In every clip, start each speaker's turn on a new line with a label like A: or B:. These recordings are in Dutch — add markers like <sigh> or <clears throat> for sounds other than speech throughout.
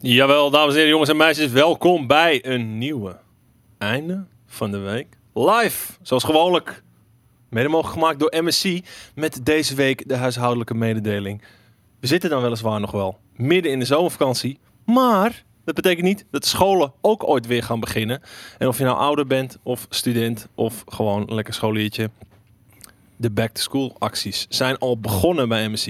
A: Jawel, dames en heren, jongens en meisjes, welkom bij een nieuwe einde van de week. Live, zoals gewoonlijk, mede mogelijk gemaakt door MSC, met deze week de huishoudelijke mededeling. We zitten dan weliswaar nog wel midden in de zomervakantie, maar dat betekent niet dat de scholen ook ooit weer gaan beginnen. En of je nou ouder bent, of student, of gewoon een lekker scholiertje, de back-to-school acties zijn al begonnen bij MSC.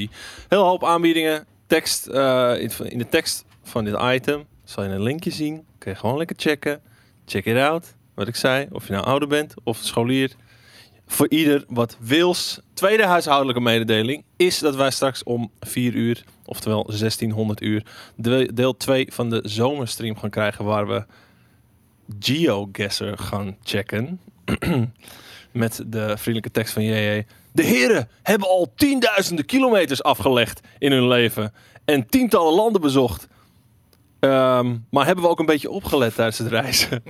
A: Heel hoop aanbiedingen. Tekst, eh, in- in de tekst van dit item zal je een linkje zien. Kun je gewoon lekker checken. Check it out. Wat ik zei, of je nou ouder bent of scholier. Voor ieder wat wils. Tweede huishoudelijke mededeling is dat wij straks om 4 uur, oftewel 1600 uur, de- deel 2 van de zomerstream gaan krijgen waar we GeoGuessr gaan checken. <clears throat> Met de vriendelijke tekst van JJ. De heren hebben al tienduizenden kilometers afgelegd in hun leven. En tientallen landen bezocht. Ehm, maar hebben we ook een beetje opgelet tijdens het reizen.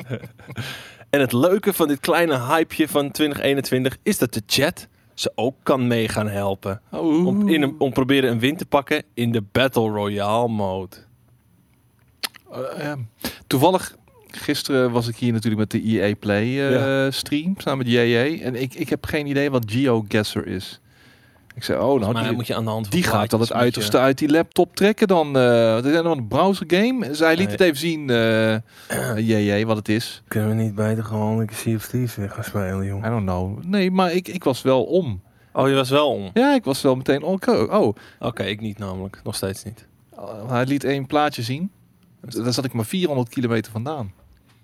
A: <laughs> en het leuke van dit kleine hypeje van 2021 is dat de chat ze ook kan mee gaan helpen. Om, in een, om proberen een win te pakken in de Battle Royale mode.
B: Nou, Eh, ehm, toevallig, gisteren was ik hier natuurlijk met de EA Play eh,
A: Ja.
B: stream, samen met JJ. En ik, ik heb geen idee wat GeoGuessr is. Ik zei, oh, nou,
A: Maar
B: die,
A: moet je aan de hand van
B: die gaat
A: plaatjes
B: al het
A: moet je-
B: uiterste uit die laptop trekken dan. eh wat is dat dan, een browser game? Zij liet
A: Nee.
B: het even zien, eh, JJ, wat het is.
A: Kunnen we niet beter gewoon een Sea of Thieves weer gaan spelen,
B: I
A: jongen?
B: don't know. Nee, maar ik, ik was wel om.
A: Oh, je was wel om.
B: Ja, ik was wel meteen, oh, oké, oh.
A: Oké, ik niet namelijk. Nog steeds niet.
B: Uh, hij liet één plaatje zien. Daar zat ik maar 400 kilometer vandaan.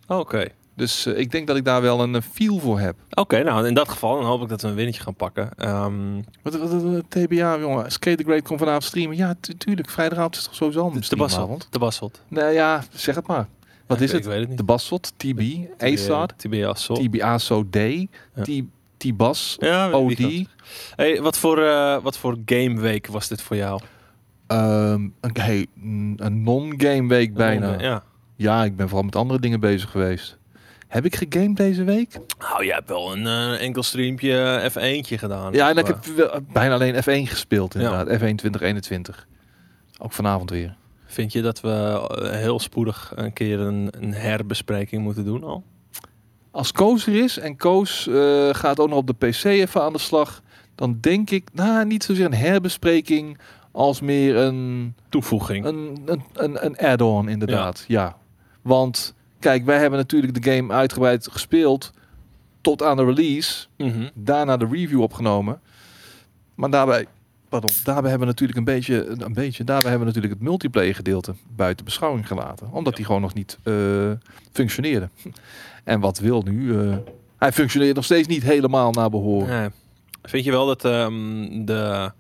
A: Oké.
B: Dus eh, ik denk dat ik daar wel een eh, feel voor heb.
A: Oké, nou in dat geval dan hoop ik dat we een winnetje gaan pakken. Ehm
B: Wat, wat, wat- wat- TBA, jongen. Skate the Great komt vanavond streamen. Ja, tu- tuurlijk. Vrijdagavond is toch sowieso al een
A: de Basselt.
B: streamavond?
A: De Basselt.
B: Nou ja, zeg het maar. Wat
A: Ja,
B: is
A: ik-
B: het?
A: Ik weet het niet.
B: De Bassot, TB, ASAD,
A: Tibias.
B: TBA So Day, T- T-Bas,
A: Ja, weet
B: OD.
A: ik niet. Hey, wat voor, eh, wat voor gameweek was dit voor jou?
B: Ehm, een, hey, mm, een non-game week bijna. Ja.
A: eh, Ja.
B: ik ben vooral met andere dingen bezig geweest. Heb ik gegamed deze week?
A: Nou, jij hebt wel een eh, enkel streampje eh, even eentje gedaan.
B: Ja, en
A: Of,
B: ik
A: eh,
B: heb wel- bijna alleen F1 gespeeld inderdaad. F1 2021. Ook vanavond weer.
A: Vind je dat we eh, heel spoedig een keer een, een herbespreking moeten doen al?
B: Als Koos er is en Koos eh, gaat ook nog op de PC even aan de slag, dan denk ik, nou, niet zozeer een herbespreking als meer een,
A: Toevoeging.
B: een, een, een, een add-on inderdaad. Ja. Want kijk, wij hebben natuurlijk de game uitgebreid gespeeld tot aan de release,
A: Mhm.
B: daarna de review opgenomen. Maar daarbij, pardon, daarbij hebben we natuurlijk een beetje, een beetje, daarbij hebben we natuurlijk het multiplayer gedeelte buiten beschouwing gelaten, omdat
A: Ja.
B: die gewoon nog niet eh, functioneerde. En wat wil nu? eh, hij functioneert nog steeds niet helemaal naar behoren.
A: Nee. Vind je wel dat ehm, de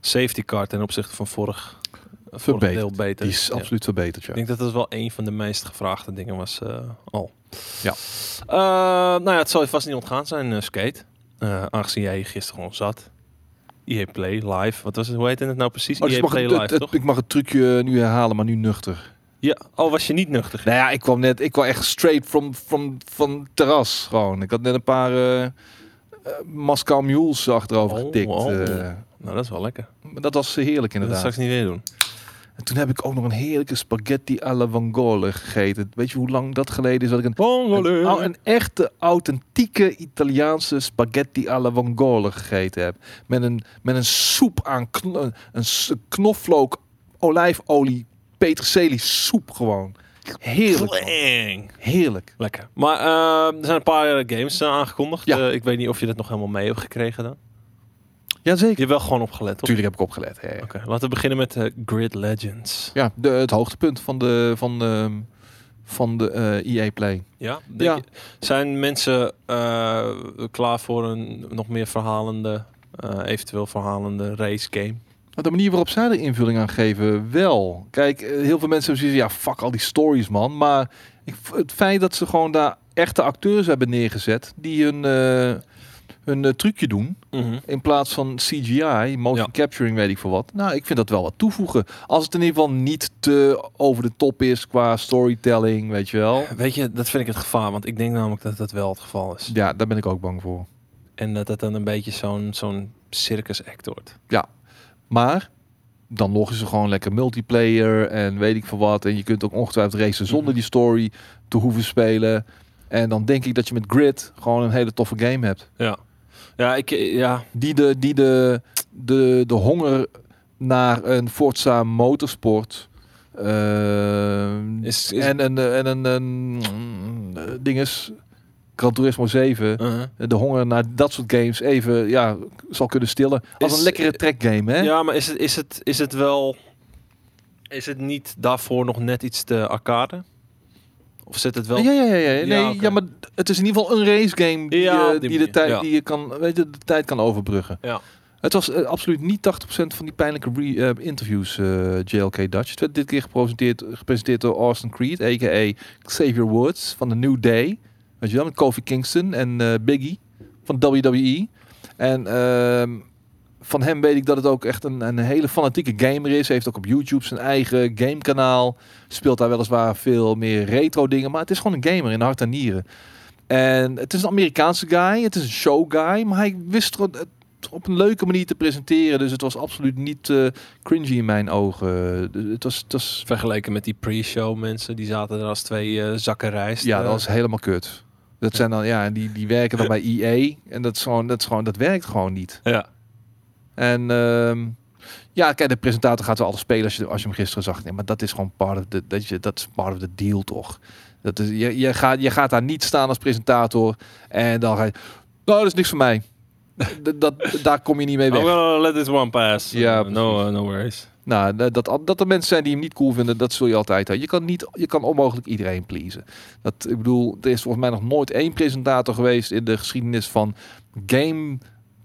A: safety car ten opzichte van vorig, vorig
B: Verbeterd.
A: deel beter
B: Die is
A: Ja.
B: absoluut verbeterd, ja.
A: Ik denk dat dat wel een van de meest gevraagde dingen was eh, al.
B: Ja.
A: Eh, nou ja, het zal je vast niet ontgaan zijn, eh, Skate. Eh, aangezien jij hier gisteren gewoon zat. EA Play Live. Wat was het? Hoe heette het nou precies?
B: Oh, dus
A: EA
B: ik, mag
A: Play
B: het,
A: Live,
B: het- het-
A: toch?
B: <laughs> ik mag het trucje nu herhalen, maar nu nuchter.
A: Ja. Oh, was je niet nuchter?
B: Nou ja, ik kwam net, ik kwam echt straight from, from, van het terras gewoon. Ik had net een paar eh eh, Moscow Mules achterover
A: Oh,
B: getikt.
A: oh.
B: eh.
A: Nou, dat is wel lekker.
B: maar dat was eh, heerlijk
A: Dat
B: inderdaad.
A: straks niet weer doen.
B: En toen heb ik ook nog een heerlijke spaghetti alla vongole gegeten. Weet je hoe lang dat geleden is dat ik een, een,
A: Oh,
B: au-
A: en-
B: een echte authentieke Italiaanse spaghetti alla vongole gegeten heb? Met een, met een soep aan kno- een, s- knoflook, olijfolie, peterselie soep gewoon. Heerlijk. man.
A: Klang.
B: Heerlijk.
A: Lekker. Maar eh, er zijn een paar eh, games eh, aangekondigd.
B: Ja.
A: Eh, ik weet niet of je dat nog helemaal mee hebt gekregen dan. Je
B: Jazeker.
A: hebt wel gewoon opgelet, toch?
B: Natuurlijk heb ik opgelet. hè.
A: Oké, laten we beginnen met eh, Grid Legends.
B: Ja, de, het hoogtepunt van de, van de, van de eh EA Play.
A: Ja, denk
B: Ja.
A: je- zijn mensen eh, klaar voor een nog meer verhalende, eh, eventueel verhalende race game?
B: Maar de manier waarop zij er invulling aan geven, wel. Kijk, eh, heel veel mensen hebben zoiets van, ja, fuck al die stories, man. Maar ik, het feit dat ze gewoon daar echte acteurs hebben neergezet... die hun, eh, hun eh, trucje doen,
A: Mhm.
B: in plaats van CGI, motion
A: Ja.
B: capturing, weet ik veel wat. Nou, ik vind dat wel wat toevoegen. Als het in ieder geval niet te over de top is qua storytelling, weet je wel.
A: Weet je, dat vind ik het gevaar, want ik denk namelijk dat dat wel het geval is.
B: Ja, daar ben ik ook bang voor.
A: En dat dat dan een beetje zo'n zo'n circus act wordt.
B: Maar dan nog is er gewoon lekker multiplayer en weet ik veel wat. En je kunt ook ongetwijfeld racen
A: Mhm.
B: zonder die story te hoeven spelen. En dan denk ik dat je met Grid gewoon een hele toffe game hebt.
A: Ja. Ja, ik, eh, ja,
B: Die de, die de, de, de honger naar een Forza Motorsport... eh,
A: is, is,
B: en een, eh, en een, een mm, eh, ding is, Gran Turismo 7,
A: Uh-huh.
B: de honger naar dat soort games even ja, zal kunnen stillen. Als
A: Is-
B: een lekkere trackgame, hè?
A: Ja, maar is het, is, het, is het wel... Is het niet daarvoor nog net iets te arcade? Of zit het wel...
B: Ja, ja, ja, ja.
A: Ja,
B: Nee, ja,
A: oké.
B: maar het is in ieder geval een race game die,
A: Ja,
B: je-
A: op die
B: die, de,
A: manier,
B: tijd,
A: ja.
B: die je kan, weet je, de tijd kan overbruggen.
A: Ja.
B: Het was eh, absoluut niet 80% van die pijnlijke re- eh, interviews, eh, JLK Dutch. Het werd dit keer gepresenteerd, gepresenteerd door Austin Creed, a.k.a. Xavier Woods van The New Day. Weet je wel, met Kofi Kingston en eh, Biggie van WWE. En ehm, van hem weet ik dat het ook echt een, een hele fanatieke gamer is. Hij heeft ook op YouTube zijn eigen gamekanaal. Speelt daar weliswaar veel meer retro dingen. Maar het is gewoon een gamer in hart en nieren. En het is een Amerikaanse guy. Het is een show guy. Maar hij wist er het op een leuke manier te presenteren. Dus het was absoluut niet eh, cringy in mijn ogen. Dus Het was, het was,
A: Vergeleken met die pre-show mensen, die zaten er als twee eh, zakken rijst.
B: ja,
A: eh.
B: dat was helemaal kut. Dat zijn dan, ja, die, die werken dan bij EA. En dat, is gewoon, dat, is gewoon, dat werkt gewoon niet.
A: Ja.
B: En ehm, ja, kijk, de presentator gaat wel alles spelen als je, als je hem gisteren zag. Nee, maar dat is gewoon part of the, dat je, dat is part of the deal, toch? Dat is, je, je, gaat, je gaat daar niet staan als presentator en dan ga je... Nou, dat is niks voor mij. <laughs> dat, dat, daar kom je niet mee
A: I'm
B: weg.
A: gonna let this one pass.
B: Ja,
A: Eh, no, eh, no worries.
B: Nou, dat, dat- dat er mensen zijn die hem niet cool vinden, dat zul je altijd hebben. Je kan, niet, je kan onmogelijk iedereen pleasen. Dat, ik bedoel, er is volgens mij nog nooit één presentator geweest in de geschiedenis van game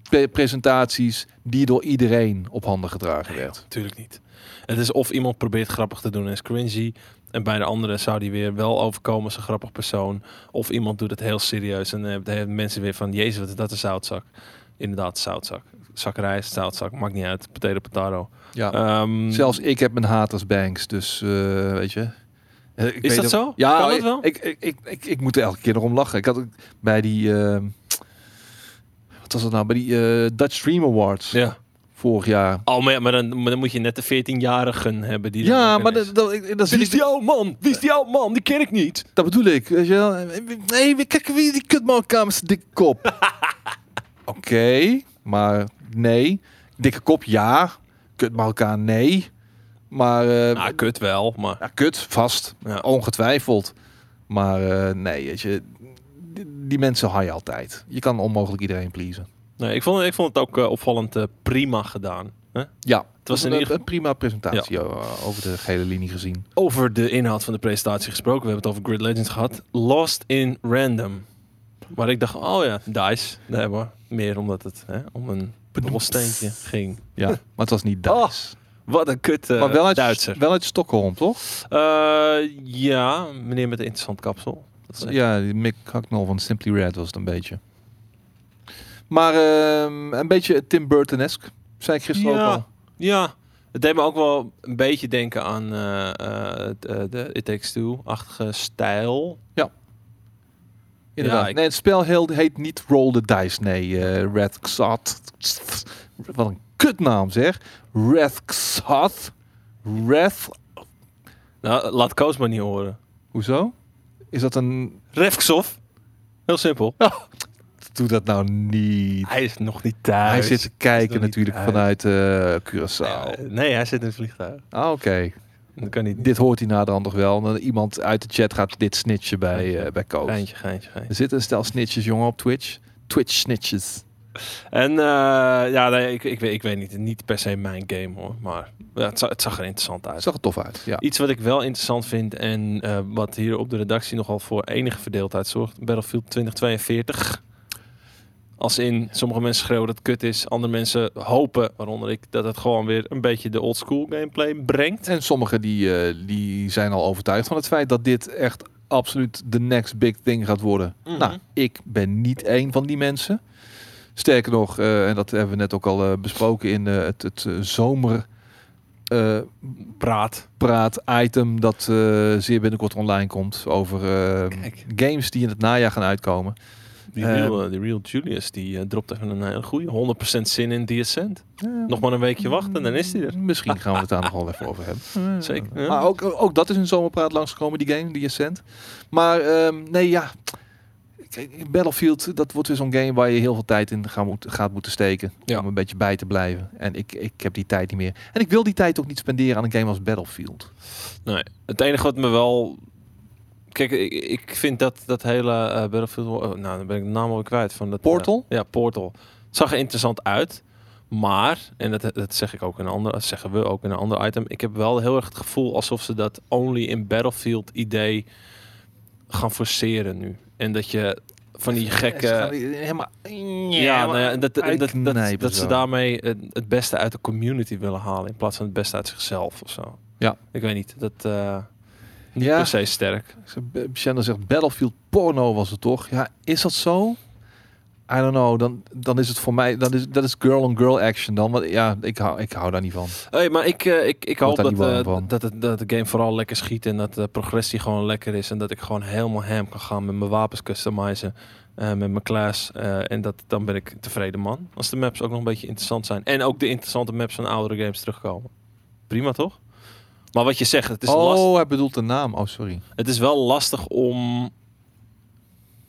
B: pre- presentaties die door iedereen op handen gedragen werd.
A: Natuurlijk niet. Het is of iemand probeert grappig te doen en is cringy. En bij de andere zou die weer wel overkomen als een grappig persoon. Of iemand doet het heel serieus en dan hebben- dan hebben mensen weer van... Jezus, wat is dat een zoutzak? Inderdaad, zoutzak. Zakkerijs, zoutzak, maakt niet uit. Potato, potato.
B: Ja.
A: Ehm,
B: Zelfs ik heb mijn haters banks, dus eh, weet je. Eh, ik
A: Is
B: weet
A: dat
B: ook-
A: zo?
B: Ja,
A: Kan dat
B: ik-
A: wel?
B: Ik, ik, ik, ik, ik moet er elke keer nog om lachen. Ik had ook bij die, eh, wat was dat nou, bij die eh, Dutch Stream Awards
A: Ja.
B: vorig jaar.
A: Oh, maar, ja, maar, dan, maar dan moet je net de 14-jarigen hebben die... dan
B: Ja,
A: ook
B: maar
A: ineens-
B: dat, dat,
A: Wie
B: ik- dat,
A: is
B: zit ik-
A: die oude man? Wie is die oude man? Die ken ik niet.
B: dat bedoel ik. Weet je wel? Nee, we kijken wie die kutmankamers dikke
A: <laughs>
B: kop. Oké, maar nee. Dikke kop, ja. Kutmalkaan, nee. Maar eh,
A: Nou, kut wel, maar...
B: ja, kut, vast.
A: Ja.
B: Ongetwijfeld. Maar eh, nee, weet je, die, die mensen haal je altijd. Je kan onmogelijk iedereen pleasen.
A: Nee, ik, vond, ik vond het ook eh, opvallend eh, prima gedaan. hè?
B: Ja, het
A: was
B: was
A: in
B: een,
A: ieder geval-
B: een prima presentatie eh, over de gele linie gezien.
A: Over de inhoud van de presentatie gesproken. We hebben het over Grid Legends gehad. Lost in Random. Maar ik dacht, oh ja, DICE. Nee hoor, meer omdat het hè, om een dobbelsteentje ging.
B: Ja, <laughs> maar het was niet Duits.
A: Wat een kut Ah, eh,
B: maar wel uit,
A: Duitser.
B: wel uit Stockholm, toch?
A: Eh, ja, meneer met de interessant kapsel. Dat is echt-
B: Ja, die Mick Hacknall van Simply Red was het een beetje. Maar ehm, een beetje Tim Burton-esque, zei ik gisteren
A: Ja.
B: ook al.
A: Ja, het deed me ook wel een beetje denken aan eh, eh, het, eh, de It Takes Two-achtige stijl.
B: Inderdaad.
A: Ja, ik-
B: Nee, het spel heel- heet niet Roll the Dice. Nee, eh, Red Xat. Wat een kutnaam zeg. Red Xat. Red.
A: Nou, laat Koos maar niet horen.
B: Hoezo? Is dat een.
A: Refksov. Heel simpel.
B: Doe dat nou niet.
A: Hij is nog niet thuis.
B: Hij zit te kijken
A: nog niet
B: natuurlijk
A: uit.
B: vanuit eh Curaçao.
A: Eh, Nee, hij zit in het vliegtuig.
B: Ah, oké.
A: Dat kan niet.
B: Dit hoort hij naderhand nog wel. En dan iemand uit de chat gaat dit snitchen bij, eh, bij Koos.
A: Geintje, geintje, geintje.
B: Er zitten een stel snitches, jongen, op Twitch. Twitch snitches.
A: En eh, ja, nee, ik, ik, weet, ik weet niet. Niet per se mijn game hoor. Maar ja, het, zag, het zag er interessant uit.
B: Zag er tof uit. Ja.
A: Iets wat ik wel interessant vind en eh, wat hier op de redactie nogal voor enige verdeeldheid zorgt. Battlefield 2042. Als in, sommige mensen schreeuwen dat het kut is. Andere mensen hopen, waaronder ik, dat het gewoon weer een beetje de old school gameplay brengt.
B: En sommigen die, eh, die zijn al overtuigd van het feit dat dit echt absoluut de next big thing gaat worden.
A: Mhm.
B: Nou, ik ben niet één van die mensen. Sterker nog, eh, en dat hebben we net ook al eh, besproken in eh, het, het
A: Praat.
B: zomerpraat-item dat eh, zeer binnenkort online komt over eh,
A: Kijk.
B: games die in het najaar gaan uitkomen.
A: Die,
B: Eh,
A: real, eh, die real Julius, die eh, dropt even een hele goede 100% zin in The Ascent. Nog maar een weekje wachten en dan is hij er.
B: Misschien gaan we het daar nog wel even over hebben.
A: <laughs> Zeker.
B: Ja. Maar ook, ook dat is in zomerpraat langsgekomen, die game, die Ascent. Maar ehm, nee, ja. Kijk, Battlefield, dat wordt weer zo'n game waar je heel veel tijd in gaan moet, gaat moeten steken.
A: Ja.
B: Om een beetje bij te blijven. En ik, ik heb die tijd niet meer. En ik wil die tijd ook niet spenderen aan een game als Battlefield.
A: Nee, het enige wat me wel... Kijk, ik, ik vind dat, dat hele eh, Battlefield... War- oh, nou, dan ben ik de naam al kwijt. Van dat, eh,
B: Portal?
A: ja, Portal. Het zag er interessant uit. Maar, en dat, dat zeg ik ook in een ander, dat zeggen we ook in een ander item. Ik heb wel heel erg het gevoel alsof ze dat only in Battlefield idee gaan forceren nu. En dat je van die gekke...
B: Ze gaan die helemaal...
A: eh, Ja, nou ja, dat, dat, dat, dat,
B: uitknijpen
A: dat ze
B: zo.
A: daarmee het, het beste uit de community willen halen in plaats van het beste uit zichzelf of zo.
B: Ja.
A: Ik weet niet, dat eh niet
B: Ja.
A: per se sterk.
B: Ze- Shannon zegt Battlefield porno was het toch? Ja, is dat zo? I don't know. Dan, dan is het voor mij, dat is, dat is girl on girl action dan. Want ja, ik hou, ik hou daar niet van.
A: Hey, maar ik, eh, ik, ik hoop
B: Word daar
A: dat,
B: niet
A: eh,
B: warm van.
A: dat, het, dat de game vooral lekker schiet en dat de progressie gewoon lekker is en dat ik gewoon helemaal ham kan gaan met mijn wapens customizen, eh, met mijn class eh, en dat, dan ben ik tevreden man. Als de maps ook nog een beetje interessant zijn en ook de interessante maps van oudere games terugkomen. Prima toch? Maar wat je zegt, het is lastig.
B: oh, hij bedoelt de naam. Oh, sorry.
A: Het is wel lastig om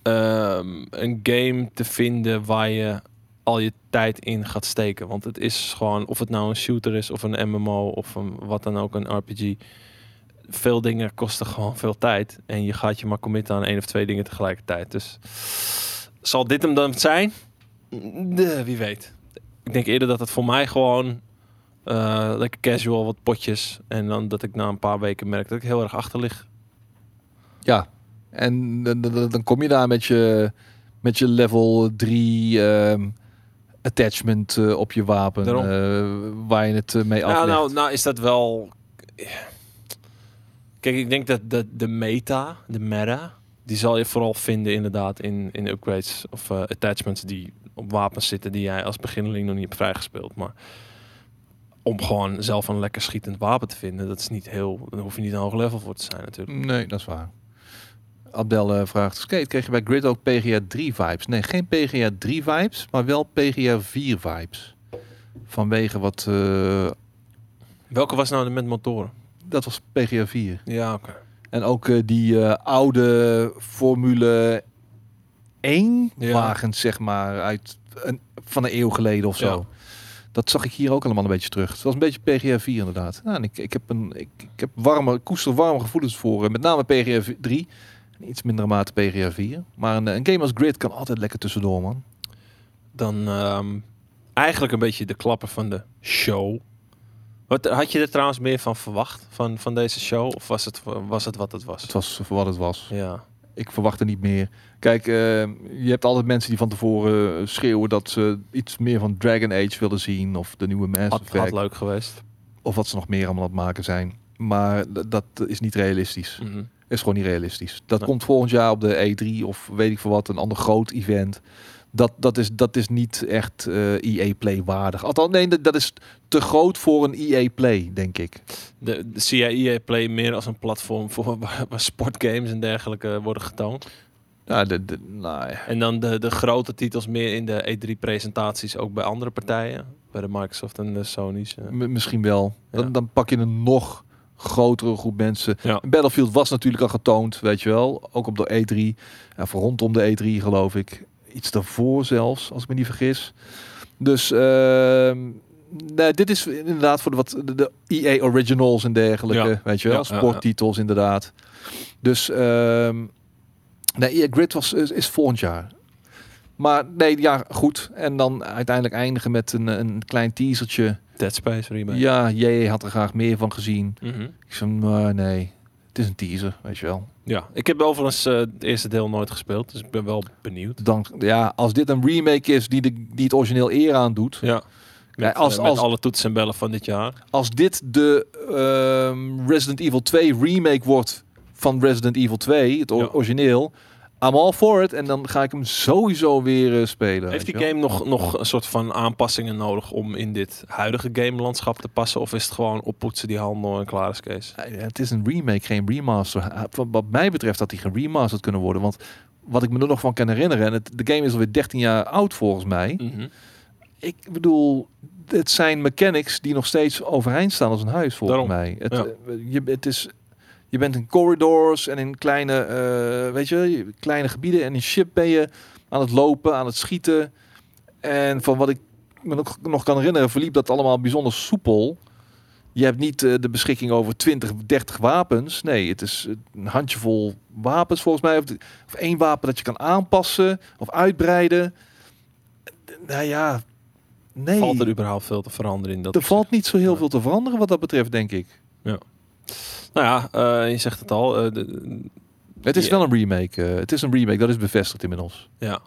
A: ehm, een game te vinden waar je al je tijd in gaat steken. Want het is gewoon, of het nou een shooter is of een MMO of een, wat dan ook, een RPG. Veel dingen kosten gewoon veel tijd. En je gaat je maar committen aan één of twee dingen tegelijkertijd. Dus zal dit hem dan zijn? De, wie weet. Ik denk eerder dat het voor mij gewoon eh, lekker casual, wat potjes. En dan dat ik na een paar weken merk dat ik heel erg achter lig.
B: Ja. En dan- dan dan kom je daar met je, met je level 3 ehm, attachment eh, op je wapen.
A: Daarom.
B: eh, waar je het eh, mee aflegt.
A: Nou, nou, nou is dat wel. Kijk, ik denk dat de, de meta, de meta, die zal je vooral vinden inderdaad in, in upgrades of eh, attachments die op wapens zitten die jij als beginneling nog niet hebt vrijgespeeld. Maar om gewoon zelf een lekker schietend wapen te vinden, dat is niet heel. Daar hoef je niet een hoog level voor te zijn natuurlijk.
B: Nee, dat is waar. Abdel eh, vraagt, Skate, kreeg je bij Grid ook PGA 3 vibes? Nee, geen PGA 3 vibes, maar wel PGA 4 vibes. Vanwege wat, eh,
A: Welke was nou de met motoren?
B: dat was PGA 4.
A: Ja, oké.
B: En ook eh, die eh, oude Formule 1
A: Ja.
B: wagens, zeg maar, uit een, van een eeuw geleden of zo. Dat zag ik hier ook allemaal een beetje terug. Het was een beetje PGA 4 inderdaad. Nou, en ik, ik heb, een, ik, ik heb warme, ik koester warme gevoelens voor, eh, met name PGA 3. En Iets mindere mate PGA 4. Maar een, eh, een game als Grid kan altijd lekker tussendoor, man.
A: Dan ehm, eigenlijk een beetje de klapper van de show. Wat, had je er trouwens meer van verwacht, van, van deze show? Of was het, was het wat het was?
B: Het was voor wat het was.
A: Ja.
B: Ik verwacht er niet meer. Kijk, eh, je hebt altijd mensen die van tevoren eh, schreeuwen dat ze iets meer van Dragon Age willen zien. Of de nieuwe Mass
A: Had, had
B: Effect.
A: leuk geweest.
B: Of wat ze nog meer allemaal aan het maken zijn. Maar d- dat is niet realistisch.
A: Mhm.
B: is gewoon niet realistisch. Dat
A: Nee.
B: komt volgend jaar op de E3 of weet ik veel wat, een ander groot event. Dat, dat, is, dat is niet echt eh EA Play waardig. Althans, nee, dat, dat is te groot voor een EA Play, denk ik.
A: De, de CIA Play meer als een platform voor <laughs> waar, waar sportgames en dergelijke worden getoond.
B: Ja, de, de, nou, ja.
A: En dan de, de grote titels meer in de E3-presentaties ook bij andere partijen. Bij de Microsoft en de Sony's. eh.
B: M- misschien wel. Dan,
A: Ja.
B: dan pak je een nog grotere groep mensen.
A: Ja.
B: Battlefield was natuurlijk al getoond, weet je wel. Ook op de E3. Ja, voor rondom de E3 geloof ik. Iets daarvoor zelfs, als ik me niet vergis. Dus ehm, nee, dit is inderdaad voor de, wat, de, de EA Originals en dergelijke.
A: Ja.
B: Weet je wel,
A: Ja, ja, ja.
B: sporttitels inderdaad. Dus ehm nee, EA Grid was, is, is volgend jaar. Maar nee, ja, goed. En dan uiteindelijk eindigen met een, een klein teasertje.
A: Dead Space remake.
B: Ja, jij had er graag meer van gezien.
A: Mhm.
B: Ik zei, maar nee, het is een teaser, weet je wel.
A: ja. Ik heb overigens eh, het eerste deel nooit gespeeld, dus ik ben wel benieuwd.
B: Dan, ja, als dit een remake is die, de, die het origineel eer aan doet.
A: Ja. Met,
B: als-
A: eh, met
B: als-
A: alle toetsen en bellen van dit jaar.
B: Als dit de ehm, Resident Evil 2 remake wordt van Resident Evil 2, het o-
A: Ja.
B: origineel. I'm all for it. En dan ga ik hem sowieso weer eh, spelen.
A: Heeft
B: weet
A: die
B: je wel.
A: game nog, nog een soort van aanpassingen nodig om in dit huidige gamelandschap te passen? Of is het gewoon oppoetsen die handel en klaar is Kees?
B: Ja, Het is een remake, geen remaster. Ha- Wat wat mij betreft had die geremasterd kunnen worden. Want wat ik me er nog van kan herinneren, en het, de game is alweer 13 jaar oud volgens mij.
A: Mhm.
B: Ik bedoel, het zijn mechanics die nog steeds overeind staan als een huis volgens
A: Daarom,
B: mij. Het,
A: ja.
B: eh, je, het is, je bent in corridors en in kleine, eh, weet je, kleine gebieden en in ship ben je aan het lopen, aan het schieten. En van wat ik me nog, nog kan herinneren, verliep dat allemaal bijzonder soepel. Je hebt niet eh, de beschikking over 20, 30 wapens. Nee, het is eh, een handjevol wapens volgens mij. Of, of één wapen dat je kan aanpassen of uitbreiden. Nou ja, nee.
A: Valt er überhaupt veel te veranderen in dat?
B: Er valt niet zo heel
A: Ja.
B: veel te veranderen wat dat betreft, denk ik.
A: Nou ja, eh, je zegt het al. eh, de- de-
B: Het is
A: Ja.
B: wel een remake. eh, het is een remake, dat is bevestigd inmiddels.
A: ja.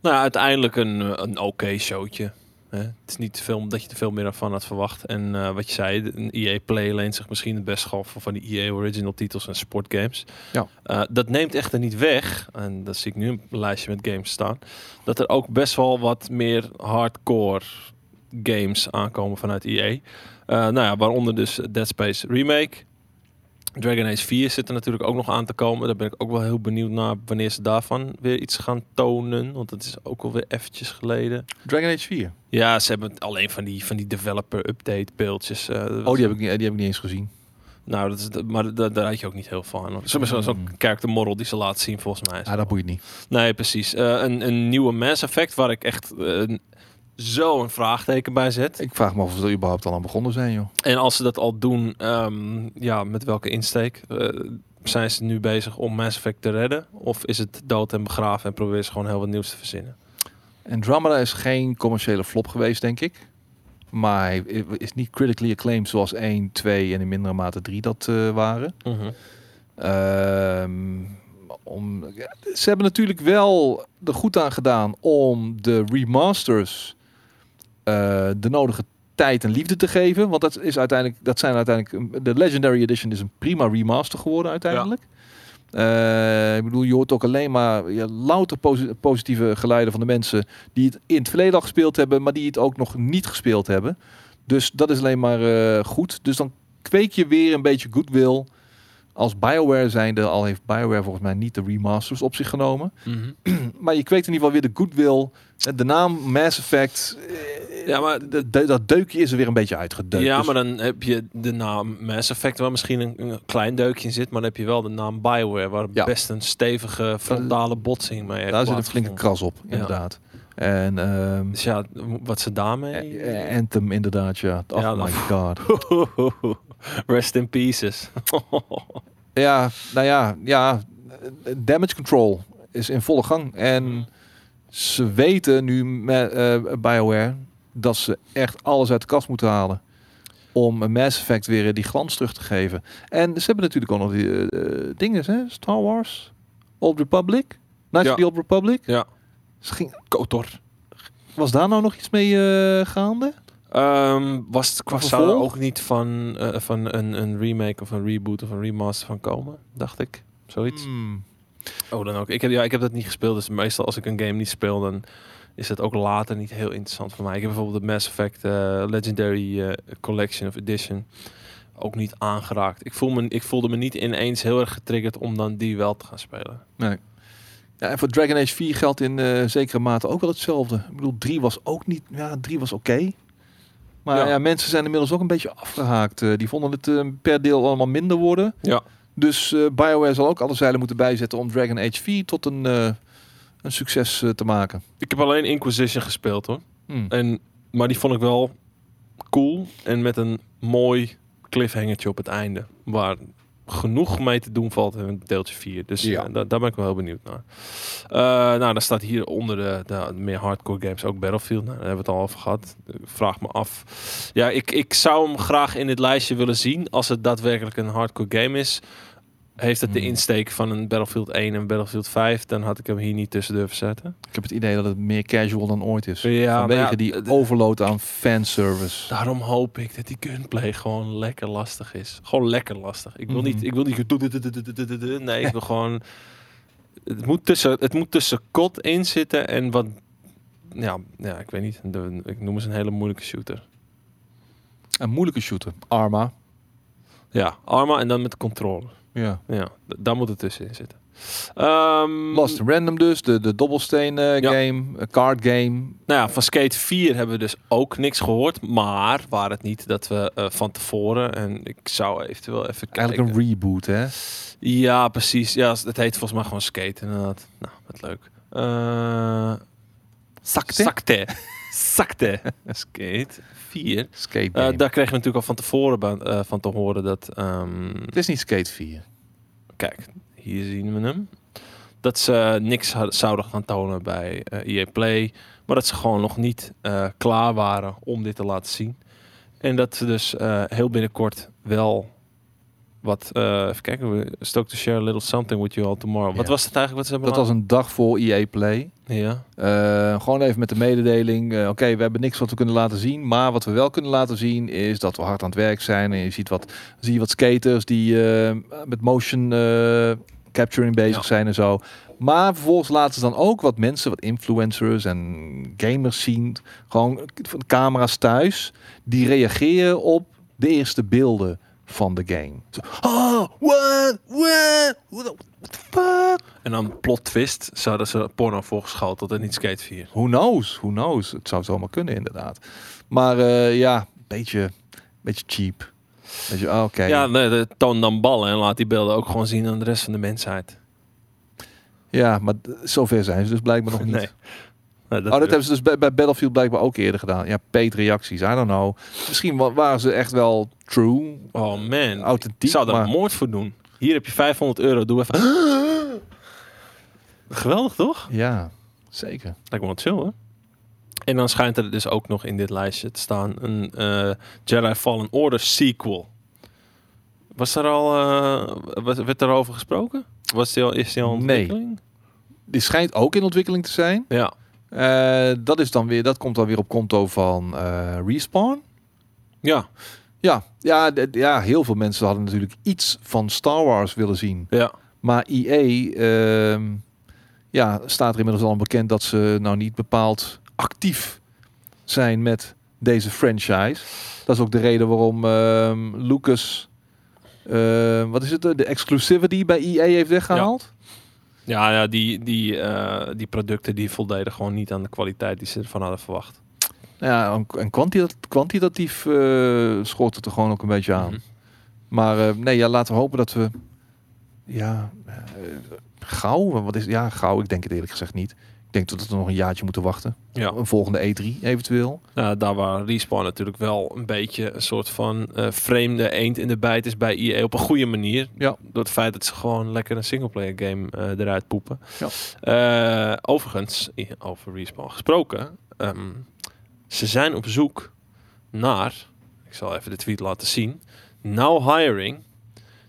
A: Nou ja, uiteindelijk een, eh, een oké showtje. Hè? Het is niet te veel dat je er veel meer van had verwacht. En eh, wat je zei, de- een EA Play leent zich misschien het best gaf van die EA Original titels en sportgames.
B: Ja.
A: Eh, dat neemt echter niet weg, en dat zie ik nu een lijstje met games staan, dat er ook best wel wat meer hardcore games aankomen vanuit EA. Eh, nou ja, waaronder dus Dead Space Remake. Dragon Age 4 zit er natuurlijk ook nog aan te komen. Daar ben ik ook wel heel benieuwd naar wanneer ze daarvan weer iets gaan tonen. Want dat is ook alweer eventjes geleden.
B: Dragon Age 4.
A: Ja, ze hebben het alleen van die, van die developer update beeldjes. eh,
B: Oh, die heb ik, niet- die heb ik niet eens gezien.
A: Nou, dat is, de- maar da- daar had je ook niet heel veel aan. hoor. Zo'n zo, zo'n
B: Mm.
A: character model die ze laat zien volgens mij. is
B: Ah, dat boeit niet.
A: Nee, precies. Eh, een, een nieuwe Mass Effect waar ik echt eh, zo een vraagteken bij zet.
B: Ik vraag me af of ze er überhaupt al aan begonnen zijn, joh.
A: En als ze dat al doen, ehm, ja, met welke insteek? Eh, zijn ze nu bezig om Mass Effect te redden? Of is het dood en begraven en proberen ze gewoon heel wat nieuws te verzinnen?
B: Andromeda is geen commerciële flop geweest, denk ik. Maar hij is niet critically acclaimed zoals 1, 2 en in mindere mate 3 dat eh, waren. Ehm, om, ja, ze hebben natuurlijk wel er goed aan gedaan om de remasters eh, de nodige tijd en liefde te geven. Want dat, is uiteindelijk, dat zijn uiteindelijk. De Legendary Edition is een prima remaster geworden uiteindelijk. Eh, ik bedoel, je hoort ook alleen maar ja, louter posi- positieve geluiden van de mensen die het in het verleden al gespeeld hebben, maar die het ook nog niet gespeeld hebben. Dus dat is alleen maar eh, goed. Dus dan kweek je weer een beetje goodwill. Als BioWare zijnde, al heeft BioWare volgens mij niet de remasters op zich genomen. Hm. Maar je kweekt in ieder geval weer de goodwill. Eh, De naam Mass Effect, eh,
A: Ja, maar-
B: de- de- dat deukje is er weer een beetje uitgedeukt.
A: Ja,
B: Dus-
A: maar dan heb je de naam Mass Effect waar misschien een, een klein deukje in zit, maar dan heb je wel de naam Bioware waar
B: Ja. Eh,
A: best een stevige frontale botsing mee heeft
B: Daar zit een flinke
A: plaatsgevonden.
B: kras op, inderdaad. En ehm
A: Dus ja, wat ze daarmee...
B: eh, eh, Anthem inderdaad, ja. Oh
A: Ja,
B: my
A: dat-
B: god.
A: <laughs> Rest in pieces. <laughs>
B: Ja, nou ja, ja. eh, Damage control is in volle gang. En ze weten nu met eh, BioWare dat ze echt alles uit de kast moeten halen. Om een Mass Effect weer eh, die glans terug te geven. En ze hebben natuurlijk ook nog die eh, eh, dingen, hè? Star Wars, Old Republic, Knights
A: Ja.
B: of the Old Republic.
A: Ja.
B: Ze ging-
A: Kotor.
B: was daar nou nog iets mee eh, gaande?
A: Ehm, was het qua
B: Een
A: zou er
B: vervolg?
A: ook niet van, eh, van een, een remake of een reboot of een remaster van komen, dacht ik. Zoiets.
B: Hmm.
A: Oh, dan ook. Ik heb, ja, ik heb dat niet gespeeld, dus meestal als ik een game niet speel, dan is dat ook later niet heel interessant voor mij. Ik heb bijvoorbeeld de Mass Effect eh, Legendary eh, Collection of Edition ook niet aangeraakt. Ik, voel me, ik voelde me niet ineens heel erg getriggerd om dan die wel te gaan spelen.
B: Ja, en voor Dragon Age 4 geldt in eh, zekere mate ook wel hetzelfde. Ik bedoel, 3 was ook niet. Ja, 3 was oké. Maar
A: Ja.
B: ja. mensen zijn inmiddels ook een beetje afgehaakt. Eh, die vonden het eh, per deel allemaal minder worden.
A: Ja.
B: Dus eh BioWare zal ook alle zeilen moeten bijzetten om Dragon Age 4 tot een, eh, een succes eh, te maken.
A: Ik heb alleen Inquisition gespeeld hoor.
B: Hmm.
A: En, maar die vond ik wel cool en met een mooi cliffhangertje op het einde. Waar genoeg mee te doen valt in deeltje 4. Dus
B: Ja.
A: eh, da- daar ben ik wel heel benieuwd naar. Eh, nou, dan staat hier onder de, de meer hardcore games ook Battlefield. Nou, daar hebben we het al over gehad. Ik vraag me af. Ja, ik, ik zou hem graag in dit lijstje willen zien als het daadwerkelijk een hardcore game is. Heeft het de
B: Hmm.
A: insteek van een Battlefield 1 en Battlefield 5, dan had ik hem hier niet tussen durven zetten.
B: Ik heb het idee dat het meer casual dan ooit is.
A: Ja,
B: Vanwege
A: maar ja,
B: die
A: d-
B: overload aan fanservice.
A: Daarom hoop ik dat die gunplay gewoon lekker lastig is. Gewoon lekker lastig. Ik wil
B: Mhm.
A: niet, ik wil niet. gedoe- doe- doe- doe- doe- doe- doe- doe. Nee, ik
B: <laughs>
A: wil gewoon. Het moet tussen, het moet tussen kot in zitten en wat. Ja, ja, ik weet niet. De- ik noem eens een hele moeilijke shooter.
B: Een moeilijke shooter. Arma.
A: Ja, Arma en dan met de controle.
B: Ja.
A: Ja, d- daar moet het tussenin zitten. Ehm,
B: Lost in Random dus, de, de dobbelsteen eh,
A: Ja.
B: game, eh, card game.
A: Nou ja, van Skate 4 hebben we dus ook niks gehoord. Maar waar het niet dat we eh, van tevoren... En ik zou eventueel even kijken.
B: Eigenlijk een reboot, hè?
A: Ja, precies. Ja, het heet volgens mij gewoon Skate inderdaad. Nou, wat leuk. Eh
B: Sakte?
A: Sakte. <laughs> Sakte. Skate 4.
B: Skate
A: Eh,
B: game.
A: daar kregen we natuurlijk al van tevoren ba- eh, van te horen dat... ehm,
B: Het is niet Skate 4.
A: kijk, hier zien we hem. Dat ze eh, niks had- zouden gaan tonen bij eh EA Play. Maar dat ze gewoon nog niet eh, klaar waren om dit te laten zien. En dat ze dus eh, heel binnenkort wel wat... eh, even kijken, stoke to share a little something with you all tomorrow. Wat
B: Ja.
A: was het eigenlijk wat ze hebben
B: Dat was een dag voor EA Play.
A: laten- Ja.
B: Eh, gewoon even met de mededeling. eh, Oké, we hebben niks wat we kunnen laten zien. Maar wat we wel kunnen laten zien is dat we hard aan het werk zijn. En je ziet wat, zie je wat skaters die eh, met motion eh, capturing bezig
A: Ja.
B: zijn en zo. Maar vervolgens laten ze dan ook wat mensen, wat influencers en gamers zien. Gewoon van camera's thuis. Die reageren op de eerste beelden van de game. Zo, oh, what, what, what the fuck?
A: En dan plot twist, zouden ze porno voorgeschoteld en niet Skate 4.
B: Who knows? Who knows? Het zou zomaar kunnen, inderdaad. Maar eh, ja, een beetje, beetje cheap. Beetje, ah, oké.
A: Ja,
B: Ja.
A: nee, de- toon dan ballen en laat die beelden ook gewoon zien aan de rest van de mensheid.
B: maar d- zover zijn ze dus blijkbaar <laughs> nog niet.
A: Nee. Nou,
B: oh, dat hebben ze dus bij, bij Battlefield blijkbaar ook eerder gedaan. Ja, peetreacties, I don't know. Misschien wa- waren ze echt wel true,
A: oh man, die
B: authentiek.
A: zou daar
B: maar-
A: moord voor doen. Hier heb je 500 euro, doe even... <gasps> Geweldig, toch?
B: Ja, zeker.
A: Lijkt me wel chill, hè? En dan schijnt er dus ook nog in dit lijstje te staan een eh, Jedi Fallen Order sequel. Was er al, eh, werd- werd daarover gesproken? Was die al, is die al in
B: Nee.
A: ontwikkeling?
B: Die schijnt ook in ontwikkeling te zijn.
A: Ja.
B: Eh, dat, is dan weer, dat komt dan weer op konto van eh, Respawn.
A: Ja,
B: Ja, ja, d- ja, heel veel mensen hadden natuurlijk iets van Star Wars willen zien.
A: ja.
B: Maar EA ehm, ja, staat er inmiddels al bekend dat ze nou niet bepaald actief zijn met deze franchise. Dat is ook de reden waarom ehm, Lucas, ehm, wat is het, eh, de exclusivity bij EA heeft weggehaald.
A: Ja, ja die, die, eh, die producten die voldeden gewoon niet aan de kwaliteit die ze ervan hadden verwacht.
B: Ja, en- en kwantita- kwantitatief eh schort het er gewoon ook een beetje aan.
A: Mhm.
B: Maar eh, nee, ja, laten we hopen dat we, ja, eh, gauw, wat is, ja, gauw, ik denk het eerlijk gezegd niet. Ik denk dat we nog een jaartje moeten wachten.
A: Ja.
B: Een volgende E3 eventueel.
A: Nou, daar waar Respawn natuurlijk wel een beetje een soort van eh, vreemde eend in de bijt is bij EA op een goede manier.
B: Ja.
A: Door het feit dat ze gewoon lekker een singleplayer game eh, eruit poepen.
B: Ja.
A: Eh, overigens, i- over Respawn gesproken, ehm, ze zijn op zoek naar, ik zal even de tweet laten zien, now hiring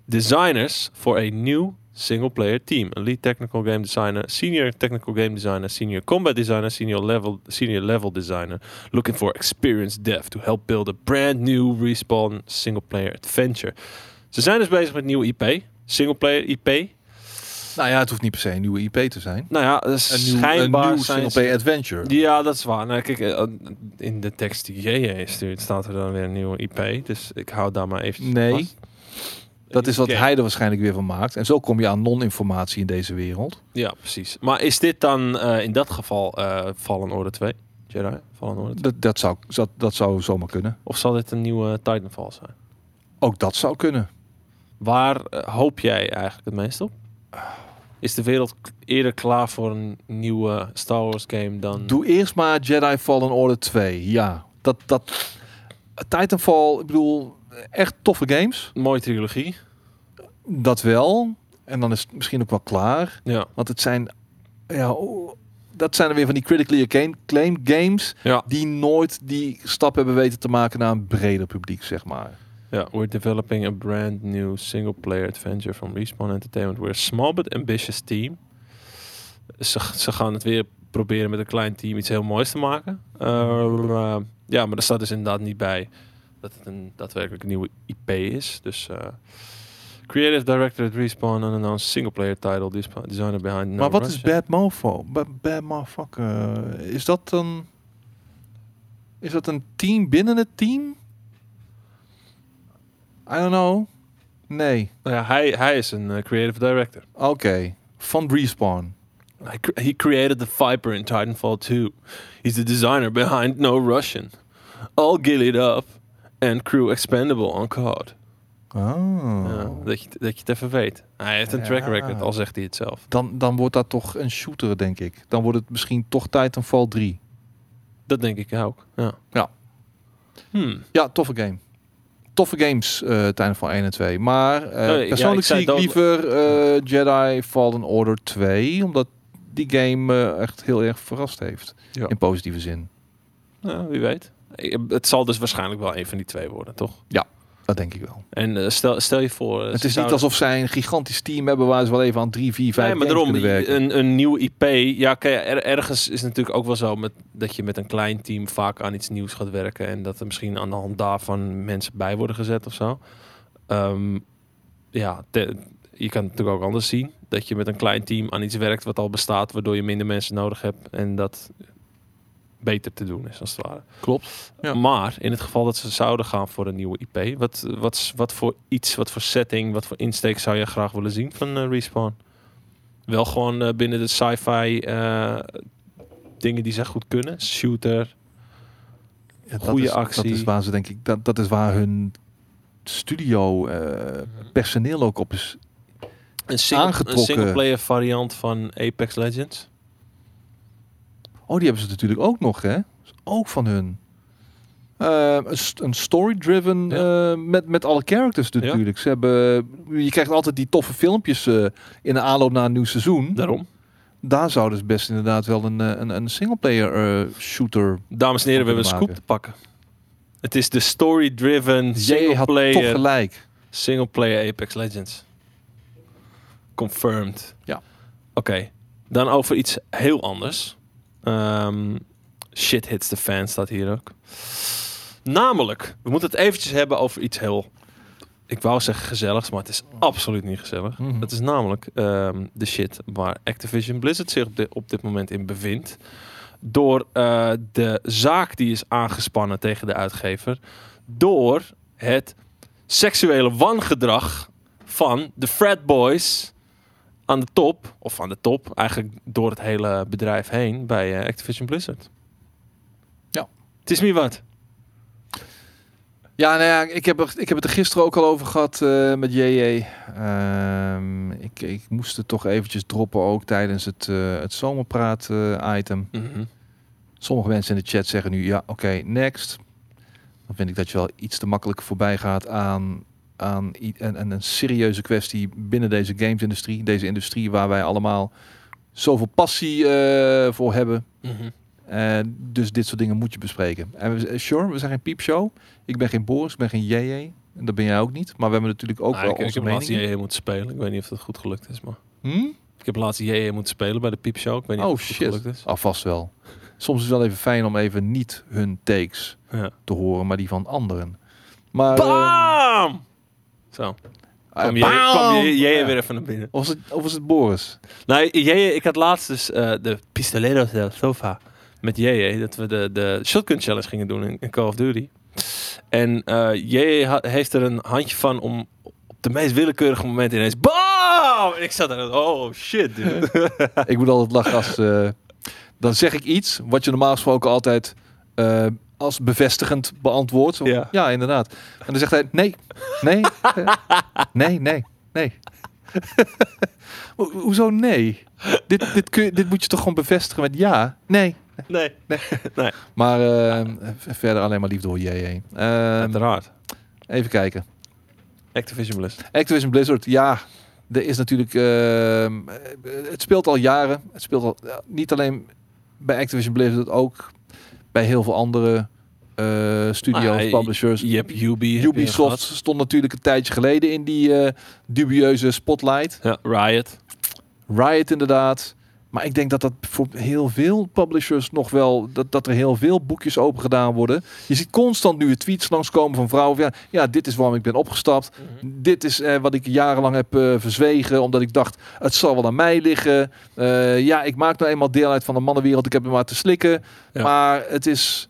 A: designers for a new single-player team. A lead technical game designer, senior technical game designer, senior combat designer, senior level, senior level designer. Looking for experienced dev to help build a brand new Respawn single-player adventure. Ze zijn dus bezig met nieuwe IP, single-player IP.
B: Nou ja, het hoeft niet per se een nieuwe IP te zijn.
A: Nou ja,
B: Een nieuw, een
A: schijnbaar
B: nieuw
A: zijn
B: single-player adventure.
A: ze- Ja, dat is waar. Nou, kijk, eh, in de tekst die JJ stuurt staat er dan weer een nieuwe IP. Dus ik hou daar maar even
B: Nee, dat is wat
A: Oké.
B: hij er waarschijnlijk weer van maakt. En zo kom je aan non-informatie in deze wereld.
A: Ja, precies. Maar is dit dan eh, in dat geval eh Fallen Order 2? Jedi, Fallen Order 2?
B: Dat, dat, zou, dat, dat zou zomaar kunnen.
A: Of zal dit een nieuwe Titanfall zijn?
B: Ook dat zou kunnen.
A: Waar eh, hoop jij eigenlijk het meest op? Is de wereld k- eerder klaar voor een nieuwe Star Wars game dan...
B: Doe eerst maar Jedi Fallen Order 2. Ja, dat... dat Titanfall, ik bedoel, echt toffe games.
A: Mooie trilogie.
B: Dat wel. En dan is het misschien ook wel klaar.
A: Ja.
B: Want het zijn... Ja, oh, dat zijn er weer van die critically acclaim- acclaimed games...
A: Ja.
B: die nooit die stap hebben weten te maken naar een breder publiek, zeg maar.
A: ja. We're developing a brand new single-player adventure from Respawn Entertainment. We're a small but ambitious team. Ze, ze gaan het weer proberen met een klein team iets heel moois te maken. Eh, eh, ja, maar er staat dus inderdaad niet bij dat het een daadwerkelijk nieuwe IP is. Dus... eh, Creative Director at Respawn and announced single-player title desp- designer behind. No
B: maar wat is
A: Rush.
B: Bad Mofo? Ba- Bad Motherfucker. Is dat een... Is dat een team binnen het team? I don't know. Nee.
A: Nou ja, hij, hij is een eh, creative director.
B: Oké. van Respawn.
A: I cr- he created the Viper in Titanfall 2. He's the designer behind No Russian, All Gillied Up en Crew Expendable on COD.
B: Oh.
A: Ja, dat, je, dat je het even weet. Hij heeft een track
B: Ja.
A: record, al zegt hij het zelf.
B: Dan, dan wordt dat toch een shooter, denk ik. Dan wordt het misschien toch Titanfall 3.
A: Dat denk ik ook. Ja.
B: Ja.
A: Hmm.
B: Ja, toffe game. Toffe games, eh Titanfall 1 en 2. Maar eh,
A: ja, ik
B: persoonlijk
A: zei
B: zie ik
A: dood-
B: liever eh, Jedi Fallen Order 2. Omdat die game eh, echt heel erg verrast heeft.
A: Ja.
B: In positieve zin.
A: Nou, wie weet. Ik- Het zal dus waarschijnlijk wel een van die twee worden, toch?
B: Dat denk ik wel.
A: En eh, stel, stel je voor... eh,
B: het
A: ze
B: is niet
A: zouden-
B: alsof zij een gigantisch team hebben... waar ze wel even aan 3, 4, 5
A: Nee, maar
B: games
A: daarom,
B: kunnen werken.
A: een, een nieuw IP. Ja, oké, er- ergens is het natuurlijk ook wel zo met, dat je met een klein team vaak aan iets nieuws gaat werken. En dat er misschien aan de hand daarvan mensen bij worden gezet of zo. Ehm, ja, te- je kan het natuurlijk ook anders zien. Dat je met een klein team aan iets werkt wat al bestaat, waardoor je minder mensen nodig hebt. En dat beter te doen is, als het ware.
B: Klopt. Ja.
A: Maar in het geval dat ze zouden gaan voor een nieuwe IP, wat, wat, wat voor iets, wat voor setting, wat voor insteek zou je graag willen zien van eh, Respawn? Wel gewoon eh, binnen de sci-fi eh, dingen die ze goed kunnen. Shooter.
B: Ja, dat
A: Goeie
B: is-
A: eh, actie.
B: Dat is waar ze denk ik. Dat, dat is waar hun studio eh,
A: Mhm.
B: personeel ook op is.
A: Een, single, een
B: Aangetrokken.
A: singleplayer variant van Apex Legends.
B: Oh, die hebben ze natuurlijk ook nog, hè? Is Ook van hun. Eh, een st- een story-driven eh, met, met alle characters natuurlijk. Ze hebben, je krijgt altijd die toffe filmpjes eh, in de aanloop naar een nieuw seizoen.
A: Daarom.
B: Daar zou dus best inderdaad wel een, eh, een, een singleplayer eh, shooter.
A: Dames en heren, we hebben een scoop
B: Kunnen
A: te pakken. Het is de story-driven
B: Jij had toch
A: singleplayer,
B: gelijk.
A: singleplayer Apex Legends. Confirmed.
B: Ja.
A: Oké, dan over iets heel anders. Ehm, shit hits the fan staat hier ook. Namelijk, we moeten het eventjes hebben over iets heel... Ik wou zeggen gezelligs, maar het is absoluut niet gezellig.
B: Mhm.
A: Dat is namelijk ehm, de shit waar Activision Blizzard zich op, di- op dit moment in bevindt. Door eh, de zaak die is aangespannen tegen de uitgever. Door het seksuele wangedrag van de frat boys aan de top. Of aan de top, eigenlijk door het hele bedrijf heen bij eh, Activision Blizzard.
B: Ja.
A: Het is niet wat.
B: Ja, nou ja, ik heb, er, ik heb het er gisteren ook al over gehad eh, met JJ. Ehm, ik, ik moest het toch eventjes droppen ook tijdens het, eh, het eh, zomerpraat-item.
A: Mhm.
B: Sommige mensen in de chat zeggen nu, ja, oké, next. Dan vind ik dat je wel iets te makkelijk voorbij gaat aan, aan i- een, een, een serieuze kwestie binnen deze gamesindustrie. Deze industrie waar wij allemaal zoveel passie eh, voor hebben.
A: Mhm.
B: Eh, dus dit soort dingen moet je bespreken. En we, eh, sure, we zijn geen piepshow. Ik ben geen Boris, ik ben geen JJ. En dat ben jij ook niet. Maar we hebben natuurlijk ook
A: Nou,
B: wel
A: ik, ik
B: onze
A: heb laatst
B: mening.
A: JJ moeten spelen. Ik weet niet of dat goed gelukt is, maar...
B: Hm?
A: Ik heb laatst JJ moeten spelen bij de piepshow. Ik weet niet
B: Oh
A: of het goed
B: shit.
A: gelukt is.
B: Alvast wel. Soms is het wel even fijn om even niet hun takes
A: Ja.
B: te horen, maar die van anderen. Maar, eh,
A: Bam! Ah, Zo.
B: eh,
A: Kwam jij kwam
B: bam!
A: jij- jij
B: Ja.
A: weer even naar binnen.
B: Of was het, of was het <laughs> Boris?
A: Nou, JJ, ik had laatst dus eh, de Pistoleros del Sofa met JJ. Dat we de, de Shotgun Challenge gingen doen in, in Call of Duty. En eh JJ ha- heeft er een handje van om op de meest willekeurige momenten ineens... Bam! En ik zat daar, oh shit, dude.
B: <laughs>
A: <laughs>
B: ik moet altijd lachen als... eh, dan zeg ik iets wat je normaal gesproken altijd eh, als bevestigend beantwoordt. Zo,
A: Ja.
B: ja, inderdaad. En dan zegt hij nee, nee, <laughs> eh, nee, nee, nee. <laughs> Ho- Hoezo nee? Dit, dit, kun je, dit moet je toch gewoon bevestigen met ja, nee.
A: nee,
B: Maar eh, verder alleen maar liefde hoor, JJ. Eh,
A: uiteraard.
B: even kijken.
A: Activision Blizzard.
B: Activision Blizzard, ja, er is natuurlijk. ehm, het speelt al jaren. Het speelt al ja, niet alleen bij Activision Blizzard, ook bij heel veel andere eh studio's,
A: Ah, je-
B: publishers.
A: Je hebt Ubi. heb je
B: Dus Ubisoft
A: gehad.
B: stond natuurlijk een tijdje geleden in die eh, dubieuze spotlight.
A: Ja, Riot.
B: Riot inderdaad. Maar ik denk dat dat voor heel veel publishers nog wel... Dat, dat er heel veel boekjes open gedaan worden. Je ziet constant nu tweets langskomen van vrouwen. van, Ja, ja dit is waarom ik ben opgestapt. Dit is eh, wat ik jarenlang heb eh, verzwegen. Omdat ik dacht, het zal wel aan mij liggen. Eh, ja, ik maak nou eenmaal deel uit van de mannenwereld. Ik heb er maar te slikken.
A: Ja.
B: Maar het is...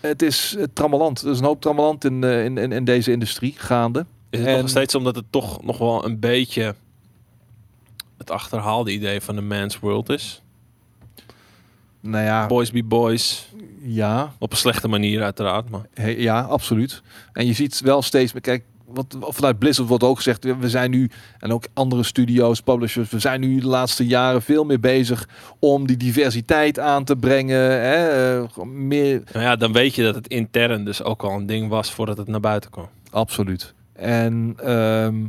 B: Het is eh, trammeland. Er is een hoop trammeland in, eh, in, in, in deze industrie gaande.
A: Is het
B: En-
A: nog steeds omdat het toch nog wel een beetje... Het het achterhaalde idee van de man's world is.
B: Nou ja,
A: Boys be boys.
B: ja,
A: Op een slechte manier uiteraard, maar...
B: He- ja, absoluut. En je ziet wel steeds, maar kijk, wat, vanuit Blizzard wordt ook gezegd, we we zijn nu, en ook andere studio's, publishers, we zijn nu de laatste jaren veel meer bezig om die diversiteit aan te brengen. Hè, eh, gewoon meer,
A: Nou ja, dan weet je dat het intern dus ook al een ding was voordat het naar buiten kwam.
B: absoluut. En ehm,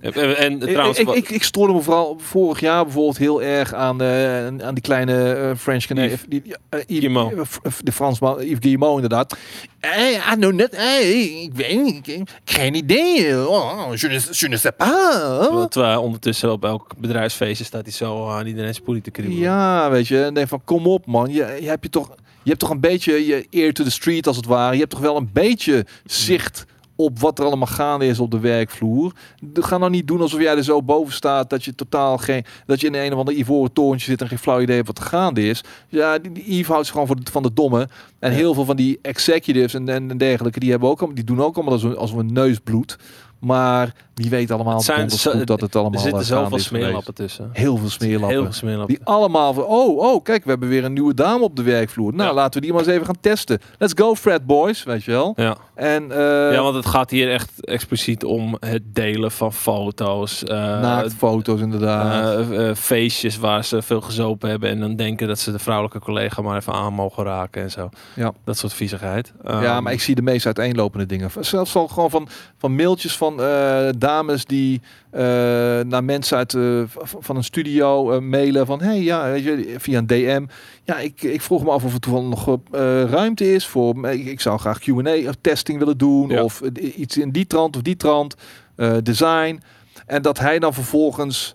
A: En, en, en trouwens...
B: ik,
A: wat-
B: ik, ik, ik stoorde me vooral vorig jaar bijvoorbeeld heel erg aan, eh, aan die kleine eh, French Canadian.
A: Yves.
B: Die, ja, eh, Yves-
A: Guillemot.
B: eh, F- F- De Fransman, Yves Guillemot inderdaad. Hey, I know net, hey, ik weet niet, ik- ik- geen idee. Oh, je, ne, je ne sais pas.
A: Terwijl eh, ondertussen op elk bedrijfsfeestje staat hij zo eh, aan iedereen zijn poelie te kriebelen.
B: Ja, weet je. En denk van, kom op man. Je, je, hebt je, toch, je hebt toch een beetje je ear to the street als het ware. Je hebt toch wel een beetje zicht op wat er allemaal gaande is op de werkvloer. De, ga nou niet doen alsof jij er zo boven staat dat je totaal geen... dat je in een of ander ivoren torentje zit en geen flauw idee hebt wat er gaande is. Ja, die, die Yves houdt zich gewoon van de, van de domme. En
A: Ja.
B: heel veel van die executives en, en, en dergelijke... Die, hebben ook, allemaal- die doen ook allemaal alsof, alsof een neusbloed. Maar die weten allemaal
A: Het zijn
B: donders
A: zo-
B: goed dat het
A: Er
B: allemaal
A: zitten
B: eh, gaande
A: zoveel
B: is geweest.
A: smeerlappen tussen.
B: Heel veel smeerlappen.
A: Heel veel smeerlappen.
B: Die allemaal van, oh, oh, kijk, we hebben weer een nieuwe dame op de werkvloer. Nou,
A: Ja.
B: laten we die maar eens even gaan testen. Let's go, Fred Boys, weet je wel.
A: Ja.
B: En eh,
A: ja, want het gaat hier echt expliciet om het delen van foto's. eh,
B: naaktfoto's inderdaad.
A: eh, eh, feestjes waar ze veel gezopen hebben en dan denken dat ze de vrouwelijke collega maar even aan mogen raken en zo.
B: Ja.
A: Dat soort viezigheid.
B: ja,
A: Ehm,
B: maar ik zie de meest uiteenlopende dingen. Zelfs al gewoon van, van mailtjes van eh, dames die eh, naar mensen uit eh, v- van een studio eh, mailen van, hey, ja, weet je, via een DM. Ja, ik, ik vroeg me af of er toevallig nog eh, ruimte is voor, eh, ik, ik zou graag Q&A-testing eh, willen doen
A: Ja.
B: of eh, iets in die trant of die trant, eh, design. En dat hij dan vervolgens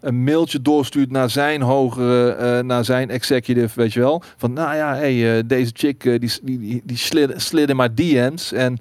B: een mailtje doorstuurt naar zijn hogere, eh, naar zijn executive, weet je wel. Van, nou ja, hey, eh, deze chick, eh, die, die, die, die slid, slid in mijn DM's. En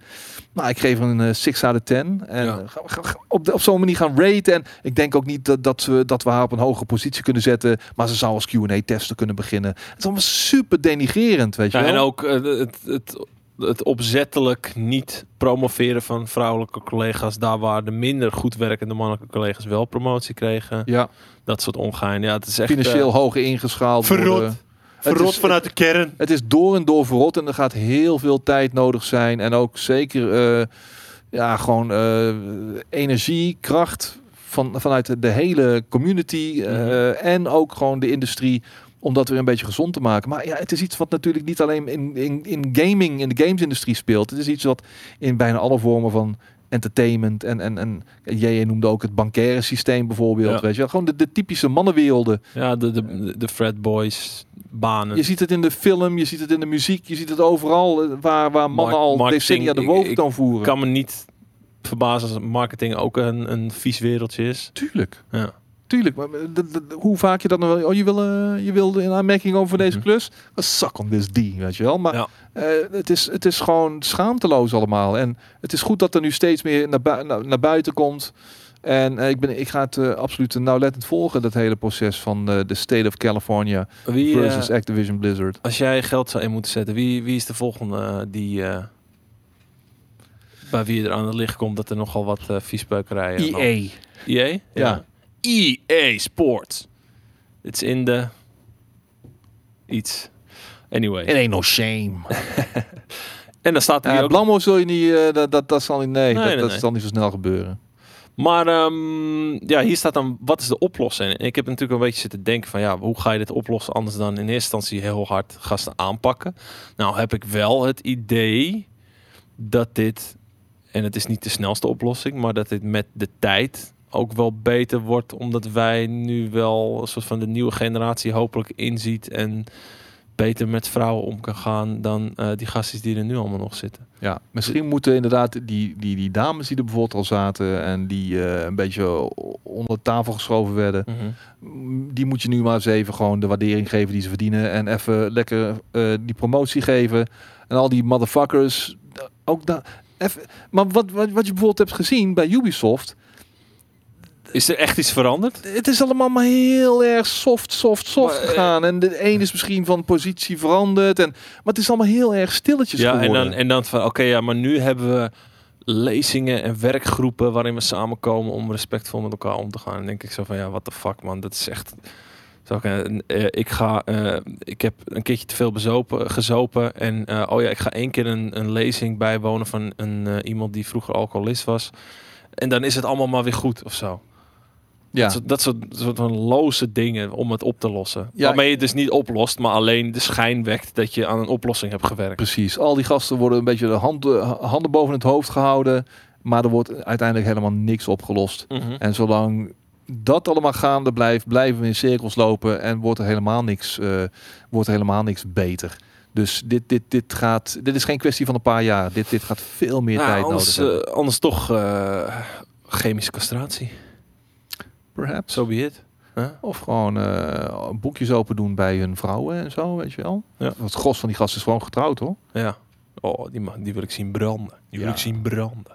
B: nou, ik geef een eh, 6 out of 10. En eh,
A: Ja.
B: ga- ga- ga- op, de- op zo'n manier gaan raten. En ik denk ook niet dat, dat, we, dat we haar op een hogere positie kunnen zetten. Maar ze zou als Q&A-tester kunnen beginnen. Het is allemaal super denigrerend, weet je
A: Ja,
B: wel.
A: en ook eh, het, het, het opzettelijk niet promoveren van vrouwelijke collega's, daar waar de minder goed werkende mannelijke collega's wel promotie kregen.
B: ja,
A: Dat soort ongein. Ja, het is echt
B: financieel
A: eh,
B: hoger ingeschaald
A: verrot.
B: worden.
A: verrot
B: is-
A: vanuit de kern.
B: Het is door en door verrot en er gaat heel veel tijd nodig zijn. En ook zeker eh, ja, gewoon eh, energie, kracht van, vanuit de, de hele community eh,
A: Mhm.
B: en ook gewoon de industrie om dat weer een beetje gezond te maken. Maar ja, het is iets wat natuurlijk niet alleen in, in, in gaming, in de gamesindustrie speelt. Het is iets wat in bijna alle vormen van entertainment en, en, en jij noemde ook het bankaire systeem bijvoorbeeld.
A: Ja.
B: Weet je wel? Gewoon de, de typische mannenwerelden.
A: Ja, de, de, de Fred Boys banen.
B: Je ziet het in de film, je ziet het in de muziek, je ziet het overal eh, waar, waar mannen
A: Mark-
B: al
A: marketing,
B: decennia de
A: ik-
B: boventoon voeren.
A: Ik kan me niet verbazen als marketing ook een, een vies wereldje is.
B: Tuurlijk,
A: Ja.
B: tuurlijk. Maar eh, d- d- hoe vaak je dat nou wel... Oh, je wil, eh, je wil in aanmerking over voor deze
A: Mhm.
B: klus? Well, suck on this D, weet je wel. Maar
A: Ja.
B: eh, het, is, het is gewoon schaamteloos allemaal. En het is goed dat er nu steeds meer naar, bui- naar, naar buiten komt. En eh, ik, ben, ik ga het eh, absoluut nauwlettend volgen, dat hele proces van eh, de State of California
A: Wie, eh,
B: versus Activision Blizzard.
A: als jij geld zou in moeten zetten, wie, wie is de volgende eh, die... eh, bij wie er aan het licht komt dat er nogal wat eh viespeukerijen...
B: EA.
A: EA?
B: E. Ja.
A: EA E Sports. Het is in de... Iets. Anyway.
B: It ain't no shame.
A: En dan staat er hier
B: Ja,
A: ook...
B: Blammo zul je niet, eh, dat, dat, dat zal niet, nee, dat,
A: nee,
B: dat
A: nee.
B: zal niet zo snel gebeuren.
A: Maar ehm, ja, hier staat dan, wat is de oplossing? En ik heb natuurlijk een beetje zitten denken van, ja, hoe ga je dit oplossen anders dan in eerste instantie heel hard gasten aanpakken? Nou heb ik wel het idee dat dit, en het is niet de snelste oplossing, maar dat dit met de tijd ook wel beter wordt, omdat wij nu wel een soort van de nieuwe generatie hopelijk inziet en beter met vrouwen om kan gaan dan eh, die gastjes die er nu allemaal nog zitten.
B: Ja, misschien moeten inderdaad die, die, die dames die er bijvoorbeeld al zaten en die eh, een beetje onder de tafel geschoven werden, m, die moet je nu maar eens even gewoon de waardering geven die ze verdienen en even lekker eh, die promotie geven. En al die motherfuckers, eh, ook daar. even- Maar wat, wat, wat je bijvoorbeeld hebt gezien bij Ubisoft,
A: Is er echt iets veranderd?
B: het is allemaal maar heel erg soft, soft, soft
A: Maar, eh,
B: gegaan. En de een is misschien van positie veranderd. En, maar het is allemaal heel erg stilletjes
A: Ja, en
B: geworden.
A: dan, en dan van oké, ja, maar nu hebben we lezingen en werkgroepen waarin we samenkomen om respectvol met elkaar om te gaan. Dan denk ik zo van ja, wat de fuck man, dat is echt. Zal ik, eh, eh, ik ga, eh, ik heb een keertje te veel bezopen, gezopen en eh, oh ja, ik ga één keer een, een lezing bijwonen van een, eh, iemand die vroeger alcoholist was. En dan is het allemaal maar weer goed of zo.
B: Ja,
A: Dat, soort, dat soort, soort van loze dingen om het op te lossen.
B: Ja,
A: Waarmee je het dus niet oplost, maar alleen de schijn wekt dat je aan een oplossing hebt gewerkt.
B: precies. Al die gasten worden een beetje de hand, eh, handen boven het hoofd gehouden. Maar er wordt uiteindelijk helemaal niks opgelost.
A: Mhm.
B: En zolang dat allemaal gaande blijft, blijven we in cirkels lopen en wordt er helemaal niks, eh, wordt er helemaal niks beter. Dus dit, dit, dit, gaat, dit is geen kwestie van een paar jaar. Dit, dit gaat veel meer
A: Nou,
B: tijd
A: anders,
B: nodig hebben.
A: eh, anders toch eh, chemische castratie.
B: Perhaps.
A: Zo so be it. Huh?
B: Of gewoon eh, boekjes open doen bij hun vrouwen en zo, weet je wel.
A: Ja.
B: Want het gros van die gasten is gewoon getrouwd, hoor.
A: Ja. Oh, die, man, die wil ik zien branden. Die wil
B: Ja.
A: ik zien branden.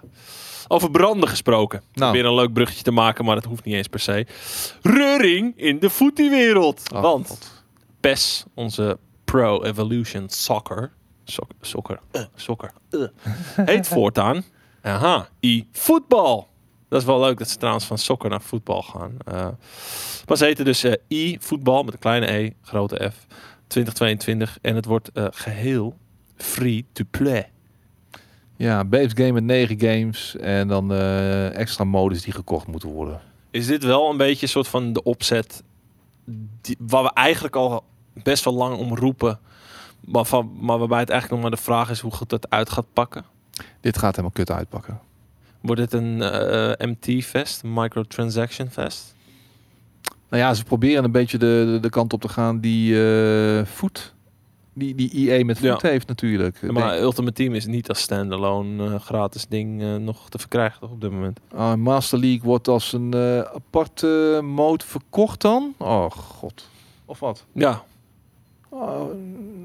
A: Over branden gesproken.
B: Nou.
A: Weer een leuk bruggetje te maken, maar dat hoeft niet eens per se. Reuring in de voetiewereld.
B: Oh,
A: Want
B: God.
A: PES, onze Pro Evolution Soccer. Sok- soccer. eh, soccer. eh, heet voortaan. Aha, e-voetbal. Dat is wel leuk dat ze trouwens van soccer naar voetbal gaan. Eh maar ze heten dus eh e-voetbal met een kleine e, grote F. 2022. En het wordt eh, geheel free to play.
B: Ja, Babes Game met negen games en dan eh, extra modus die gekocht moeten worden.
A: Is dit wel een beetje een soort van de opzet die, waar we eigenlijk al best wel lang om roepen. Maar, van, maar waarbij het eigenlijk nog maar de vraag is hoe goed dat uit gaat pakken.
B: Dit gaat helemaal kut uitpakken.
A: Wordt het een eh, MT-fest, microtransaction fest?
B: Nou ja, ze proberen een beetje de, de, de kant op te gaan die eh voet, die, die IE met voet
A: Ja.
B: heeft natuurlijk. Ik
A: maar
B: denk,
A: Ultimate Team is niet als standalone eh, gratis ding eh, nog te verkrijgen toch, op dit moment.
B: ah, Master League wordt als een eh, aparte mode verkocht dan? Oh god. Of wat?
A: Ja,
B: Oh,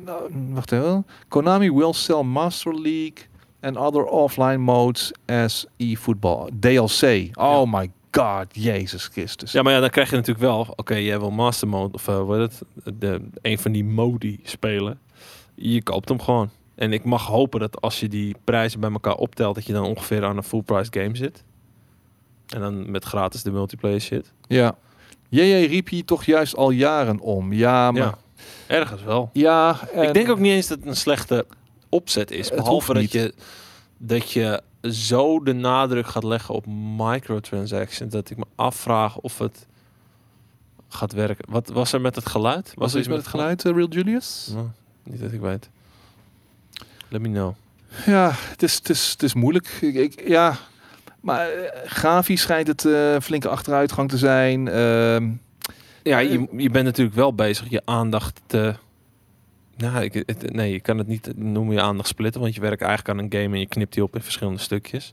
B: nou, wacht even. Konami will sell Master League and other offline modes as e-football. DLC. Oh my god, Jezus Christus.
A: ja maar ja, dan krijg je natuurlijk wel, oké, jij wil Master Mode of eh, wat is het, de, een van die modi spelen. Je koopt hem gewoon. En ik mag hopen dat als je die prijzen bij elkaar optelt, dat je dan ongeveer aan een full price game zit. En dan met gratis de multiplayer shit.
B: Ja. JJ riep hier toch juist al jaren om. Ja, maar...
A: Ja, ergens wel.
B: Ja, en-
A: Ik denk ook niet eens dat het een slechte opzet is.
B: Het
A: Behalve dat
B: hoeft niet.
A: je, dat je zo de nadruk gaat leggen op microtransactions. Dat ik me afvraag of het gaat werken. Wat was er met het geluid? Was,
B: Was er iets met het geluid, eh, Real Julius?
A: Nou, niet dat ik weet. Let me know.
B: Ja, het is, het is, het is moeilijk. Ik, ik- ja, maar eh, grafisch schijnt het eh, flinke achteruitgang te zijn. Ehm,
A: Ja, je, je bent natuurlijk wel bezig je aandacht te... Nou, ik, het- nee, je kan het niet noemen je aandacht splitten, want je werkt eigenlijk aan een game en je knipt die op in verschillende stukjes.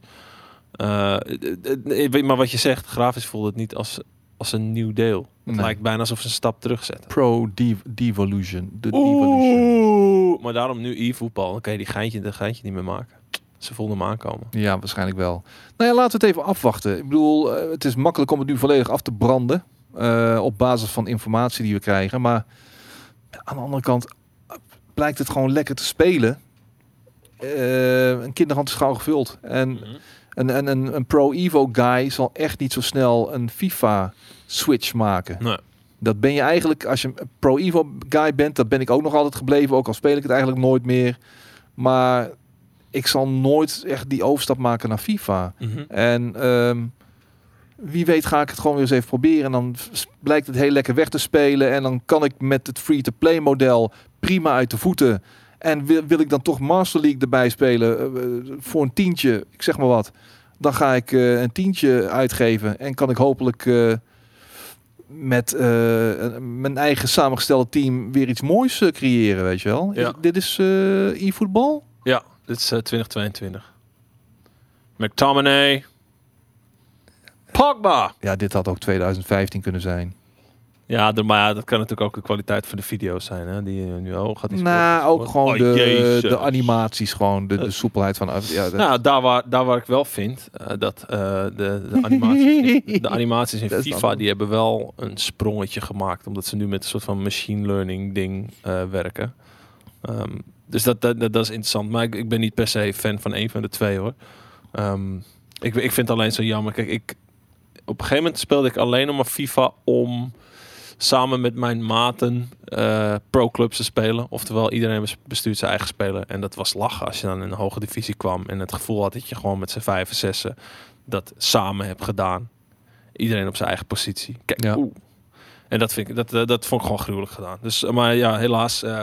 A: Eh, het- het- ik weet maar wat je zegt, grafisch voelt het niet als, als een nieuw deel. Het
B: Nee.
A: lijkt bijna alsof ze een stap terugzetten.
B: Pro Dev- Devolution. De Devolution.
A: Oeh, maar daarom nu e-voetbal. Dan kan je die geintje, dat geintje niet meer maken. Ze voelden hem aankomen.
B: Ja, waarschijnlijk wel. Nou ja, laten we het even afwachten. Ik bedoel, eh, het is makkelijk om het nu volledig af te branden. eh, op basis van informatie die we krijgen. Maar aan de andere kant eh, blijkt het gewoon lekker te spelen. Eh, een kinderhand is gauw gevuld. En Een, een, een, een Pro Evo guy zal echt niet zo snel een FIFA switch maken.
A: Nee.
B: Dat ben je eigenlijk, als je een Pro Evo guy bent, dat ben ik ook nog altijd gebleven. Ook al speel ik het eigenlijk nooit meer. Maar ik zal nooit echt die overstap maken naar FIFA.
A: Mhm.
B: En ehm, wie weet ga ik het gewoon weer eens even proberen. En dan s- blijkt het heel lekker weg te spelen. En dan kan ik met het free-to-play model prima uit de voeten. En wil, wil ik dan toch Master League erbij spelen eh, eh, voor een tientje, ik zeg maar wat. Dan ga ik eh, een tientje uitgeven. En kan ik hopelijk eh, met eh, een- mijn eigen samengestelde team weer iets moois eh, creëren, weet je wel.
A: Ja.
B: Is- dit is eh e-voetbal?
A: Ja, dit is eh, 2022. McTominay. Pogba.
B: Ja, dit had ook 2015 kunnen zijn.
A: Ja, de- maar ja, dat kan natuurlijk ook de kwaliteit van de video's zijn, hè? Die eh, nu hoog gaat. die
B: Nou,
A: sport-
B: ook gewoon
A: Oh,
B: de,
A: jezus.
B: de animaties, gewoon de, de
A: Eh.
B: soepelheid van. Ja, dat,
A: Nou, daar waar, daar waar ik wel vind eh, dat eh, de, de, animaties,
B: <laughs>
A: in- de animaties in
B: Dat is
A: FIFA
B: dan-
A: die hebben wel een sprongetje gemaakt, omdat ze nu met een soort van machine learning ding eh, werken. Ehm, dus dat, dat, dat, dat is interessant. Maar ik, ik ben niet per se fan van één van de twee hoor. Eh, Ehm, ik, ik vind het alleen zo jammer. Kijk, ik, op een gegeven moment speelde ik alleen nog maar FIFA om samen met mijn maten eh pro-clubs te spelen. Oftewel, iedereen bes- bestuurt zijn eigen speler. En dat was lachen als je dan in een hoge divisie kwam en het gevoel had dat je gewoon met z'n vijf en zessen dat samen hebt gedaan. Iedereen op zijn eigen positie. Kijk,
B: Ja.
A: oeh. En dat, vind ik, dat, dat, dat vond ik gewoon gruwelijk gedaan. Dus, eh, maar ja, helaas. eh,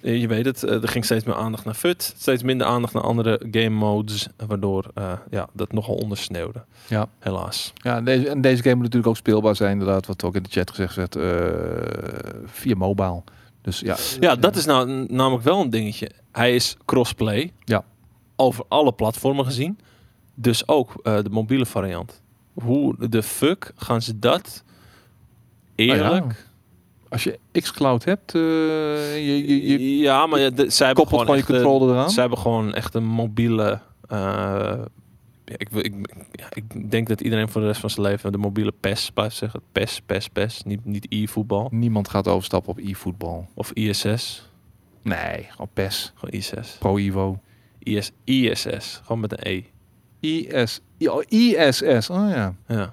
A: eh, je weet het, eh, er ging steeds meer aandacht naar FUT. Steeds minder aandacht naar andere game modes. eh, Waardoor eh, ja, dat nogal ondersneeuwde.
B: Ja.
A: Helaas.
B: Ja, en deze, en deze game moet natuurlijk ook speelbaar zijn, inderdaad, wat ook in de chat gezegd werd, eh, via mobile. Dus ja,
A: Ja, dat is nou n- namelijk wel een dingetje. Hij is crossplay.
B: Ja.
A: Over alle platformen gezien. Dus ook eh, de mobiele variant. Hoe de fuck gaan ze dat
B: Nou ja,
A: eerlijk...
B: als je Xcloud hebt, eh, je, je, je
A: ja, maar ja, de- zij hebben
B: koppelt
A: gewoon
B: gewoon je
A: echt eh, een-
B: controller eraan.
A: Ze hebben gewoon echt een mobiele. eh, ja, ik, wil- ik, ja, ik denk dat iedereen voor de rest van zijn leven de mobiele PES blijft zeggen. PES, PES, PES. Niet, niet e-voetbal
B: Niemand gaat overstappen op e-voetbal.
A: of ISS.
B: Nee, gewoon PES,
A: Gewoon ISS.
B: Pro Evo.
A: IS, ISS. Gewoon met een E.
B: IS, I- oh, ISS, oh ja.
A: Ja.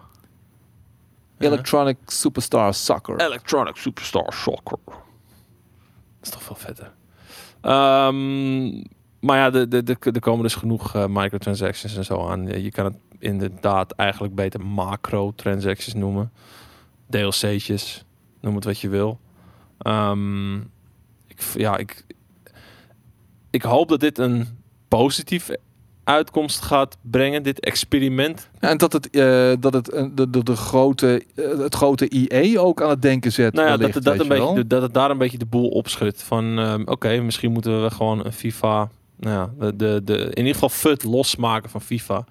B: Electronic Superstar Soccer.
A: Electronic Superstar Soccer. Dat is toch veel vetter. Ehm, maar ja, de, de, de, er komen dus genoeg eh, microtransactions en zo aan. Je kan het inderdaad eigenlijk beter macro-transactions noemen. DLC'tjes, noem het wat je wil. Ehm, ik, v- ja, ik, ik hoop dat dit een positieve uitkomst gaat brengen, dit experiment.
B: Ja, en dat het, eh, dat het eh, de, de, de grote, eh, het grote IE ook aan het denken zet.
A: Nou ja,
B: wellicht,
A: dat, het dat,
B: weet
A: een
B: je wel.
A: beetje, de- dat het daar een beetje de boel op schudt. Van ehm, oké, misschien moeten we gewoon een FIFA. Nou ja, de, de, de, in ieder geval FUT losmaken van FIFA.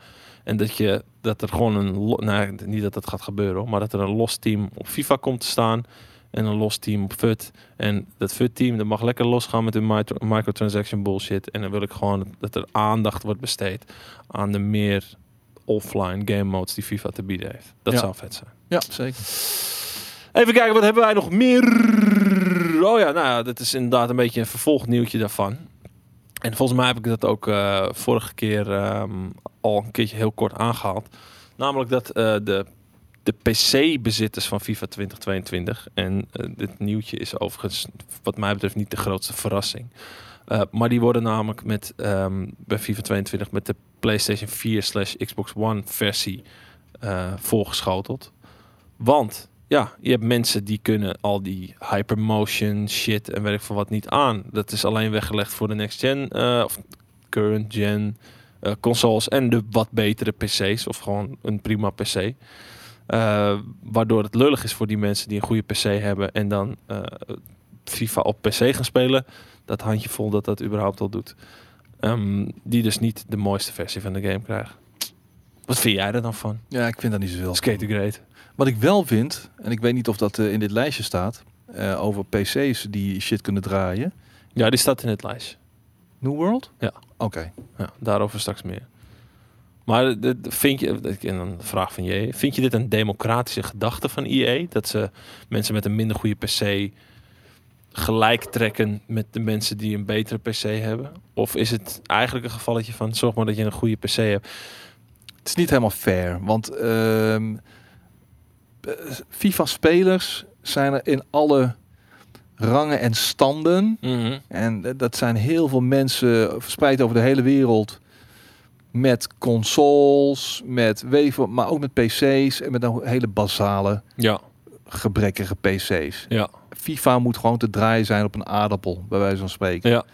A: En dat, je, dat er gewoon een. lo- Nou, ja, niet dat dat gaat gebeuren, hoor, maar dat er een los team op FIFA komt te staan. En een los team op FUT. En dat FUT-team dat mag lekker losgaan met hun mitro- microtransaction bullshit. En dan wil ik gewoon dat er aandacht wordt besteed aan de meer offline game modes die FIFA te bieden heeft. Dat
B: Ja.
A: zou vet zijn.
B: Ja, zeker.
A: Even kijken, wat hebben wij nog meer? Oh ja, nou ja, dat is inderdaad een beetje een vervolgnieuwtje daarvan. En volgens mij heb ik dat ook eh, vorige keer ehm, al een keertje heel kort aangehaald. Namelijk dat eh, de, de PC-bezitters van FIFA 2022... en eh, dit nieuwtje is overigens wat mij betreft niet de grootste verrassing... Eh, maar die worden namelijk met, ehm, bij FIFA 22 met de PlayStation 4 slash Xbox One versie eh, voorgeschoteld. Want ja, je hebt mensen die kunnen al die hypermotion shit en weet ik veel wat niet aan. Dat is alleen weggelegd voor de next gen eh, of current gen eh, consoles en de wat betere PC's of gewoon een prima PC. Eh, waardoor het lullig is voor die mensen die een goede PC hebben en dan eh, FIFA op PC gaan spelen. Dat handjevol dat dat überhaupt al doet. Ehm, die dus niet de mooiste versie van de game krijgen. Wat vind jij er dan van?
B: Ja, ik vind dat niet zoveel.
A: Skate Great.
B: Wat ik wel vind, en ik weet niet of dat eh, in dit lijstje staat, eh, over PC's die shit kunnen draaien.
A: Ja, die staat in het lijstje.
B: New World?
A: Ja.
B: Oké.
A: Ja, daarover straks meer. Maar dit- vind je, en dan de vraag van je, vind je dit een democratische gedachte van IE? Dat ze mensen met een minder goede PC gelijk trekken met de mensen die een betere PC hebben? Of is het eigenlijk een gevalletje van zorg maar dat je een goede PC hebt?
B: Het is niet helemaal fair, want ehm, eh, FIFA-spelers zijn er in alle rangen en standen.
A: Mhm.
B: En eh, dat zijn heel veel mensen eh, verspreid over de hele wereld. Met consoles, met weven, maar ook met PC's en met een hele basale
A: Ja,
B: gebrekkige PC's.
A: ja,
B: FIFA moet gewoon te draaien zijn op een aardappel, bij wijze van spreken.
A: ja.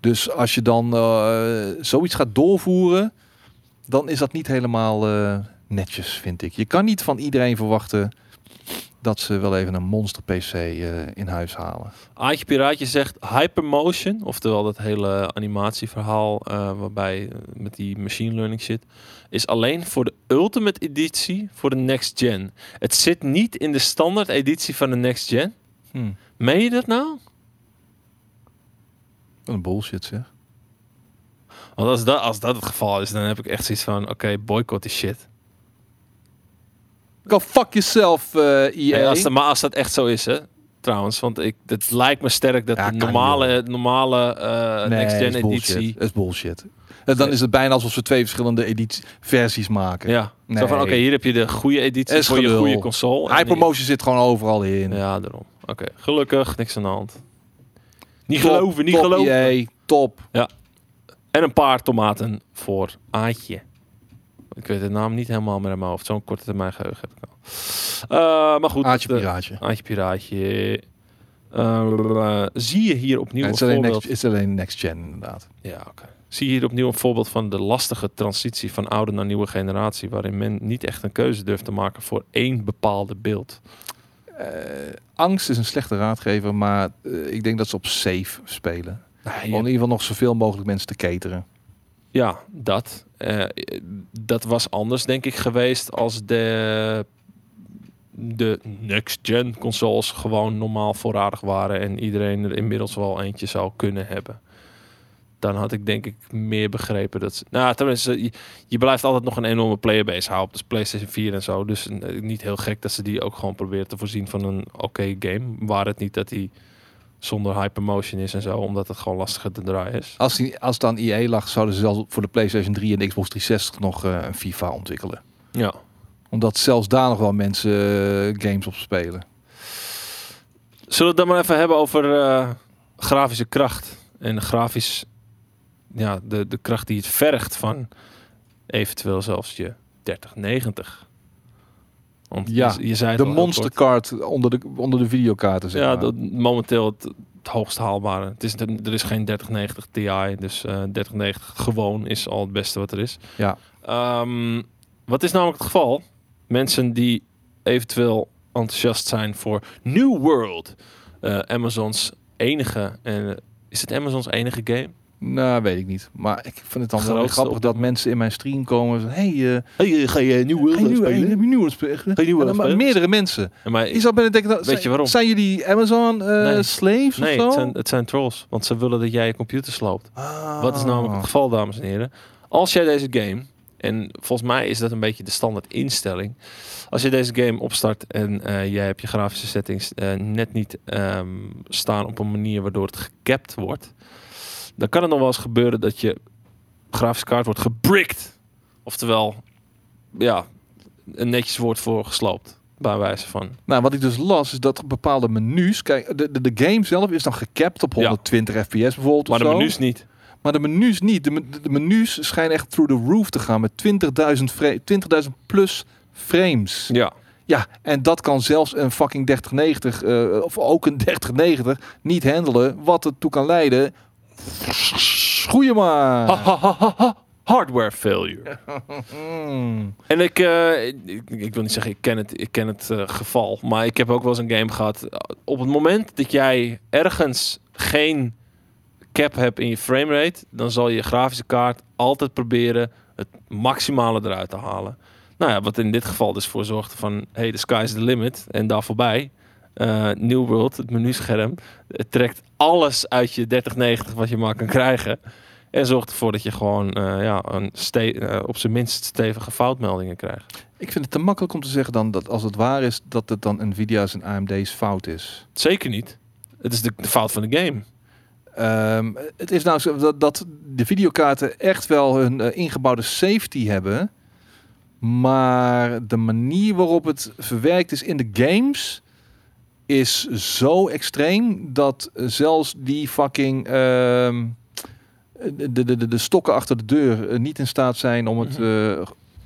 B: Dus als je dan eh, zoiets gaat doorvoeren, dan is dat niet helemaal eh, netjes, vind ik. Je kan niet van iedereen verwachten dat ze wel even een monster PC eh, in huis halen.
A: Aantje Piraatje zegt hypermotion, oftewel dat hele animatieverhaal eh, waarbij eh, met die machine learning shit, is alleen voor de ultimate editie voor de next gen. Het zit niet in de standaard editie van de next gen. Hmm.
B: Hm.
A: Meen je dat nou?
B: Wat een bullshit zeg.
A: Want als dat, als dat het geval is, dan heb ik echt zoiets van, oké, boycott die shit.
B: Go fuck yourself, eh EA.
A: Hey, als de, maar als dat echt zo is, hè, trouwens, want ik, het lijkt me sterk dat
B: Ja,
A: de
B: kan
A: normale, normale eh,
B: Nee,
A: next
B: dat
A: gen
B: is bullshit.
A: editie
B: Dat is bullshit. En dan is het bijna alsof ze twee verschillende edities, versies maken.
A: Ja. Zo van,
B: Nee.
A: oké, hier heb je de goede editie
B: Is
A: voor je
B: gelul.
A: goede console. En
B: Hypermotion zit gewoon overal in.
A: die- Ja, daarom. Oké, gelukkig, niks aan de hand. Niet
B: Top,
A: geloven, niet
B: top
A: geloven.
B: EA, top.
A: En een paar tomaten voor Aatje. Ik weet de naam niet helemaal meer in mijn hoofd. Zo'n korte termijn geheugen heb ik al. Eh, maar goed.
B: Aatje
A: de-
B: piraatje.
A: Aatje Piraatje. Eh, zie je hier opnieuw
B: Het
A: een
B: is alleen,
A: voorbeeld...
B: next, het is alleen next gen inderdaad.
A: Ja, oké. Zie je hier opnieuw een voorbeeld van de lastige transitie van oude naar nieuwe generatie, waarin men niet echt een keuze durft te maken voor één bepaalde beeld.
B: Angst is een slechte raadgever, maar eh, ik denk dat ze op safe spelen. Om in
A: Nee,
B: ieder geval nog zoveel mogelijk mensen te cateren.
A: ja, dat. Eh, dat was anders, denk ik, geweest als de, de next-gen consoles gewoon normaal voorradig waren en iedereen er inmiddels wel eentje zou kunnen hebben. Dan had ik denk ik meer begrepen dat ze. Nou, tenminste, je, je blijft altijd nog een enorme playerbase houden. Dus PlayStation 4 en zo. Dus eh, niet heel gek dat ze die ook gewoon proberen te voorzien van een oké game. Waar het niet dat die zonder hypermotion is en zo, omdat het gewoon lastiger te draaien is.
B: Als, die, als het aan EA lag, zouden ze zelfs voor de PlayStation 3 en de Xbox 360 nog eh, een FIFA ontwikkelen.
A: Ja.
B: Omdat zelfs daar nog wel mensen eh, games op spelen.
A: Zullen we het dan maar even hebben over eh, grafische kracht. En grafisch, ja, de, de kracht die het vergt van eventueel zelfs je 3090. Want
B: Ja,
A: je, je zei het
B: De
A: al heel
B: monsterkaart onder de, onder de videokaarten,
A: kort.
B: zeg
A: Ja,
B: maar.
A: dat, momenteel het, het hoogst haalbare. Het is, er is geen 3090 Ti, dus eh 3090 gewoon is al het beste wat er is.
B: Ja.
A: Ehm, wat is namelijk het geval? Mensen die eventueel enthousiast zijn voor New World, eh, Amazon's enige. en is het Amazon's enige game?
B: Nou, weet ik niet. Maar ik vind het dan wel weer
A: Grootste
B: grappig
A: op-
B: dat mensen in mijn stream komen. en zeggen, hey, eh,
A: Hey, ga je New
B: hey, nieuwe- hey, heb je nieuwe spelen?
A: Hey, nieuwe
B: En dan maar
A: spelen?
B: meerdere mensen.
A: maar,
B: Ik zat bijna te denken, dat,
A: Weet je
B: zijn,
A: waarom?
B: zijn jullie Amazon eh,
A: Nee.
B: slaves
A: nee,
B: of
A: het
B: zo?
A: zijn, het zijn trolls, want ze willen dat jij je computer sloopt.
B: Ah.
A: Wat is nou- namelijk het geval, dames en heren? Als jij deze game, en volgens mij is dat een beetje de standaard instelling. Als je deze game opstart en eh, jij hebt je grafische settings eh, net niet ehm, staan op een manier waardoor het gecapt wordt. Dan kan het nog wel eens gebeuren dat je grafische kaart wordt gebrikt. Oftewel, ja, een netjes woord voor gesloopt. Bij wijze van.
B: Nou, wat ik dus las, is dat bepaalde menus... Kijk, de, de, de game zelf is dan gecapt op
A: Ja.
B: 120 fps bijvoorbeeld
A: Maar
B: of
A: de
B: zo.
A: menus niet.
B: Maar de menus niet. De, men- de menus schijnen echt through the roof te gaan met 20.000 fra- 20.000 plus frames.
A: Ja.
B: Ja, en dat kan zelfs een fucking 3090 eh of ook een <laughs> 3090 niet handelen. Wat ertoe kan leiden. Schoeien maar.
A: Ha, ha, ha, ha, ha. Hardware failure.
B: Mm.
A: En ik, eh, ik, ik wil niet zeggen, ik ken het, ik ken het eh, geval. Maar ik heb ook wel eens een game gehad. Op het moment dat jij ergens geen cap hebt in je framerate, dan zal je grafische kaart altijd proberen het maximale eruit te halen. Nou ja, wat in dit geval dus voor zorgde van, hey, the sky is the limit. En daar voorbij, eh, New World, het menuscherm, het trekt alles uit je 3090 wat je maar kan krijgen. En zorgt ervoor dat je gewoon eh, ja, een ste- eh, op zijn minst stevige foutmeldingen krijgt.
B: Ik vind het te makkelijk om te zeggen dan dat als het waar is dat het dan Nvidia's en AMD's fout is.
A: Zeker niet. Het is de, de fout van de game.
B: Ehm, het is nou zo dat, dat de videokaarten echt wel hun eh, ingebouwde safety hebben. Maar de manier waarop het verwerkt is in de games is zo extreem dat zelfs die fucking ehm, de, de, de, de stokken achter de deur eh, niet in staat zijn om het eh,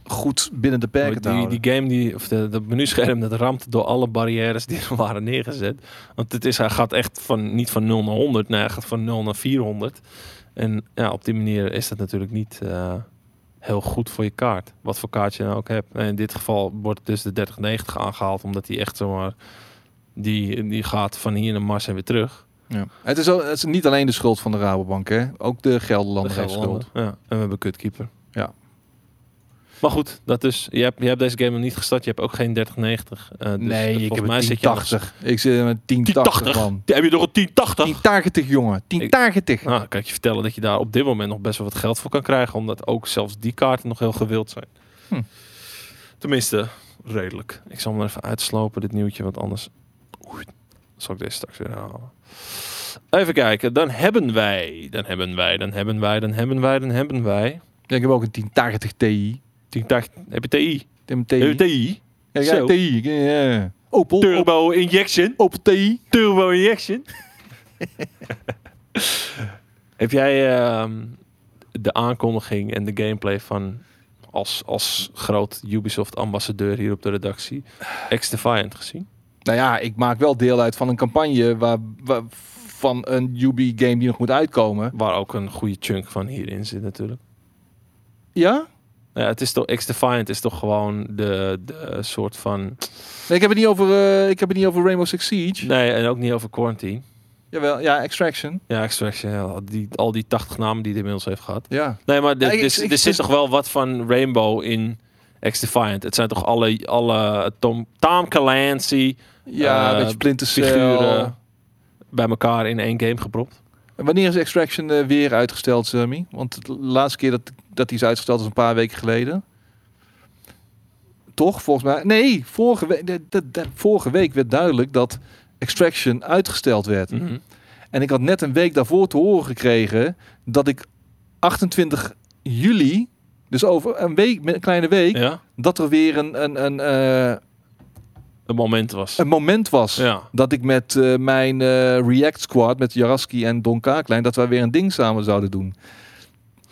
B: goed binnen de perken te
A: Mhm. Die,
B: houden.
A: die game, die, of de, dat menuscherm, dat ramt door alle barrières die er waren neergezet. Want het is, hij gaat echt van, niet van 0 naar 100, nee, hij gaat van 0 naar 400. En ja, op die manier is dat natuurlijk niet eh, heel goed voor je kaart. Wat voor kaart je nou ook hebt. En in dit geval wordt dus de 3090 aangehaald, omdat die echt zomaar... Die, die gaat van hier naar Mars en weer terug.
B: Ja. Het, is, al- het is niet alleen de schuld van de Rabobank, hè? ook de Gelderlander
A: De
B: heeft schuld.
A: Gelderlander. Ja, en we hebben een kutkeeper.
B: Ja.
A: Maar goed, dat dus. Je hebt, je hebt deze game nog niet gestart. Je hebt ook geen 3090. eh dus
B: nee, ik
A: volgens
B: heb
A: mij
B: een
A: zit je aan-
B: 1080. Ik zit met 1080
A: 1080?
B: man.
A: Heb je nog een 1080?
B: 1080 jongen, 1080.
A: Nou, kan ik je vertellen dat je daar op dit moment nog best wel wat geld voor kan krijgen. Omdat ook zelfs die kaarten nog heel gewild zijn.
B: Hm.
A: Tenminste, redelijk. Ik zal hem er even uitslopen, dit nieuwtje. Want anders Oei, zal ik deze straks weer halen. Even kijken, dan hebben wij, dan hebben wij, dan hebben wij, dan hebben wij, dan hebben wij.
B: Ja, ik heb ook een 1080 Ti.
A: Ik dacht, heb je TI?
B: TMT.
A: Heb je TI?
B: Ja,
A: Eh, Zo.
B: ja, TI. Ja, ja. Opel. Op,
A: Turbo injection.
B: Opel TI.
A: Turbo injection. <laughs> heb jij ehm, de aankondiging en de gameplay van als, als groot Ubisoft ambassadeur hier op de redactie X-Defiant gezien?
B: Nou ja, ik maak wel deel uit van een campagne waar, waar- van een UB-game die nog moet uitkomen.
A: Waar ook een goede chunk van hierin zit natuurlijk.
B: Ja?
A: Ja, het is toch, X-Defiant is toch gewoon de, de soort van...
B: Nee, ik heb het niet over, eh, ik heb het niet over Rainbow Six Siege.
A: Nee, en ook niet over Quarantine.
B: Jawel, ja, Extraction.
A: Ja, Extraction, ja, al die, al die 80 namen die hij inmiddels heeft gehad.
B: Ja.
A: Nee, maar de-
B: Ja, ik-
A: dus-
B: ik-
A: er zit
B: dus-
A: toch wel wat van Rainbow in X-Defiant. Het zijn toch alle, alle eh, Tom, Tom Clancy
B: Ja,
A: Eh,
B: een beetje Splinter Cell.
A: figuren bij elkaar in één game gepropt.
B: En Wanneer is Extraction eh, weer uitgesteld, Sammy? Want de laatste keer dat, dat die is uitgesteld is een paar weken geleden. Toch, volgens mij. Nee, vorige, we- de- de- de- vorige week werd duidelijk dat Extraction uitgesteld werd.
A: Mhm.
B: En ik had net een week daarvoor te horen gekregen dat ik 28 juli, dus over een week, met een kleine week,
A: Ja,
B: dat er weer een, een, een, eh,
A: het moment was.
B: een moment was.
A: Ja.
B: Dat ik met eh, mijn eh, React Squad, met Jaraski en Don Kaaklijn, dat wij weer een ding samen zouden doen.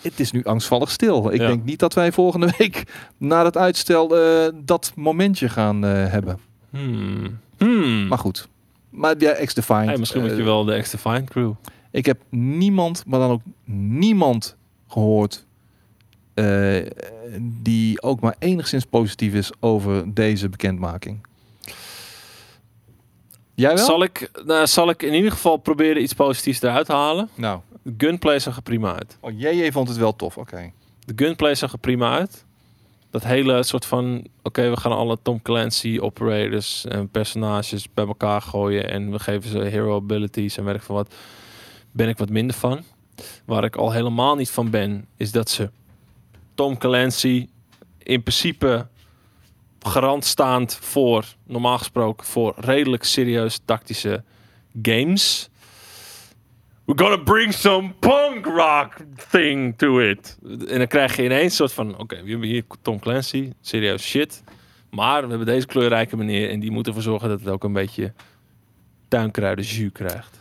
B: Het is nu angstvallig stil. Ik
A: Ja.
B: denk niet dat wij volgende week <laughs> na dat uitstel eh, dat momentje gaan eh, hebben.
A: Hmm. Hmm.
B: Maar goed. Maar ja, X-Defined.
A: Hey, misschien moet
B: eh, Ah,
A: je wel de X-Defiant crew.
B: Ik heb niemand, maar dan ook niemand gehoord eh, die ook maar enigszins positief is over deze bekendmaking. Jij wel?
A: Zal ik, nou, zal ik in ieder geval proberen iets positiefs eruit te halen?
B: Nou,
A: De Gunplay zag er prima uit.
B: oh, JJ vond het wel tof. Oké.
A: De gunplay zag er prima uit. Dat hele soort van, oké, we gaan alle Tom Clancy operators en personages bij elkaar gooien en we geven ze hero abilities en weet ik van wat. Ben ik wat minder van. Waar ik al helemaal niet van ben, is dat ze Tom Clancy in principe garant staand voor, normaal gesproken, voor redelijk serieus tactische games. We're gonna bring some punk rock thing to it. En dan krijg je ineens een soort van: oké, we hebben hier Tom Clancy, serieus shit. Maar we hebben deze kleurrijke meneer en die moet ervoor zorgen dat het ook een beetje tuinkruiden jus krijgt.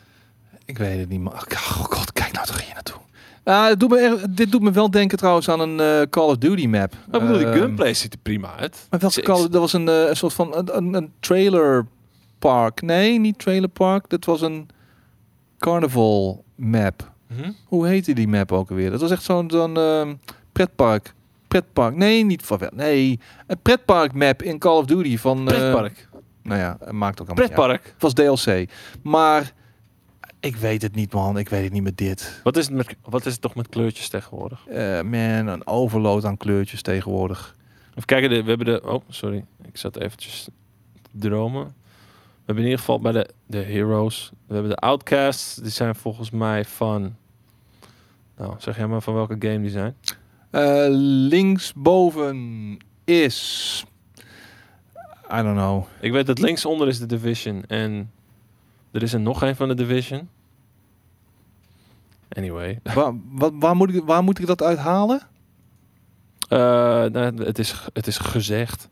B: Ik weet het niet, maar oh god, kijk nou toch hier naartoe. Ah, het doet me er- dit doet me wel denken trouwens aan een eh, Call of Duty map.
A: Maar ik Oh, bedoel,
B: Ehm,
A: die gunplay ziet er prima uit.
B: Maar welke
A: Ik-
B: Call Dat was een, eh, een soort van een, een, een trailer park. Nee, niet trailer park. Dat was een carnival map.
A: Hm?
B: Hoe heette die map ook alweer? Dat was echt zo'n zo'n ehm, pretpark. Pretpark. Nee, niet van Nee, een pretpark map in Call of Duty van. eh,
A: Pretpark.
B: nou ja, het maakt ook allemaal. niet uit.
A: Pretpark.
B: Het was DLC. Maar ik weet het niet, man. Ik weet het niet met dit.
A: Wat is, het met, wat is het toch met kleurtjes tegenwoordig?
B: Eh, man, een overload aan kleurtjes tegenwoordig.
A: Even kijken, de- we hebben de. Oh, sorry. Ik zat eventjes te dromen. We hebben in ieder geval bij de, de Heroes. We hebben de Outcasts. Die zijn volgens mij van. Nou, zeg jij maar van welke game die zijn.
B: Eh, linksboven is. I don't know.
A: Ik weet dat linksonder is de Division. En er is er nog een van de Division. Anyway.
B: Waar, wat, waar, moet ik, waar moet ik dat uithalen?
A: Eh, nou, het, is, het is gezegd.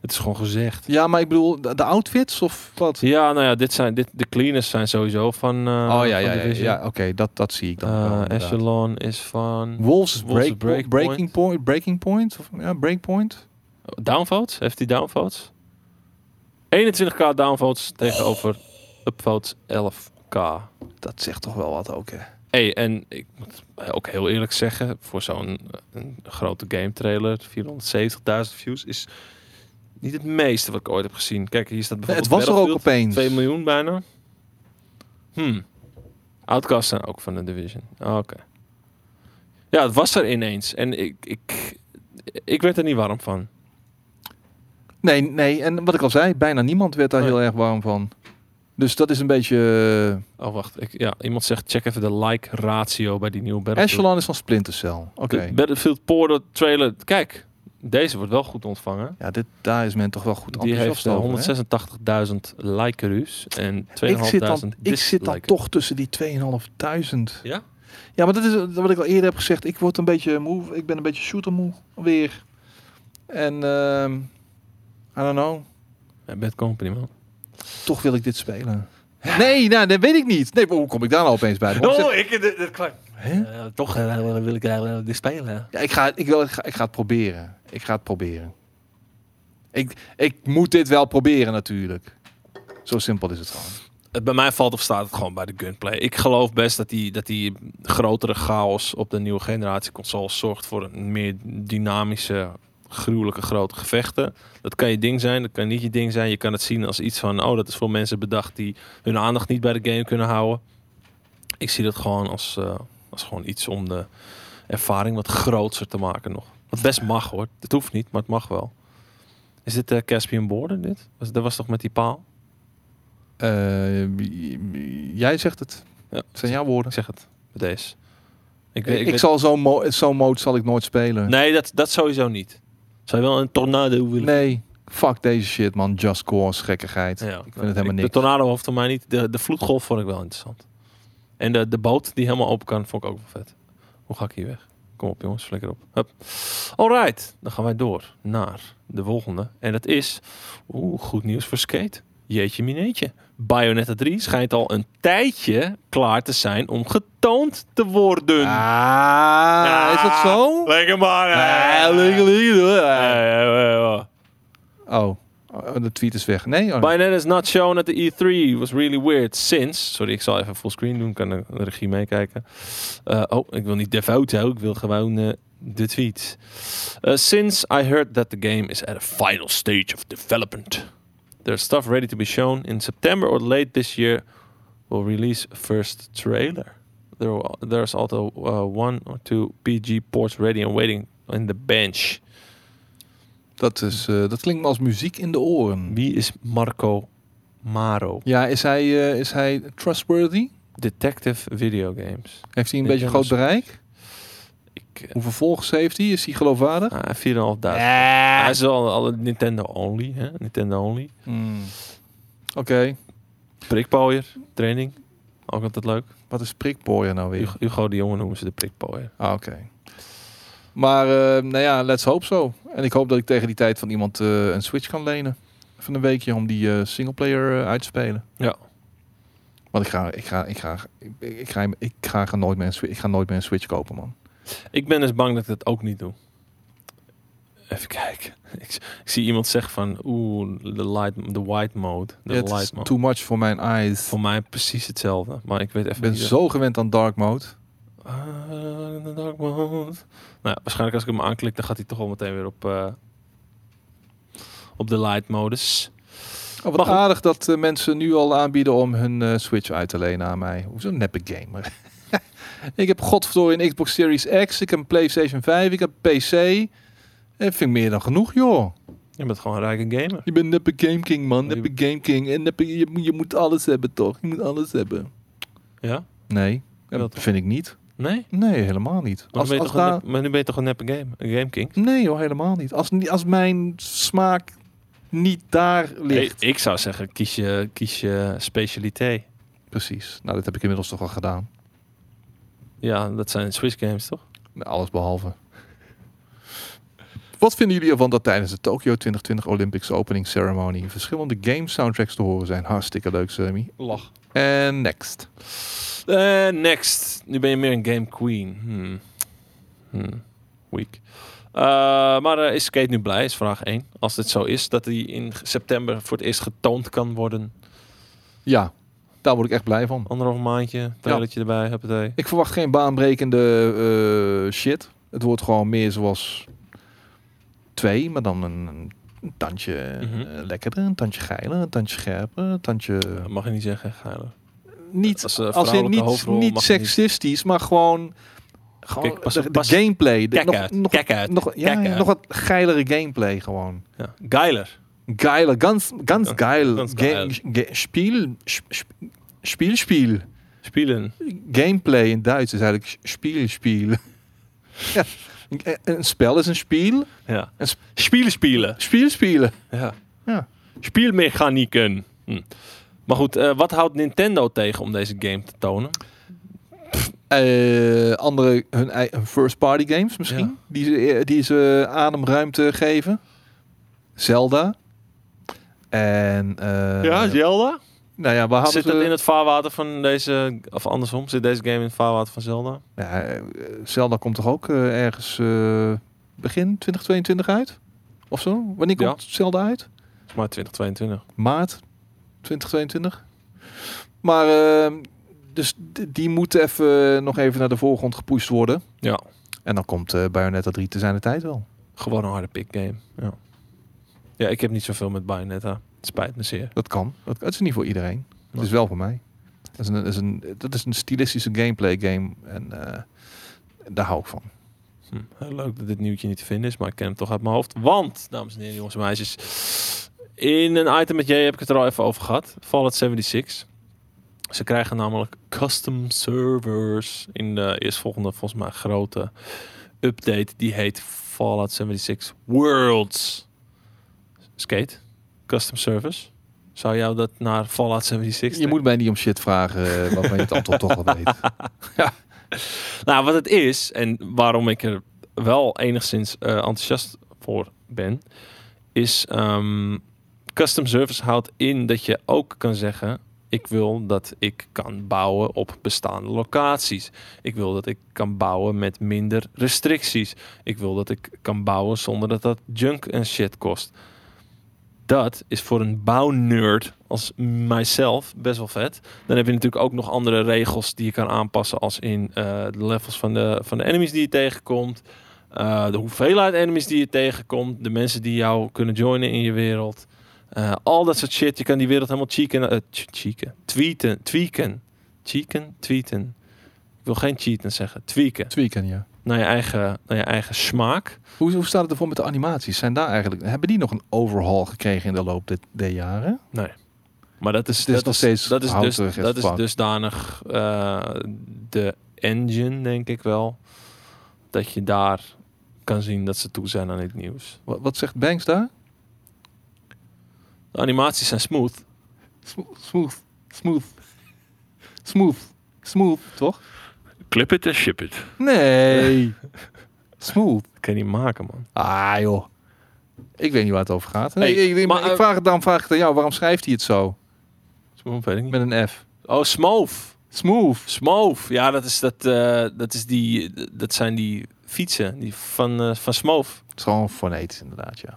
A: Het is gewoon gezegd.
B: Ja, maar ik bedoel, de, de outfits of wat?
A: Ja, nou ja, dit zijn, dit, de cleaners zijn sowieso van. eh,
B: oh ja,
A: van
B: ja, ja,
A: Division.
B: ja, oké, dat, dat zie ik dan. wel,
A: Eh,
B: inderdaad.
A: Echelon is van.
B: Wolves,
A: Wolves
B: break,
A: Breakpoint.
B: Breaking Point. Breaking Point? Of, ja, Breakpoint.
A: Downvotes? Heeft hij downvotes? 21k downvotes tegenover upvotes 11k.
B: Dat zegt toch wel wat ook, hè?
A: Hey, en ik moet ook heel eerlijk zeggen, voor zo'n eh, een grote game trailer, 470.000 views, is niet het meeste wat ik ooit heb gezien. Kijk, hier staat
B: Nee, het
A: bijvoorbeeld
B: was er ook
A: Battlefield, 2
B: opeens.
A: miljoen bijna. Hmm. Outcasts zijn ook van de Division. Ah, Oké. Ja, het was er ineens. En ik, ik, ik werd er niet warm van.
B: Nee, nee, en wat ik al zei, bijna niemand werd daar
A: Nee.
B: heel erg warm van. Dus dat is een beetje... eh,
A: Oh, wacht. Ik, ja, iemand zegt, check even de like ratio bij die nieuwe Battlefield.
B: Echelon is van Splinter Cell. Oké.
A: De Battlefield Portal trailer. Kijk, Deze wordt wel goed ontvangen.
B: Ja, dit, daar is men toch wel goed
A: Die heeft
B: enthousiast
A: eh,
B: over, hè?
A: 186.000 likeru's en 2.500
B: Ik zit, dan, ik zit dan
A: dislikes.
B: toch tussen die 2.500.
A: Ja?
B: Ja, maar dat is eh, wat ik al eerder heb gezegd. Ik word een beetje moe. Ik ben een beetje shooter moe weer. En ehm I don't know.
A: Ja, Bad Company, man.
B: Toch wil ik dit spelen. Nee, nou, dat weet ik niet. Nee, maar hoe kom ik daar nou opeens bij? Waarom zeg-
A: Oh, ik... Dit, dit, klaar.
B: Hè?
A: Eh, toch eh, wil ik eh, dit spelen.
B: Ja, ik, ga, ik, wil, ik, ga, ik ga het proberen. Ik ga het proberen. Ik, ik moet dit wel proberen natuurlijk. Zo simpel is het gewoon.
A: Het bij mij valt of staat het gewoon bij de gunplay. Ik geloof best dat die, dat die grotere chaos op de nieuwe generatie consoles zorgt voor een meer dynamische, gruwelijke grote gevechten. Dat kan je ding zijn, dat kan niet je ding zijn. Je kan het zien als iets van, oh, dat is voor mensen bedacht die hun aandacht niet bij de game kunnen houden. Ik zie dat gewoon als, eh, als gewoon iets om de ervaring wat groter te maken nog. Wat best mag hoor. Het hoeft niet, maar het mag wel. Is dit eh Caspian Border dit? Was, dat was toch met die paal?
B: Eh, j- j- jij zegt het.
A: Ja.
B: Het zijn jouw woorden.
A: Ik zeg het, bij deze. Ik,
B: Eh, Ik,
A: weet, ik, weet-
B: zal zo'n mo zo'n mode zal ik nooit spelen.
A: Nee, dat, dat sowieso niet. Zou je wel een tornado willen?
B: Nee, fuck deze shit man. Just Cause, gekkigheid.
A: Ja,
B: vind het helemaal
A: ik-
B: niks.
A: De tornado hoeft voor mij niet. De, de vloedgolf vond ik wel interessant. En de, de boot die helemaal open kan, vond ik ook wel vet. Hoe ga ik hier weg? Kom op jongens, flikker op. Hup. Alright, dan gaan wij door naar de volgende. En dat is, oeh, goed nieuws voor Skate. Jeetje mineetje. Bayonetta 3 schijnt al een tijdje klaar te zijn om getoond te worden.
B: Ah, is dat zo?
A: Lekker maar. hè.
B: Ah, lekker, lekker, hoor.
A: Ja, ja, ja, ja.
B: Oh, Oh, de tweet is weg. Nee, oh.
A: Bayonetta is not shown at the E3 was really weird since... Sorry, ik zal even fullscreen doen. Kan de de regie meekijken. Eh, oh, ik wil niet de foto. Ik wil gewoon eh, de tweet. Eh, since I heard that the game is at a final stage of development. There's stuff ready to be shown in September or late this year. We'll release first trailer. There, will- there's also uh, one or two PG ports ready and waiting in the bench.
B: dat, is, eh, dat klinkt me als muziek in de oren.
A: Wie is Marco Maro?
B: Ja, is hij, eh, is hij trustworthy?
A: Detective Video Games.
B: Heeft hij een
A: Ik
B: beetje
A: ken
B: groot
A: hem.
B: bereik?
A: Ik, eh,
B: Hoeveel volgers heeft hij? Is hij geloofwaardig?
A: ah, 4.500. Hij is wel alle Nintendo only, hè? Nintendo only.
B: Hmm. Oké,
A: Prikpooier, training. Ook altijd leuk.
B: wat is prikbooien nou weer?
A: Hugo, Hugo de Jonge noemen ze de prikpooier.
B: Ah, oké. Maar, eh, nou ja, let's hope zo. En ik hoop dat ik tegen die tijd van iemand eh, een Switch kan lenen. Even een weekje om die eh, singleplayer eh, uit te spelen.
A: Ja.
B: Want ik ga, ik ga, ik ga, ik, ik ga, ik ga, ga nooit meer een, Swi- ik ga nooit meer een Switch kopen, man.
A: Ik ben dus bang dat ik dat ook niet doe. Even kijken. <laughs> Ik, ik zie iemand zeggen van, oeh, de light, de white mode. De
B: Ja, Het is
A: light mode.
B: too much for mijn eyes.
A: Voor mij precies hetzelfde, maar ik weet
B: Ik
A: even
B: ben
A: niet- eh,
B: zo gewend aan dark mode.
A: Ah, in the dark mode. Nou, ja, waarschijnlijk als ik hem aanklik, dan gaat hij toch al meteen weer op, eh, op de light modus.
B: Oh,
A: Maar
B: wat
A: goed.
B: aardig dat eh, mensen nu al aanbieden om hun eh, Switch uit te lenen aan mij. Hoezo neppe gamer? <laughs> ik heb godverdorie een Xbox Series X, ik heb een PlayStation 5, ik heb een PC. En vind ik meer dan genoeg, joh.
A: Je bent gewoon een rijke gamer.
B: Je bent neppe Game King, man.
A: Maar Oh, je-
B: Neppe Game King. En neppe, je, moet- je moet alles hebben, toch? Je moet alles hebben.
A: Ja?
B: Nee, dat
A: Wat?
B: vind ik niet.
A: Nee?
B: Nee, helemaal niet.
A: Maar,
B: Als,
A: nu, ben je
B: als
A: toch een
B: daar...
A: nep- maar nu ben je toch een neppe game, een game king?
B: Nee, joh, helemaal niet. Als, ni- als mijn smaak niet daar ligt.
A: Ik, ik zou zeggen, kies je, kies je specialiteit.
B: Precies. Nou, dat heb ik inmiddels toch al gedaan.
A: Ja, dat zijn Swiss games, toch?
B: Alles behalve. Wat vinden jullie ervan dat tijdens de Tokyo 2020 Olympics opening ceremony verschillende game soundtracks te horen zijn? Hartstikke leuk, Sammy.
A: Lach.
B: En next.
A: Eh, next. Nu ben je meer een game queen. Hmm. Hmm. Weak. Eh, maar eh, is Skate nu blij? Is vraag 1. Als dit zo is, dat hij in september voor het eerst getoond kan worden.
B: Ja, daar word ik echt blij van.
A: Anderhalf maandje, trailertje erbij, huppatee.
B: Ik verwacht geen baanbrekende eh, shit. Het wordt gewoon meer zoals twee, maar dan een, een tandje eh,
A: Mhm.
B: lekkerder, een tandje geiler, een tandje scherper, een tandje...
A: Dat mag je niet zeggen, Geiler.
B: niet
A: Als, eh,
B: Als in
A: vrouwelijke
B: niet,
A: hoofdrol
B: niet
A: mag je niet-
B: seksistisch, maar gewoon... gewoon
A: Kijk, pas
B: de,
A: op,
B: de
A: pas-
B: gameplay. De,
A: Kijk
B: nog,
A: uit,
B: nog,
A: kijk uit.
B: nog, ja,
A: kijk
B: ja,
A: uit.
B: nog wat geilere gameplay gewoon.
A: Ja. Geiler.
B: Geiler, ganz, ganz
A: Ja,
B: geil.
A: ganz
B: Ge-
A: geil.
B: ge- spiel, sp- sp- spiel, spiel.
A: Spelen.
B: Gameplay in Duits is eigenlijk spiel, spiel. <laughs> ja, Een, een spel is een spiel.
A: Ja.
B: En sp-
A: Spielen spelen.
B: Spiel spelen.
A: Ja.
B: Ja.
A: Spielmechanieken. Hm. Maar goed, eh, wat houdt Nintendo tegen om deze game te tonen?
B: Eh, andere, hun, ei- hun first party games misschien.
A: Ja.
B: Die, ze, eh, die ze ademruimte geven. Zelda. En... eh,
A: Zelda.
B: Nou ja, we hadden
A: Zit
B: ze-
A: het in het vaarwater van deze... Of andersom, zit deze game in het vaarwater van Zelda?
B: Ja, eh, Zelda komt toch ook eh, ergens eh, begin 2022 uit? Of zo? Wanneer
A: Ja.
B: komt Zelda uit?
A: Is maar 2022.
B: Maart 2022. Maar eh, dus d- die moeten even nog even naar de voorgrond gepusht worden.
A: Ja.
B: En dan komt eh Bayonetta 3 te zijn de tijd wel.
A: Gewoon een harde pick game. Ja. ja, ik heb niet zoveel met Bayonetta. Het spijt me zeer.
B: Dat kan. Dat, het is niet voor iedereen. Het
A: Nee.
B: is wel voor mij. Dat is een, dat is een, dat is een stilistische gameplay game. En eh, daar hou ik van.
A: Hm, heel leuk dat dit nieuwtje niet te vinden is, maar ik ken hem toch uit mijn hoofd. Want, dames en heren, jongens en meisjes. In een item met jij heb ik het er al even over gehad. Fallout 76. Ze krijgen namelijk custom servers in de eerstvolgende, volgens mij, grote update. Die heet Fallout 76 Worlds. Skate, custom servers. Zou jou dat naar Fallout 76
B: Je moet mij niet om shit vragen eh, waarvan je het antwoord toch al weet.
A: Nou, wat het is en waarom ik er wel enigszins eh, enthousiast voor ben, is ehm, custom service houdt in dat je ook kan zeggen: ik wil dat ik kan bouwen op bestaande locaties. Ik wil dat ik kan bouwen met minder restricties. Ik wil dat ik kan bouwen zonder dat dat junk en shit kost. Dat is voor een bouwnerd als mijzelf best wel vet. Dan heb je natuurlijk ook nog andere regels die je kan aanpassen, als in eh, de levels van de, van de enemies die je tegenkomt, eh, de hoeveelheid enemies die je tegenkomt, de mensen die jou kunnen joinen in je wereld. Eh, al dat soort shit. Je kan die wereld helemaal cheeken. eh, che- cheeken. Tweeten. Tweaken. Cheeken. Tweeten. Ik wil geen cheaten zeggen. Tweaken.
B: <laughs> Tweaken, ja.
A: Naar je eigen, naar je eigen smaak.
B: Hoe, hoe staat het ervoor met de animaties? Zijn daar eigenlijk, hebben die nog een overhaul gekregen in de loop dit- der jaren?
A: Maar dat is,
B: Het is
A: dat
B: nog
A: is,
B: steeds eh,
A: dat is, dus,
B: houterig as
A: dat is
B: fuck.
A: dusdanig eh, de engine, denk ik wel. Dat je daar kan zien dat ze toe zijn aan dit nieuws.
B: Wat, wat zegt Banks daar?
A: De animaties zijn smooth.
B: Smo- Smooth, smooth, smooth, smooth, toch?
A: Clip it en ship it.
B: Nee, smooth.
A: Dat kan je niet maken, man.
B: Ah joh, ik weet niet waar het over gaat. Nee,
A: Hey,
B: ik, ik-
A: maar,
B: ik
A: eh,
B: vraag het, daarom vraag ik het aan jou. Waarom schrijft hij het zo?
A: Smooth weet ik niet.
B: Met een F.
A: Oh, smooth.
B: Smooth.
A: Smooth. Ja, dat, is dat, eh, dat, is die, dat zijn die fietsen die van, eh van smooth.
B: Het is gewoon fonetisch inderdaad, ja.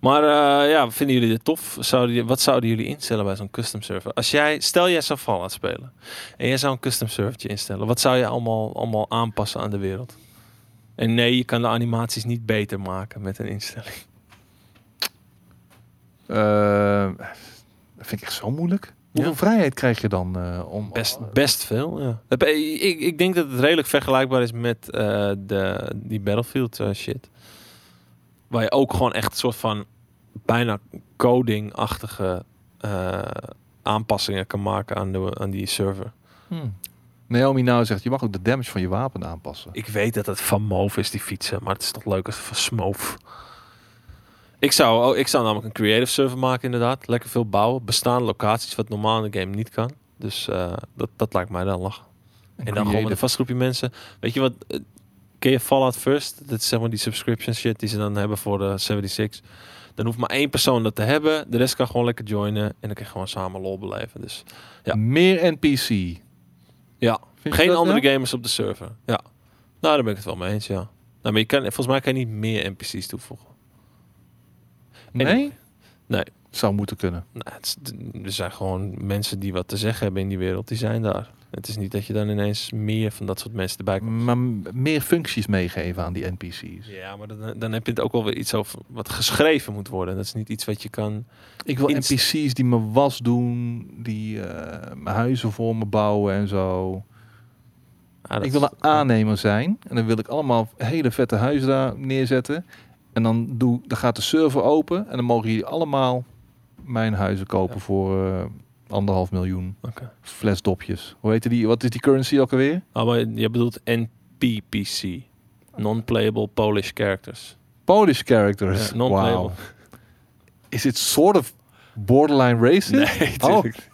A: Maar eh, ja, vinden jullie dit tof? Zouden, jullie- wat zouden jullie instellen bij zo'n custom server? Als jij, stel jij zou Fallout spelen en jij zou een custom servertje instellen, wat zou je allemaal, allemaal aanpassen aan de wereld? En nee, je kan de animaties niet beter maken met een instelling.
B: Eh, dat vind ik echt zo moeilijk. Hoeveel vrijheid krijg je dan eh, om...
A: Best, best veel, ja. Heb- eh, Ik, ik denk dat het redelijk vergelijkbaar is met eh, de, die Battlefield eh, shit. Waar je ook gewoon echt een soort van bijna coding-achtige eh, aanpassingen kan maken aan, de, aan die server.
B: Hmm. Naomi nou zegt, je mag ook de damage van je wapen aanpassen.
A: Ik weet dat het van Move is, die fietsen. Maar het is toch leuk als het van Smoof. Ik zou, oh, ik zou namelijk een creative server maken, inderdaad. Lekker veel bouwen. Bestaande locaties, wat normaal in de game niet kan. Dus eh, dat, dat lijkt mij dan lachen. En dan gewoon met een
B: creative.
A: vast groepje mensen. Weet je wat? eh, Ken je Fallout First? Dat is zeg maar die subscription shit die ze dan hebben voor de 76. Dan hoeft maar één persoon dat te hebben. De rest kan gewoon lekker joinen. En dan kan je gewoon samen lol beleven. Dus Ja.
B: Meer NPC. Vind
A: ja,
B: je
A: Geen
B: dat, nou?
A: andere
B: ja?
A: gamers op de server. Ja. Nou, daar ben ik het wel mee eens, ja. Nou, maar je kan, volgens mij kan je niet meer NPC's toevoegen.
B: Nee?
A: Nee.
B: Zou moeten kunnen.
A: Nou, het is, er zijn gewoon mensen die wat te zeggen hebben in die wereld, die zijn daar. Het is niet dat je dan ineens meer van dat soort mensen erbij komt.
B: Maar m- meer functies meegeven aan die NPC's.
A: Ja, maar dan, dan heb je het ook wel weer iets over wat geschreven moet worden. Dat is niet iets wat je kan...
B: Ik wil
A: Inst-
B: NPC's die mijn was doen, die eh, mijn huizen voor me bouwen en zo.
A: Ah, dat
B: Ik wil
A: is-
B: een aannemer zijn en dan wil ik allemaal hele vette huizen daar neerzetten. En dan, doe, dan gaat de server open en dan mogen jullie allemaal mijn huizen kopen
A: Ja.
B: voor eh, anderhalf miljoen
A: Oké. Oh,
B: flesdopjes. Hoe heet die? Wat is die currency ook alweer?
A: Ah, maar je bedoelt NPPC. Non-playable Polish characters.
B: Polish characters.
A: Ja, non-playable.
B: wow. Is it sort of borderline racist?
A: Nee, tuurlijk.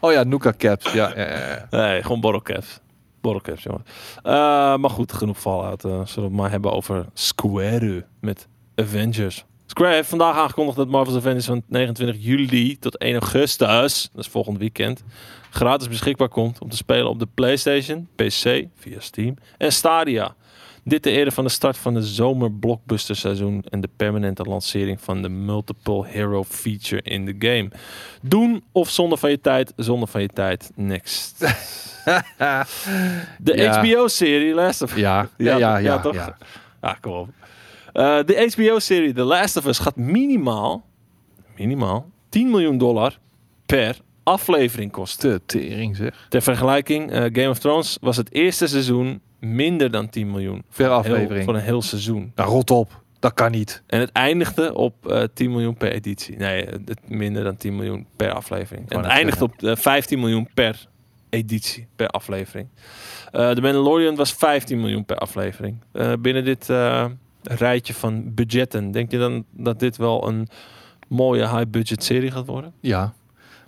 B: Oh ja, Nuka Caps. Ja, ja, ja, ja.
A: <laughs> Nee, gewoon borrelcaps. Borrelcaps, jongen. Eh, maar goed, genoeg Fallout. eh zullen we het maar hebben over Square met Avengers. Square heeft vandaag aangekondigd dat Marvel's Avengers van 29 juli tot 1 augustus, dat is volgend weekend, gratis beschikbaar komt om te spelen op de PlayStation, PC, via Steam en Stadia. Dit de eerder van de start van de zomerblockbusterseizoen en de permanente lancering van de Multiple Hero feature in de game. Doen of zonder van je tijd, zonder van je tijd, next. <laughs> De
B: Ja.
A: HBO-serie Last of Us.
B: Ja, ja, ja,
A: toch?
B: ja,
A: toch?
B: ja.
A: <laughs> Ah, kom op. Eh, de HBO-serie The Last of Us gaat minimaal, minimaal 10 miljoen dollar per aflevering kosten.
B: De tering zeg.
A: Ter vergelijking, eh, Game of Thrones was het eerste seizoen minder dan 10 miljoen.
B: Per
A: Heel-
B: aflevering.
A: voor een heel seizoen.
B: Nou, rot op. Dat kan niet.
A: En het eindigde op eh, 10 miljoen per editie. Nee, het minder dan 10 miljoen per aflevering.
B: wou
A: En het
B: net
A: eindigde op
B: zeggen.
A: eh, 15 miljoen per editie, per aflevering. Eh de Mandalorian was 15 miljoen per aflevering. Eh, binnen dit eh, rijtje van budgetten, denk je dan dat dit wel een mooie high-budget serie gaat worden?
B: Ja.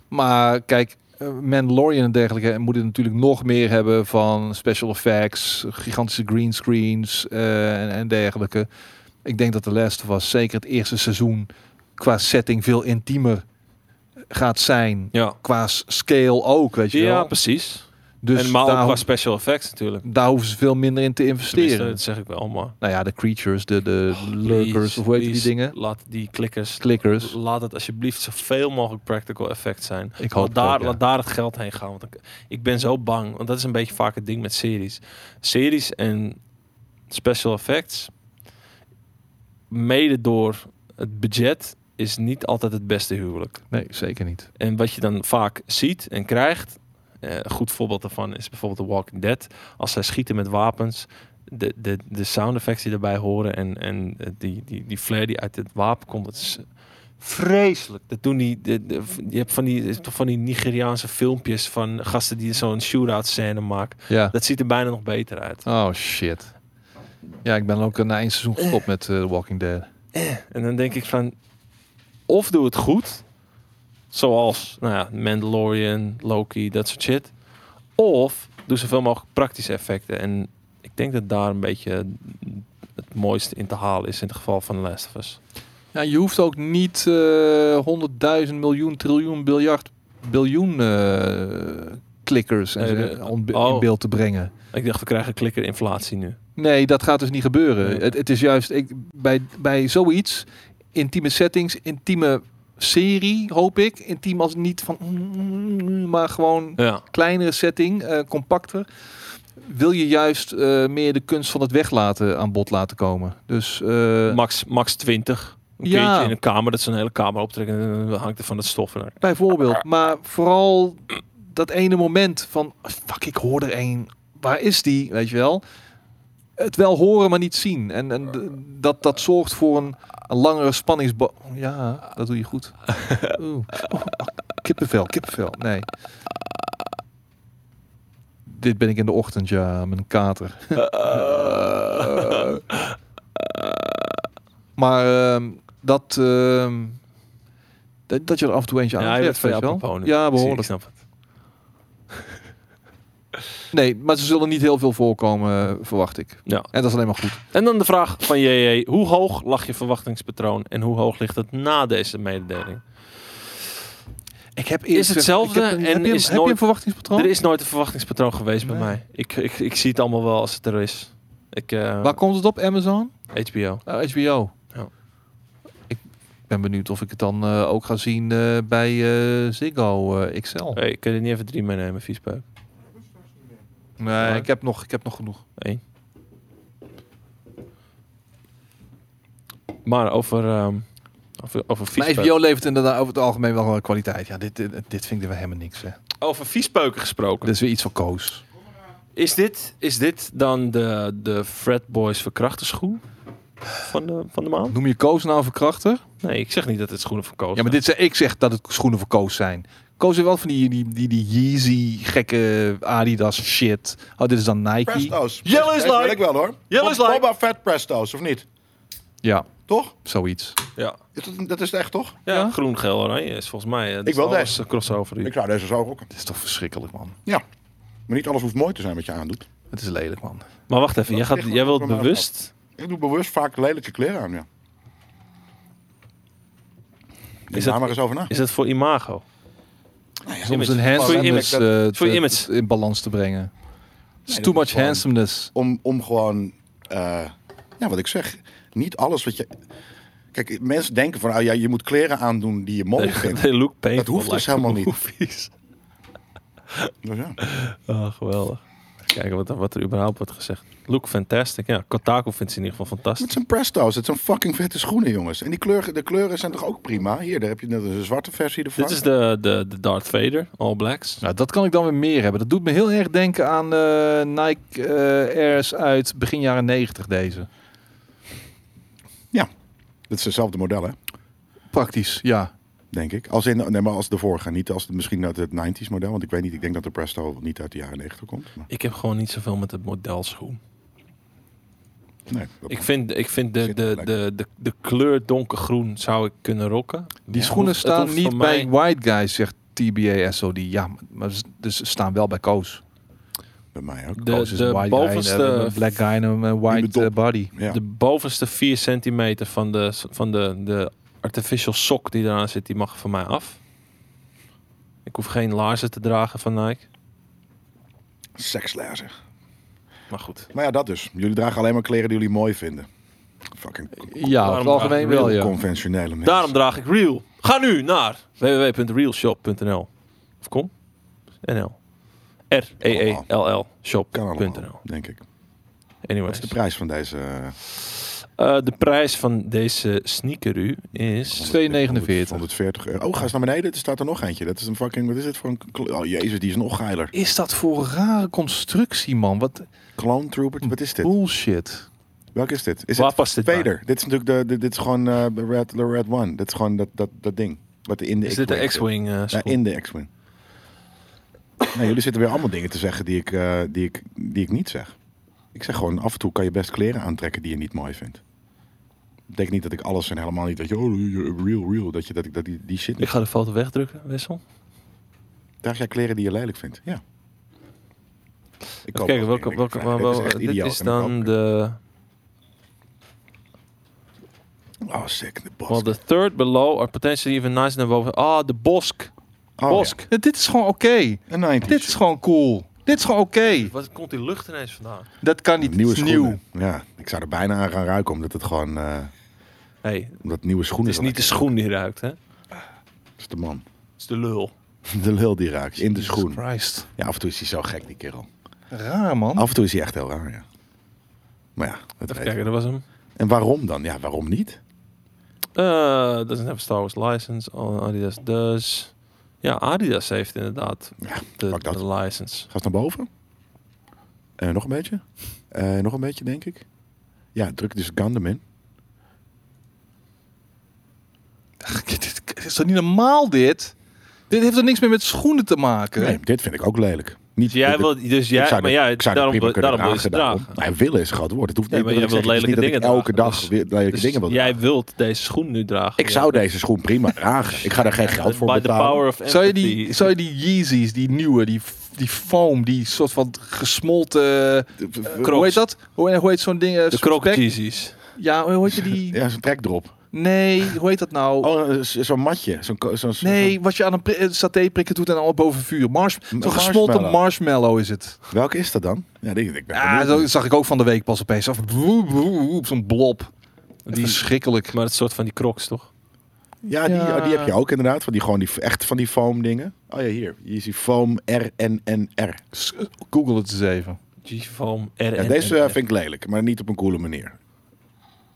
B: Maar kijk, eh, Mandalorian en dergelijke moeten natuurlijk nog meer hebben van special effects, gigantische greenscreens eh en, en dergelijke. Ik denk dat de Last of Us zeker het eerste seizoen qua setting veel intiemer gaat zijn.
A: Ja,
B: Qua s- scale ook, weet je
A: ja
B: wel.
A: precies.
B: Dus
A: en maar ook
B: daar,
A: qua
B: ho-
A: special effects natuurlijk.
B: daar hoeven ze veel minder in te
A: Tenminste, Oh,
B: investeren.
A: dat zeg ik wel, maar...
B: Nou ja, de creatures, de, de lurkers,
A: Please,
B: of hoe heet die
A: please,
B: dingen?
A: Laat die klikkers,
B: Clickers.
A: laat het alsjeblieft zoveel mogelijk practical effects zijn.
B: Ik hoop
A: laat, daar,
B: het ook, ja.
A: laat daar het geld heen gaan. Want ik, ik ben zo bang. Want dat is een beetje vaak het ding met series. Series en special effects. Mede door het budget is niet altijd het beste huwelijk.
B: Nee, zeker niet.
A: En wat je dan vaak ziet en krijgt. eh, een goed voorbeeld daarvan is bijvoorbeeld The Walking Dead. Als zij schieten met wapens. De, de, de sound effects die daarbij horen. En, en eh, die, die, die flare die uit het wapen komt. Dat is vreselijk. Dat doen die. De, de- je hebt van die, toch van die Nigeriaanse filmpjes. van gasten die zo'n shootout scène maken.
B: Ja.
A: Dat ziet er bijna nog beter uit.
B: Oh shit. Ja, ik ben ook eh, na één seizoen gestopt met eh, Walking Dead.
A: En dan denk ik van. Of doe het goed. Zoals nou ja, Mandalorian, Loki, dat soort shit. Of doe zoveel mogelijk praktische effecten. En ik denk dat daar een beetje het mooiste in te halen is in het geval van The Last of Us.
B: Ja, je hoeft ook niet eh, 100.000 miljoen, triljoen, biljard, biljoen eh, klikkers en
A: Nee,
B: zo
A: de-
B: on-
A: oh.
B: in beeld te brengen.
A: Ik dacht, we krijgen klikkerinflatie nu.
B: Nee, dat gaat dus niet gebeuren.
A: Nee.
B: Het, het is juist ik, bij, bij zoiets, intieme settings, intieme serie, hoop ik. Intiem als niet van, mm, maar gewoon
A: Ja,
B: kleinere setting, eh, compacter. Wil je juist eh, meer de kunst van het weglaten aan bod laten komen. Dus eh,
A: max, max 20. Een
B: Ja.
A: keertje in een kamer, dat ze een hele kamer optrekken. En dan hangt er van het stof. En dan-
B: bijvoorbeeld, maar vooral dat ene moment van fuck, ik hoor er één. Waar is die? Weet je wel. Het wel horen, maar niet zien. En, en d- dat, dat zorgt voor een, een langere spanningsbo... Ja, dat doe je goed. Oeh. Oh, kippenvel, kippenvel. Nee. Dit ben ik in de ochtend, ja, met een kater. Maar ehm, dat, ehm, dat, dat je er af en toe eentje aan
A: ja, je bent
B: treft,
A: veel
B: weet je wel.
A: apropos nu. Ik
B: Ja,
A: zie,
B: behoorlijk.
A: Ik snap het.
B: Nee, maar ze zullen niet heel veel voorkomen, eh, verwacht ik.
A: Ja.
B: En dat is alleen maar goed.
A: En dan de vraag van JJ. Hoe hoog lag je verwachtingspatroon en hoe hoog ligt het na deze mededeling?
B: Ik heb
A: eerst- hetzelfde
B: ik heb een-
A: en
B: heb je,
A: is
B: heb je
A: nooit-
B: een verwachtingspatroon?
A: Er is nooit een verwachtingspatroon geweest bij
B: Nee.
A: mij. Ik, ik, ik zie het allemaal wel als het er is. Ik, eh,
B: Waar komt het op? Amazon?
A: HBO.
B: Eh, HBO?
A: Ja.
B: Ik ben benieuwd of ik het dan eh, ook ga zien eh, bij eh, Ziggo eh, XL.
A: Hey, kun je er niet even drie meenemen, viespeuk?
B: Nee, ik heb nog, ik heb nog genoeg.
A: Eén. Maar over, ehm over, over
B: Maar
A: viespeuk.
B: HBO levert inderdaad over het algemeen wel eh, kwaliteit. Ja, dit, dit, dit vind ik weer helemaal niks. Hè.
A: Over viespeuken gesproken.
B: Dit is weer iets van Koos.
A: Is dit, is dit dan de, de Fred Boys verkrachterschoen van de, van de maand?
B: Noem je Koos nou een verkrachter?
A: Nee, ik zeg niet dat het schoenen van Koos
B: Ja, maar dit, ze- ik zeg dat het schoenen voor Koos zijn. kozen wel van die, die, die, die Yeezy gekke Adidas shit. Oh, dit is dan Nike.
C: Presto's.
A: Yellow is
C: Dat wil
A: like.
C: ik wel hoor.
A: Yellow is
C: Bob-
A: like.
C: Boba Fett Presto's, of niet?
B: Ja,
C: Toch?
B: zoiets.
A: Ja.
C: Is dat, dat is het echt, toch?
A: Ja,
B: Ja?
A: groen, geel, oranje is volgens mij. eh, dat
C: Ik wil
A: is alles
C: deze.
A: een crossover. die-
C: Ik zou deze zo rocken.
B: Het is toch verschrikkelijk, man.
C: Ja. Maar niet alles hoeft mooi te zijn wat je aandoet.
B: Het is lelijk, man.
A: Maar wacht even, jij, gaat,
C: ligt
A: jij
C: wel
A: wilt
C: van mijn
A: bewust.
C: Ik doe bewust vaak lelijke kleren aan, ja. Denk
A: Is
C: daar
A: dat,
C: maar eens over na.
A: is dat voor imago?
B: Soms
A: Image.
B: een
A: Voor je
B: handsomeness
A: image.
B: eh,
A: Voor je
B: te-
A: image.
B: te- in balans te brengen. It's
C: dat
B: too
C: is
B: much
C: gewoon-
B: handsomeness.
C: Om, om gewoon, eh, ja, wat ik zeg, niet alles wat je... Kijk, mensen denken van, ah, ja, je moet kleren aandoen die je mooi
A: <laughs>
C: vindt.
A: They look painful.
C: Dat hoeft dus
A: like
C: helemaal niet.
A: movies.
C: Dus ja.
A: Ah, geweldig. Even kijken wat, er- wat er überhaupt wordt gezegd. Look fantastic. Ja, Kotaku vindt ze in ieder geval
C: Het
A: fantastisch.
C: zijn presto's, het zijn fucking vette schoenen, jongens. En die kleuren, de kleuren zijn toch ook prima? Hier, daar heb je net een zwarte versie ervan.
A: Dit is de, de, de Darth Vader, All Blacks.
B: Nou, dat kan ik dan weer meer hebben. Dat doet me heel erg denken aan eh, Nike eh, Airs uit begin jaren 90 deze.
C: Dat is hetzelfde model, hè?
B: Praktisch, ja.
C: Denk ik. Als in, nee, maar als de vorige. Niet als misschien uit het 90s model. Want ik weet niet, ik denk dat de Presto niet uit de jaren 90 komt. Maar
A: Ik heb gewoon niet zoveel met het modelschoen.
C: nee, dat-
A: Ik vind, ik vind de,
C: Zit er
A: de,
C: gelijk.
A: de, de, de kleur donkergroen zou ik kunnen rocken.
B: Die
A: Ja,
B: schoenen
A: hoeft- het
B: staan
A: hoeft
B: niet
A: voor
B: bij
A: mij-
B: white guys, zegt TBA SOD. Ja, maar- maar ze- dus ze staan wel bij Koos.
C: bij mij ook. Oh,
A: De,
B: Koos is een
A: de,
B: white guy, en, eh,
A: bovenste,
B: een black guy en een white
C: top.
B: eh, body.
C: Ja.
A: de bovenste 4 centimeter van, de, van de, de artificial sok die eraan zit, die mag van mij af. Ik hoef geen laarzen te dragen van Nike.
C: Sekslezer.
A: Maar goed.
C: Maar ja, dat dus. Jullie dragen alleen maar kleren die jullie mooi vinden. Fucking
B: Ja, over het algemeen
A: draag ik
B: wel, ja.
C: conventionele mensen.
A: Daarom draag ik Real. Ga nu naar www.realshop.nl Of kom? NL. E R-E-E-L-L
C: kan
A: shop.nl
C: allemaal, denk ik. Wat
A: Anyways.
C: is de prijs van deze? eh,
A: Eh, de prijs van deze sneaker u is...
B: 2,49.
C: 140 euro. Oh, ga eens naar beneden. Er staat er nog eentje. Dat is een fucking... Wat is dit voor een... kle- Oh, jezus, die is nog geiler.
B: Is dat voor een rare constructie, man? Wat
C: Clone Trooper. Wat is dit?
B: bullshit.
C: Welke is dit? Is
A: Waar
C: het
A: past dit bij?
C: Vader? Dit is natuurlijk de, dit, dit is gewoon eh, de Red, de Red One. Dit is gewoon dat, dat, dat ding. Wat in de
A: Is dit de
C: zit.
A: X-Wing eh,
C: Ja,
A: schoen?
C: in de X-Wing. nou, jullie zitten weer allemaal dingen te zeggen die ik, eh, die, ik, die ik niet zeg. Ik zeg gewoon, af en toe kan je best kleren aantrekken die je niet mooi vindt. Betekent niet dat ik alles en helemaal niet dat je, oh, you're real, real, dat je dat, ik- dat die, die shit
A: Ik
C: niet.
A: ga de foto wegdrukken, Wessel.
C: Draag jij kleren die je lelijk vindt? Ja. Ik
A: Even
C: koop
A: kijken,
C: wel
A: welke,
C: dingen.
A: welke,
C: Ik
A: maar
C: vraag, dit
A: wel-
C: is echt
A: dit
C: idioot.
A: is
C: En ik
A: dan
C: koop-
A: de...
C: Oh, sick, de Bosk.
A: Well, the third below are potentially even nicer than boven. Ah, de Bosk.
C: Oh,
A: Bosk.
B: Ja, dit is gewoon oké.
C: ja. Een 90s.
B: Dit is gewoon cool. Dit is gewoon oké.
A: Wat komt die lucht ineens vandaan?
B: Dat kan niet.
C: Nieuwe
B: Het is nieuw.
C: schoenen. Ja, ik zou er bijna aan gaan ruiken, omdat het gewoon... eh,
A: hey,
C: omdat nieuwe schoenen...
A: het is
C: dan
A: niet de
C: lekker-
A: schoen die ruikt, hè? Het
C: Het is de man. <laughs>
A: is de lul.
C: De lul die raakt. In de schoen.
B: Christ.
C: Ja, af en toe is hij zo gek, die kerel.
B: Raar, man.
C: Af en toe is hij echt heel raar, ja. Maar ja, dat
A: Even
C: weet ik.
A: kijken, dat was hem.
C: En waarom dan? Ja, waarom niet?
A: Eh, doesn't have a Star Wars license. All Adidas does. Ja, Adidas heeft inderdaad
C: Ja,
A: de,
C: pak dat.
A: de license.
C: Ga eens naar boven. Eh, nog een beetje. Eh, nog een beetje, denk ik. Ja, druk dus Gundam in.
B: Dit is toch niet normaal, dit? Dit heeft er niks meer met schoenen te maken.
C: Nee, dit vind ik ook lelijk. Niet,
A: Dus jij
C: dit-
A: wil, dus
C: ik
A: jij,
C: zou
A: maar
C: dit-
A: ja,
C: ik zou dit
A: daarom,
C: prima
A: wil-
C: kunnen
A: daarom wil je ze
C: aangedaan.
A: dragen.
C: Nou, willen is een groot woord. Het hoeft
A: Ja,
C: niet,
A: maar
C: dat
A: jij
C: ik zeg,
A: wilt
C: het is niet
A: lelijke
C: dat ik elke
A: dingen dragen,
C: dag
A: dus-
C: weer lelijke
A: Dus
C: dingen wil
A: jij
C: dragen.
A: wilt deze schoen nu dragen.
C: Ik
A: ja.
C: zou deze schoen
B: <laughs>
C: prima dragen. Ik ga daar geen geld voor
A: By
C: betalen.
A: the power of
B: Zou je,
A: empathy.
B: die, zou je die Yeezys, die nieuwe, die, die foam, die soort van gesmolten... eh, hoe heet dat? Hoe, hoe heet zo'n ding? eh,
A: de
B: zo'n
A: Croc
B: spek?
A: Yeezys.
B: Ja, hoe heet je die?
C: Ja, zo'n trekdrop.
B: Nee, hoe heet dat nou?
C: Oh, eh, z- zo'n matje. Zo'n ko- zo'n- zo'n-
B: Nee, wat je aan een pri- eh, saté prikken doet en al boven vuur. Mars, zo'n
C: marshmallow.
B: gesmolten marshmallow is het.
C: zo'n- Welke is dat dan? Ja, die, ik ben
B: Ja,
C: benieuwd.
B: Ah, dat zag ik ook van de week pas opeens. Af, woe, woe, woe, Zo'n blob.
A: Die-
B: Die verschrikkelijk.
A: Maar het soort van die Crocs, toch?
C: ja, die,
B: Ja.
C: oh, die heb je ook inderdaad. Van die, gewoon die, echt van die foam dingen. Oh ja, hier. Je ziet foam RNNR.
B: S- Google het eens even.
A: G-Foam, RN.
C: Ja, deze eh, vind ik lelijk, maar niet op een coole manier.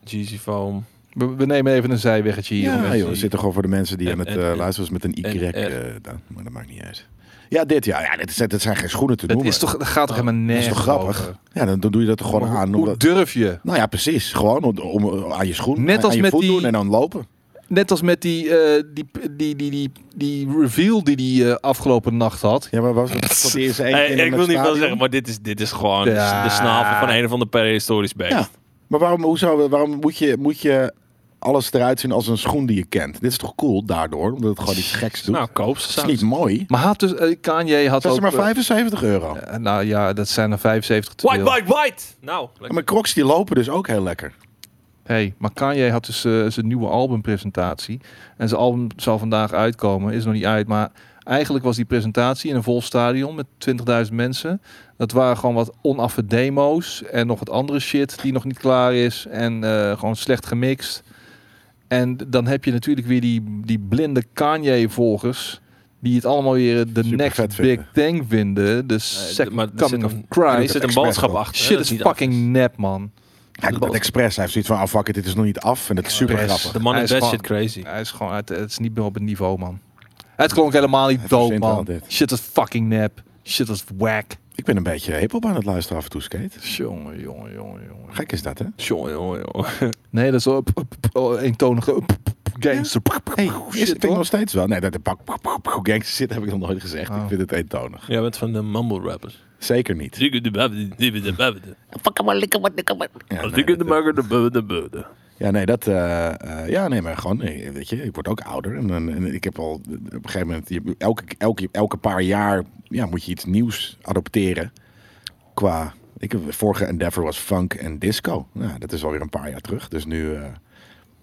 A: G-Foam.
B: We, we nemen even een zijweggetje hier.
C: Ja,
B: jongens.
C: joh, er zitten gewoon voor de mensen die aan het eh,
A: RNNR.
C: luisteren was met een Y.
A: RNNR.
C: eh, dan, maar dat maakt niet uit. Ja, dit ja. ja dit, is- dit zijn geen schoenen te
B: Het
C: noemen.
B: is toch, dat gaat toch helemaal
C: Oh, Dat is
B: nergens
C: toch grappig?
B: over?
C: Ja, dan, dan doe je dat er gewoon
B: Maar
C: aan.
B: hoe, hoe
C: Omdat,
B: durf je?
C: nou ja, precies. Gewoon om, om, eh, aan je schoen.
B: Net
C: aan
B: als
C: je
B: met
C: voet
B: die-
C: doen en dan lopen.
B: net als met die, eh, die, die, die, die, die reveal die die eh, afgelopen nacht had.
C: Ja, maar was <laughs> het voor de eerste
A: Hey,
C: één keer
A: ik
C: in het
A: wil niet veel
C: stadion?
A: zeggen, maar dit is, dit is gewoon
B: Ja.
A: de snavel van een of ander prehistorisch beest.
C: Ja. Maar waarom, hoe zou, we- waarom moet, je, moet je alles eruit zien als een schoen die je kent? Dit is toch cool daardoor, omdat het gewoon iets geks doet.
A: Nou, koop ze
C: het is
A: samen.
C: niet mooi.
B: Maar had dus, eh, Kanye had
C: Dat
B: ook...
C: is maar
B: eh,
C: 75 euro.
B: eh, nou ja, dat zijn er 75 te
A: White,
B: veel.
A: white, white! Nou,
C: En mijn crocs die lopen dus ook heel lekker.
B: Hey, maar Kanye had dus eh, zijn nieuwe albumpresentatie. En zijn album zal vandaag uitkomen. Is nog niet uit, maar eigenlijk was die presentatie in een vol stadion met 20.000 mensen. Dat waren gewoon wat onaffe demo's en nog wat andere shit die nog niet klaar is. En eh, gewoon slecht gemixt. En dan heb je natuurlijk weer die, die blinde Kanye-volgers... die het allemaal weer de
C: Super vet
B: next big
C: vinden.
B: thing vinden. De second
A: maar er zit
B: coming of
A: een- er
B: Christ.
A: zit een
C: expert
A: boodschap
C: wel.
A: achter. hè,
B: Shit
A: dat
B: is
A: niet af
B: fucking nep, man.
C: Hij doet dat expres. Hij heeft zoiets van, ah fuck it, dit is nog niet af. En het is super
B: Expres.
C: grappig.
A: De man
B: Hij
A: is
B: is
A: best shit
B: gewoon-
A: crazy.
B: Hij is gewoon, het, het is niet meer op het niveau, man. Het klonk helemaal niet
C: Hij
B: dood,
C: verzint wel
B: man.
C: dit.
B: Shit was fucking nep. Shit was whack.
C: Ik ben een beetje hip-hop aan het luisteren af en toe, Skate.
B: Jongen, jongen, jongen, jongen.
C: Gek is dat, hè?
A: Jongen, jongen, jongen.
B: Nee, dat is wel p- p- p- eentonige p- p- p- gangster.
C: Hey, is
B: shit,
C: het ding
B: hoor.
C: nog steeds wel? Nee, dat de pak pak- pak- pak- gangster zit heb ik nog nooit gezegd.
B: Oh.
C: Ik vind het eentonig.
A: Jij bent van de mumble rappers.
C: Zeker niet. Ja, nee, dat- Ja, nee, dat. eh, eh, ja, nee, maar gewoon, eh, weet je, ik word ook ouder. En, dan- en ik heb al eh, op een gegeven moment, je- elke, elke, elke paar jaar ja, moet je iets nieuws adopteren. Qua. Ik, heb- vorige endeavor was funk en disco. Nou, dat is alweer een paar jaar terug. Dus nu eh,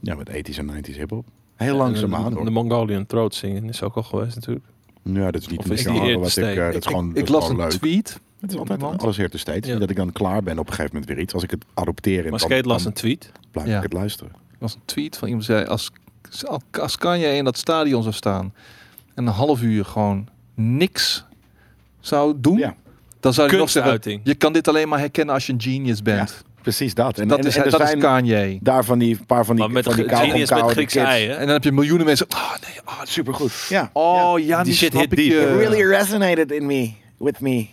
C: ja, met 80s en 90s hip-hop. Heel langzaamaan.
A: eh, De
C: Hoor.
A: Mongolian Throat zingen is ook al geweest natuurlijk.
C: Ja, dat is niet
A: Of
C: een
A: is die
C: genre
A: eer te
C: wat ik. eh,
A: steken?
C: dat is gewoon,
B: ik,
C: dat
B: ik
C: is
B: las een
C: gewoon leuk.
B: tweet.
C: Het is
B: van
C: altijd
B: iemand.
C: alles hier te steeds.
A: Ja.
C: Dat ik dan klaar ben op een gegeven moment weer iets. Als ik het adopteer,
A: Maar
C: dan,
A: Skate las een
C: dan
A: tweet.
C: blijf
B: Ja.
C: ik het luisteren.
B: Er was een tweet van iemand die zei... Als, als Kanye in dat stadion zou staan... en een half uur gewoon niks zou doen...
C: Ja.
B: dan zou je nog zeggen...
A: Kunstuiting.
B: Je kan dit alleen maar herkennen als je een genius bent.
C: Precies dat. En,
B: Dat,
C: en-
B: is,
C: en er
B: dat
C: zijn-
B: is Kanye.
C: daar van die een paar van die
A: Maar met
C: van die kauwgom-
A: genius met
C: kauwende
A: Griekse
C: kids.
A: eieren.
B: En dan heb je miljoenen mensen... Oh nee, oh,
C: Supergoed. Ja.
B: Oh ja, die,
A: Die shit
B: shit snap
A: hit
B: ik
A: diep.
B: je.
A: It
D: really resonated in me, with me.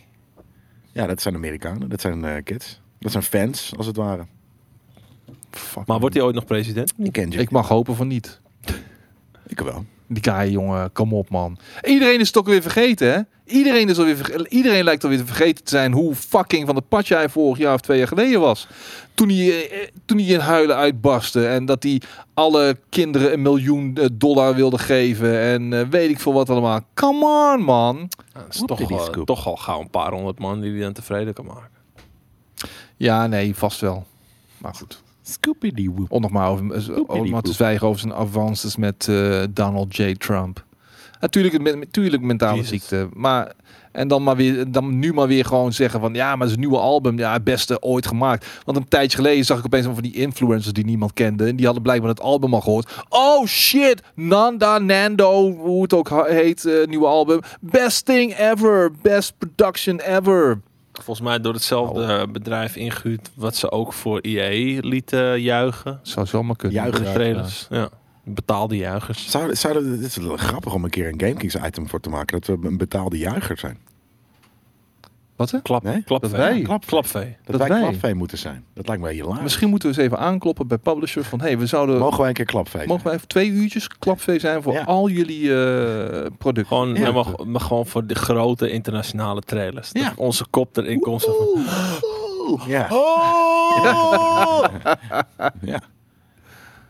C: ja, dat zijn Amerikanen. Dat zijn eh, kids. Dat zijn fans, als het ware.
B: Fuck,
A: Maar
B: man.
A: wordt hij ooit nog president?
C: Ik ken je.
B: Ik mag hopen van niet.
C: Ik wel.
B: Die kaaie jongen, kom op man. Iedereen is het ook weer vergeten hè? Iedereen, is alweer verge- Iedereen lijkt alweer te vergeten te zijn hoe fucking van de patje hij vorig jaar of twee jaar geleden was. Toen hij, eh, eh, toen hij in huilen uitbarstte en dat hij alle kinderen een miljoen eh, dollar wilde geven en eh, weet ik veel wat allemaal. Come on man.
A: Ja, dat is
C: Whoop,
A: toch
C: dit is
A: al,
C: scoop.
A: toch al gauw een paar honderd man die hij dan tevreden kan maken.
B: Ja, nee, vast wel. Maar goed.
C: Scoopy woop.
B: Om nog maar, over, om maar te zwijgen over zijn avances met eh, Donald J. Trump. Natuurlijk, het me- natuurlijk mentale
A: Jezus.
B: ziekte. Maar, en dan, maar weer, dan nu maar weer gewoon zeggen van... Ja, maar zijn nieuwe album, ja, het beste ooit gemaakt. Want een tijdje geleden zag ik opeens een van die influencers die niemand kende. En die hadden blijkbaar het album al gehoord. Oh shit, Nanda Nando, hoe het ook ha- heet, eh, nieuwe album. Best thing ever, best production ever.
A: Volgens mij door hetzelfde eh, bedrijf ingehuurd wat ze ook voor IE lieten juichen.
B: Zou zomaar kunnen.
C: Juichen.
A: De trailers. Ja. Betaalde juichers.
C: Zouden, zouden, het is wel grappig om een keer een GameKings item voor te maken. Dat we een betaalde juicher zijn.
B: Wat hè?
A: Klap,
C: Nee,
A: klapvee.
B: dat wij.
A: Klap, klapvee.
C: Dat,
B: Dat
C: wij
B: wij.
C: klapvee moeten zijn. Dat lijkt mij hilarisch.
B: Misschien moeten we eens even aankloppen bij publishers van... hey, we zouden
C: Mogen wij een keer klapvee
B: Mogen wij even twee uurtjes klapvee zijn voor
C: Ja.
B: al jullie eh, producten?
A: Gewoon,
C: Ja.
A: maar, maar gewoon voor de grote internationale trailers. Dat
C: Ja.
A: Onze kop erin komt. zo van,
C: zijn? Ja. Oh. <laughs> ja.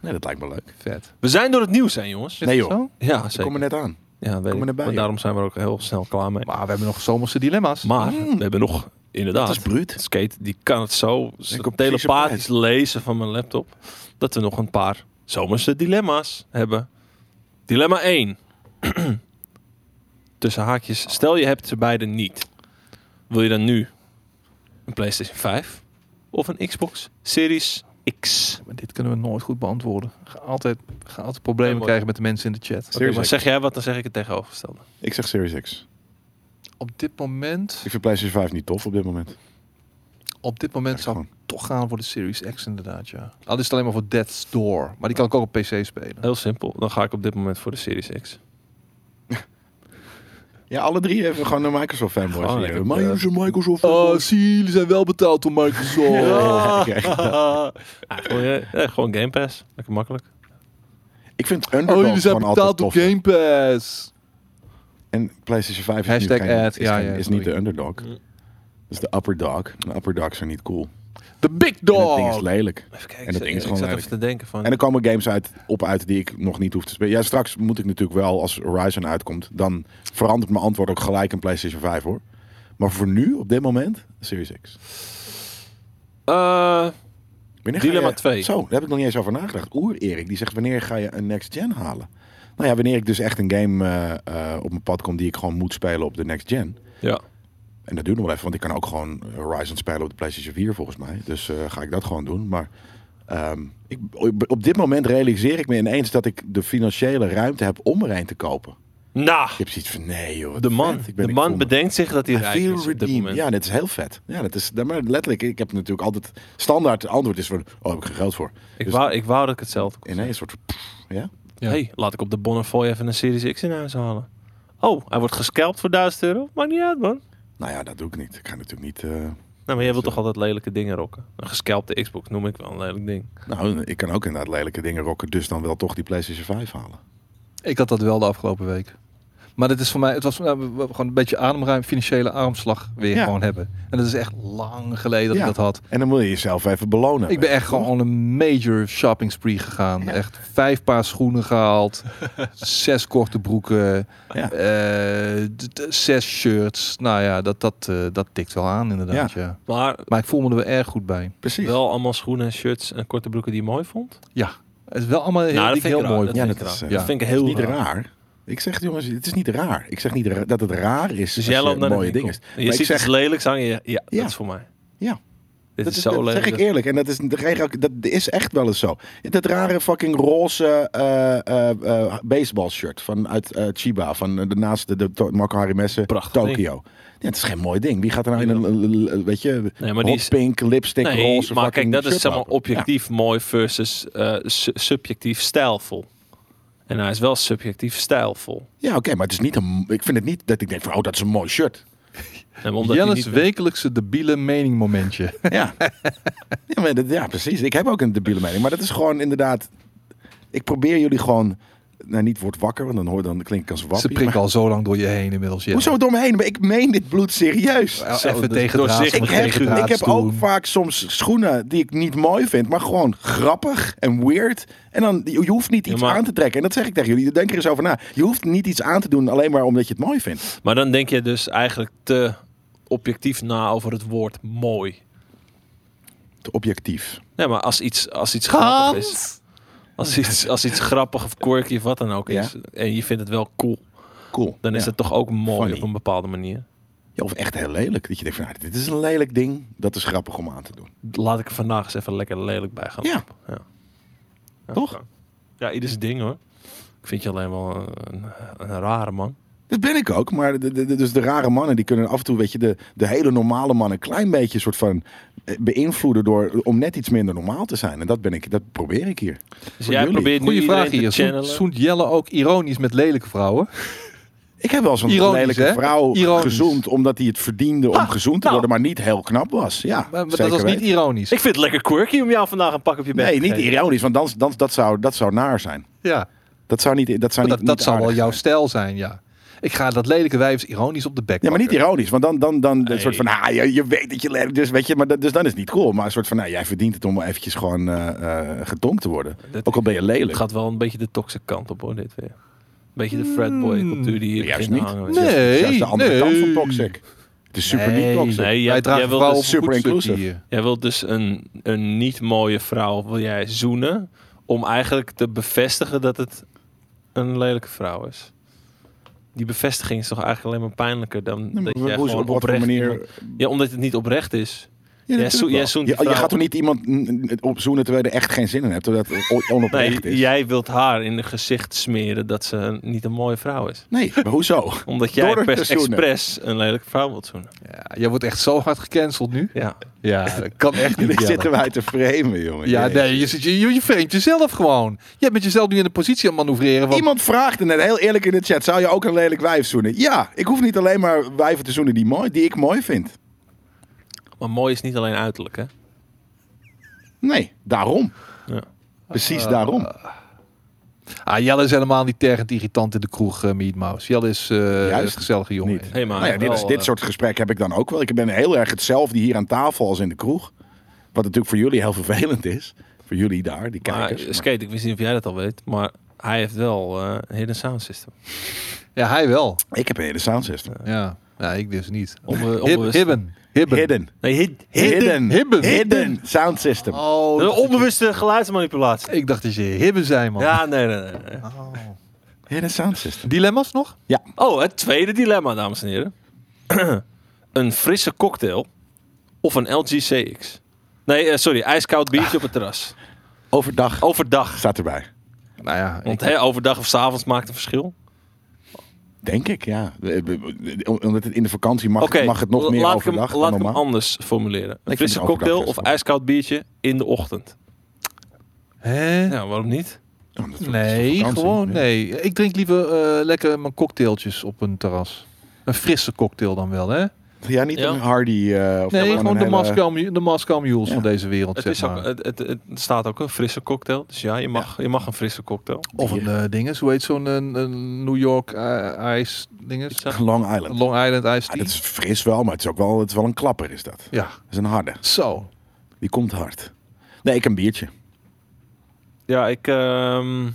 C: Nee, dat lijkt me leuk.
B: Vet.
A: We zijn door het nieuws heen, jongens.
C: Oh. Nee joh,
B: Zo?
A: Ja,
C: ik kom
A: zeker.
C: er net aan.
A: Ja, weet
C: kom
A: ik.
C: er net bij,
A: Maar
C: joh.
A: daarom zijn we er ook heel snel klaar mee.
B: Maar we hebben nog zomerse dilemma's.
A: Maar we hebben nog, inderdaad,
C: Mm. Dat is bruut.
A: Skate die kan het zo
C: kom precies op
A: telepathisch lezen van mijn laptop. Dat we nog een paar zomerse dilemma's hebben. Dilemma 1. <clears throat> Tussen haakjes. Stel je hebt ze beide niet. Wil je dan nu een PlayStation 5 of een Xbox Series X?
B: Maar dit kunnen we nooit goed beantwoorden. We gaan altijd, we gaan altijd problemen
A: Ja,
B: krijgen met de mensen in de chat.
A: Oké,
C: Series
A: maar
C: X.
A: zeg jij wat, dan zeg ik het tegenovergestelde.
C: Ik zeg Series X.
B: Op dit moment,
C: Ik vind PlayStation 5 niet tof op dit moment.
B: op dit moment
C: Ja,
B: zou ik
C: gewoon.
B: toch gaan voor de Series X inderdaad, ja. Al is het alleen maar voor Death's Door. Maar die kan ik ook op PC spelen.
A: Heel simpel. Dan ga ik op dit moment voor de Series X.
C: Ja, alle drie hebben gewoon een Microsoft fanboy.
A: Gewoon
C: hier.
A: lekker,
C: Maar
A: eh,
C: is een Microsoft
B: Oh,
C: fanboy.
B: zie, jullie zijn wel betaald door Microsoft.
C: Ja. Ah,
A: Ja, gewoon, eh, eh, gewoon Game Pass. Lekker makkelijk.
C: <laughs> Ik vind
B: Oh,
C: Underdog
B: jullie zijn
C: gewoon altijd
B: betaald op
C: tof.
B: Game Pass.
C: En PlayStation 5 is, nu
B: Hashtag
C: geen-
B: ad,
C: is,
B: ja,
C: geen-
B: ja,
C: is
B: sorry. Mm.
C: niet de Underdog. Dat is de Upper Dog. De Upper Dogs zijn niet cool.
B: The Big
C: En dat ding
B: Dog.
C: is lelijk.
A: Even kijken.
C: En dat ding is
A: ik
C: gewoon
A: zat even
C: lelijk.
A: te denken van...
C: En er komen games uit, op uit die ik nog niet hoef te spelen. Ja, straks moet ik natuurlijk wel, als Horizon uitkomt, dan verandert mijn antwoord ook gelijk in PlayStation 5 hoor. Maar voor nu, op dit moment, Series X.
A: Eh,
C: Wanneer ga
A: Dilemma
C: je-
A: twee.
C: Zo, daar heb ik nog niet eens over nagedacht. Oer-Erik, die zegt, wanneer ga je een next gen halen? Nou ja, wanneer ik dus echt een game eh, eh, op mijn pad kom die ik gewoon moet spelen op de next gen.
A: ja.
C: En dat duurt nog wel even, want ik kan ook gewoon Horizon spelen op de PlayStation 4 volgens mij. Dus eh, ga ik dat gewoon doen. Maar ehm, ik, op dit moment realiseer ik me ineens dat ik de financiële ruimte heb om er een te kopen.
A: Nou,
C: Ik heb zoiets van, nee joh. wat
A: de man,
C: vet. Ik ben-
A: de
C: ik
A: man
C: voel me-
A: bedenkt zich dat hij
C: I
A: rijk
C: feel
A: is op dit
C: redeemed.
A: moment.
C: Ja, dat is heel vet. Ja, dat is, nou, maar letterlijk, ik heb natuurlijk altijd standaard antwoord is van, oh, heb ik geen geld voor.
A: Ik,
C: Dus-
A: wou, ik wou dat ik hetzelfde kon
C: Ineens een soort van, pff, ja.
B: Ja.
A: hey, laat ik op de Bonnefoy even een Series X in huis halen. Oh, hij wordt gescalpt voor 1000 euro? Maakt niet uit, man.
C: Nou ja, dat doe ik niet. Ik ga natuurlijk niet. eh,
A: Nou, maar jij wilt
C: Zo.
A: toch altijd lelijke dingen rocken? Een gescalpte Xbox noem ik wel een lelijk ding.
C: nou, ik kan ook inderdaad lelijke dingen rocken, dus dan wel toch die PlayStation 5 halen.
B: Ik had dat wel de afgelopen week. Maar dit is voor mij, het was nou, we- we- gewoon een beetje ademruim, financiële armslag weer
C: Ja.
B: gewoon hebben. En dat is echt lang geleden dat
C: Ja.
B: ik dat had.
C: En dan moet je jezelf even belonen.
B: Ik ben echt gewoon een major shopping spree gegaan. Echt vijf paar schoenen
C: <laughs>
B: gehaald, zes korte broeken,
C: Ja.
B: eh, d- d- zes shirts. Nou ja, dat, dat, eh, dat tikt wel aan inderdaad. Ja.
A: Maar
B: Maar ik voel me er wel erg goed bij.
C: Precies.
A: wel allemaal schoenen en shirts en korte broeken die je mooi vond?
B: Het is wel allemaal heel,
A: nou, dat
B: die
A: vind ik
B: ik heel mooi.
A: raar.
C: Ja,
A: Dat vind
C: dat
A: ik
C: is,
A: raar.
C: eh,
A: Dat vind ik
C: Het is
A: heel
C: niet
A: raar.
C: raar. Ik zeg jongens, het is niet raar. Ik zeg niet ra- dat het raar is.
A: Dus
C: als
A: jij
C: je
A: loopt naar de
C: mooie
A: winkel.
C: dingen.
A: En
C: Maar
A: Je
C: ik
A: ziet
C: zeg-
A: iets lelijks hangen. Ja, ja,
C: Ja.
A: dat is voor mij.
C: Ja.
A: Dit
C: Dat,
A: is
C: is,
A: zo
C: dat
A: lelijk.
C: zeg ik eerlijk. En dat is, dat krijg je ook- dat is echt wel eens zo. Dat rare fucking roze eh, eh, eh, baseball shirt van, uit eh, Chiba. Van eh, de naaste de, to- Marco Harimesse.
A: Prachtig
C: Tokio. Ja, het is geen mooi ding. Wie gaat er nou in een, l- l- l- weet je,
A: Nee, maar die
C: hot
A: is-
C: pink, lipstick,
A: Nee,
C: roze
A: maar kijk,
C: fucking
A: dat is
C: shirt
A: zeg maar
C: lopen?
A: objectief mooi versus eh, su- subjectief stijlvol. En hij is wel subjectief stijlvol.
C: Ja, ja oké, maar het is niet een, ik vind het niet dat ik denk van, oh, dat is een mooi
A: <laughs>
C: shirt.
A: En omdat hij
B: Jelle's
A: niet...
B: wekelijkse debiele
C: <laughs>
B: meningmomentje.
C: Ja, ja, maar dat- ja precies. Ik heb ook een debiele mening. Maar dat is gewoon inderdaad... Ik probeer jullie gewoon... Nou, niet wordt wakker, want dan, hoor, dan klink ik als wappie.
B: Ze
C: maar-
B: prikken al zo lang door je heen inmiddels. Ja.
C: Hoezo door me heen? Maar Ik meen dit bloed serieus.
B: Nou,
A: Zo,
B: even
A: dus
B: tegen draad,
A: doorzichtig.
B: even
C: Ik heb,
B: tegen draad
C: ik heb
B: doen.
C: ook vaak soms schoenen die ik niet mooi vind, maar gewoon grappig en weird. En dan, je je hoeft niet
A: Ja,
C: iets
A: maar-
C: aan te trekken. En dat zeg ik tegen jullie. Denk er eens over na. Je hoeft niet iets aan te doen alleen maar omdat je het mooi vindt.
A: Maar dan denk je dus eigenlijk te objectief na over het woord mooi.
C: Te objectief.
A: Nee, maar als iets, als iets grappig is... Als iets, als iets grappig of quirky of wat dan ook
C: Ja.
A: is... en je vindt het wel cool...
C: Cool.
A: dan is
C: Ja.
A: het toch ook mooi
C: Funny.
A: op een bepaalde manier.
C: Ja, of echt heel lelijk. Dat je denkt van, nou, dit is een lelijk ding. Dat is grappig om aan te doen.
A: Laat ik er vandaag eens even lekker lelijk bij gaan.
C: Ja.
A: lopen. ja. Ja,
C: Toch?
A: kan. Ja, ieder zijn ding hoor. Ik vind je alleen wel een, een rare man.
C: Dat ben ik ook, maar de, de- de- dus de rare mannen die kunnen af en toe, weet je, de, de hele normale mannen een klein beetje soort van eh, beïnvloeden door om net iets minder normaal te zijn. En dat ben ik, dat probeer ik hier.
A: Dus
C: Voor
A: jij
C: jullie.
A: probeert nu
B: Goeie vraag
A: iedereen
B: hier.
A: te
B: Zoent,
A: channelen.
B: zoent Jelle ook ironisch met lelijke <laughs> vrouwen?
C: Ik heb wel zo'n
B: Ironisch,
C: lelijke
B: hè?
C: vrouw
B: Ironisch.
C: gezoend omdat hij het verdiende om gezoend te
A: nou.
C: worden, maar niet heel knap was. Ja,
B: Maar, maar dat
C: zeker
B: was niet
C: weten.
B: ironisch.
A: Ik vind het lekker quirky om jou vandaag een pak op je bek
C: Nee,
A: te
C: niet
A: geven.
C: ironisch, want dan, dan, dat, zou, dat zou naar zijn.
B: ja.
C: Dat zou niet, dat zou
B: Maar dat dat
C: niet, niet
B: zal wel
C: aardig
B: jouw
C: zijn.
B: stijl zijn, ja. Ik ga dat lelijke wijf ironisch op de bek
C: Ja, maar niet
B: pakken.
C: ironisch, want dan, dan, dan
A: Nee.
C: een soort van, ah, je, je weet dat je lelijk, dus weet je, maar dat, dus dan is het niet cool. Maar een soort van, nou, jij verdient het om eventjes gewoon eh eh, gedonkt te worden.
A: Dat-
C: Ook al ben je lelijk.
A: Het gaat wel een beetje de toxic kant op hoor, dit weer. Een beetje de fretboy cultuur die hier
C: Hmm. Juist
A: begint te
C: niet.
A: hangen.
B: Nee.
C: Dat is juist de andere
B: nee.
C: kant van toxic. Het is super
B: Nee.
C: niet toxic.
A: Nee, jij,
B: Wij dragen
A: jij wilt
B: vrouwen
A: dus,
C: super
B: super inclusief.
C: inclusive.
B: Hier.
A: jij wilt dus een, een niet mooie vrouw wil jij zoenen om eigenlijk te bevestigen dat het een lelijke vrouw is. Die bevestiging is toch eigenlijk alleen maar pijnlijker dan
C: Nee, maar
A: dat jij
C: hoe-
A: gewoon
C: op wat voor
A: oprecht
C: manier...
A: iemand- Ja, omdat het niet oprecht is.
C: Ja,
A: Jij
C: natuurlijk
A: zoen- jij
C: wel.
A: zoent
C: je,
A: die
C: je
A: vrouw-
C: gaat toch niet iemand mm, mm, op zoenen terwijl je er echt geen zin in hebt, terwijl het on-
A: Nee,
C: onoprecht is?
A: jij wilt haar in het gezicht smeren dat ze een- niet een mooie vrouw is.
C: Nee, maar
A: <laughs>
C: hoezo?
A: Omdat
C: Door
A: jij
C: haar te
A: pers
C: zoenen.
A: expres een lelijke vrouw wilt zoenen.
B: Ja, jij wordt echt zo hard gecanceld nu.
A: Ja.
C: <laughs>
B: Ja, dat kan echt niet.
C: <laughs> Jullie
B: Jelle.
C: zitten wij te framen, jongen.
B: Ja,
C: Jezus.
B: nee, je, zit- je, je, je framet jezelf gewoon. Jij bent jezelf nu in de positie aan het manoeuvreren. Want
C: Iemand vraagt er net heel eerlijk in de chat: zou je ook een lelijk wijf zoenen? Ja, ik hoef niet alleen maar wijven te zoenen die, mooi, die ik mooi vind.
A: Maar mooi is niet alleen uiterlijk, hè?
C: Nee, daarom.
A: Ja.
C: Precies daarom.
B: Ah, Jelle is helemaal niet tergend irritant in de kroeg, eh, Meat Mouse. Jelle is eh een
C: Juist
B: gezellige jongen.
C: niet.
A: Hey, maar
C: nou ja, dit, is,
A: wel,
C: dit
A: eh,
C: soort gesprekken heb ik dan ook wel. Ik ben heel erg hetzelfde hier aan tafel als in de kroeg. Wat natuurlijk voor jullie heel vervelend is. Voor jullie daar, die
A: maar,
C: kijkers.
A: eh, Skate, ik wist niet of jij dat al weet, maar hij heeft wel eh, een hidden sound system.
B: Ja, hij wel.
C: Maar ik heb een hele sound system.
B: Ja, ja ik dus niet.
C: eh,
A: Onbe-
B: Hib-
A: onbewust.
B: Hibben. Hibben.
C: Hidden.
A: Nee, hid- hidden.
C: Hidden.
B: Hidden.
C: Hidden sound system.
B: Oh,
C: Eh,
A: Een onbewuste geluidsmanipulatie.
B: ik dacht dat je hibben zei, man.
A: Ja, nee, nee, nee. nee.
C: Hidden sound system.
B: Dilemma's nog?
A: Oh, het tweede dilemma, dames en heren. <clears throat> een frisse cocktail of een LG CX? Nee, eh, sorry, ijskoud biertje op het terras.
C: Overdag
A: Overdag.
C: staat erbij.
B: Nou ja,
A: Want
B: ik,
A: hè, overdag of 's avonds maakt een verschil.
C: Denk ik, ja. Eh, eh, Omdat het in de vakantie mag,
A: Oké,
C: mag het nog meer
A: laat
C: overdag
A: ik hem,
C: dan
A: laat ik hem
C: normaal.
A: anders formuleren. Een
C: het
A: frisse
C: overdag
A: cocktail
C: best
A: of
C: wel.
A: ijskoud biertje in de ochtend.
B: hè?
A: Ja, waarom niet?
C: Ja, omdat het is
B: Nee,
C: vakantie,
B: gewoon
C: ja.
B: nee. Ik drink liever eh, lekker mijn cocktailtjes op een terras. Een frisse cocktail dan wel, hè?
C: Ja, niet
A: Ja.
C: een Hardy. eh, of
B: Nee, gewoon
C: een
B: de
C: hele-
B: Moscow, Mu- de Moscow Mules
C: Ja.
B: van deze wereld,
A: Het,
B: zeg
A: is ook,
B: maar.
A: het, het, het staat ook een frisse cocktail. Dus ja, je mag, Je mag een frisse cocktail.
B: of een eh dinges, hoe heet zo'n eh, een New York eh, ice
A: Is
B: dinges?
A: dat-
C: Long Island.
B: Long Island ice
C: Ah,
B: tea.
C: dat is fris wel, maar het is ook wel, het is wel een klapper, is dat. Dat
B: Ja,
C: is een harde.
B: zo.
C: Die komt hard. Nee, ik een biertje.
A: Ja, ik... ehm,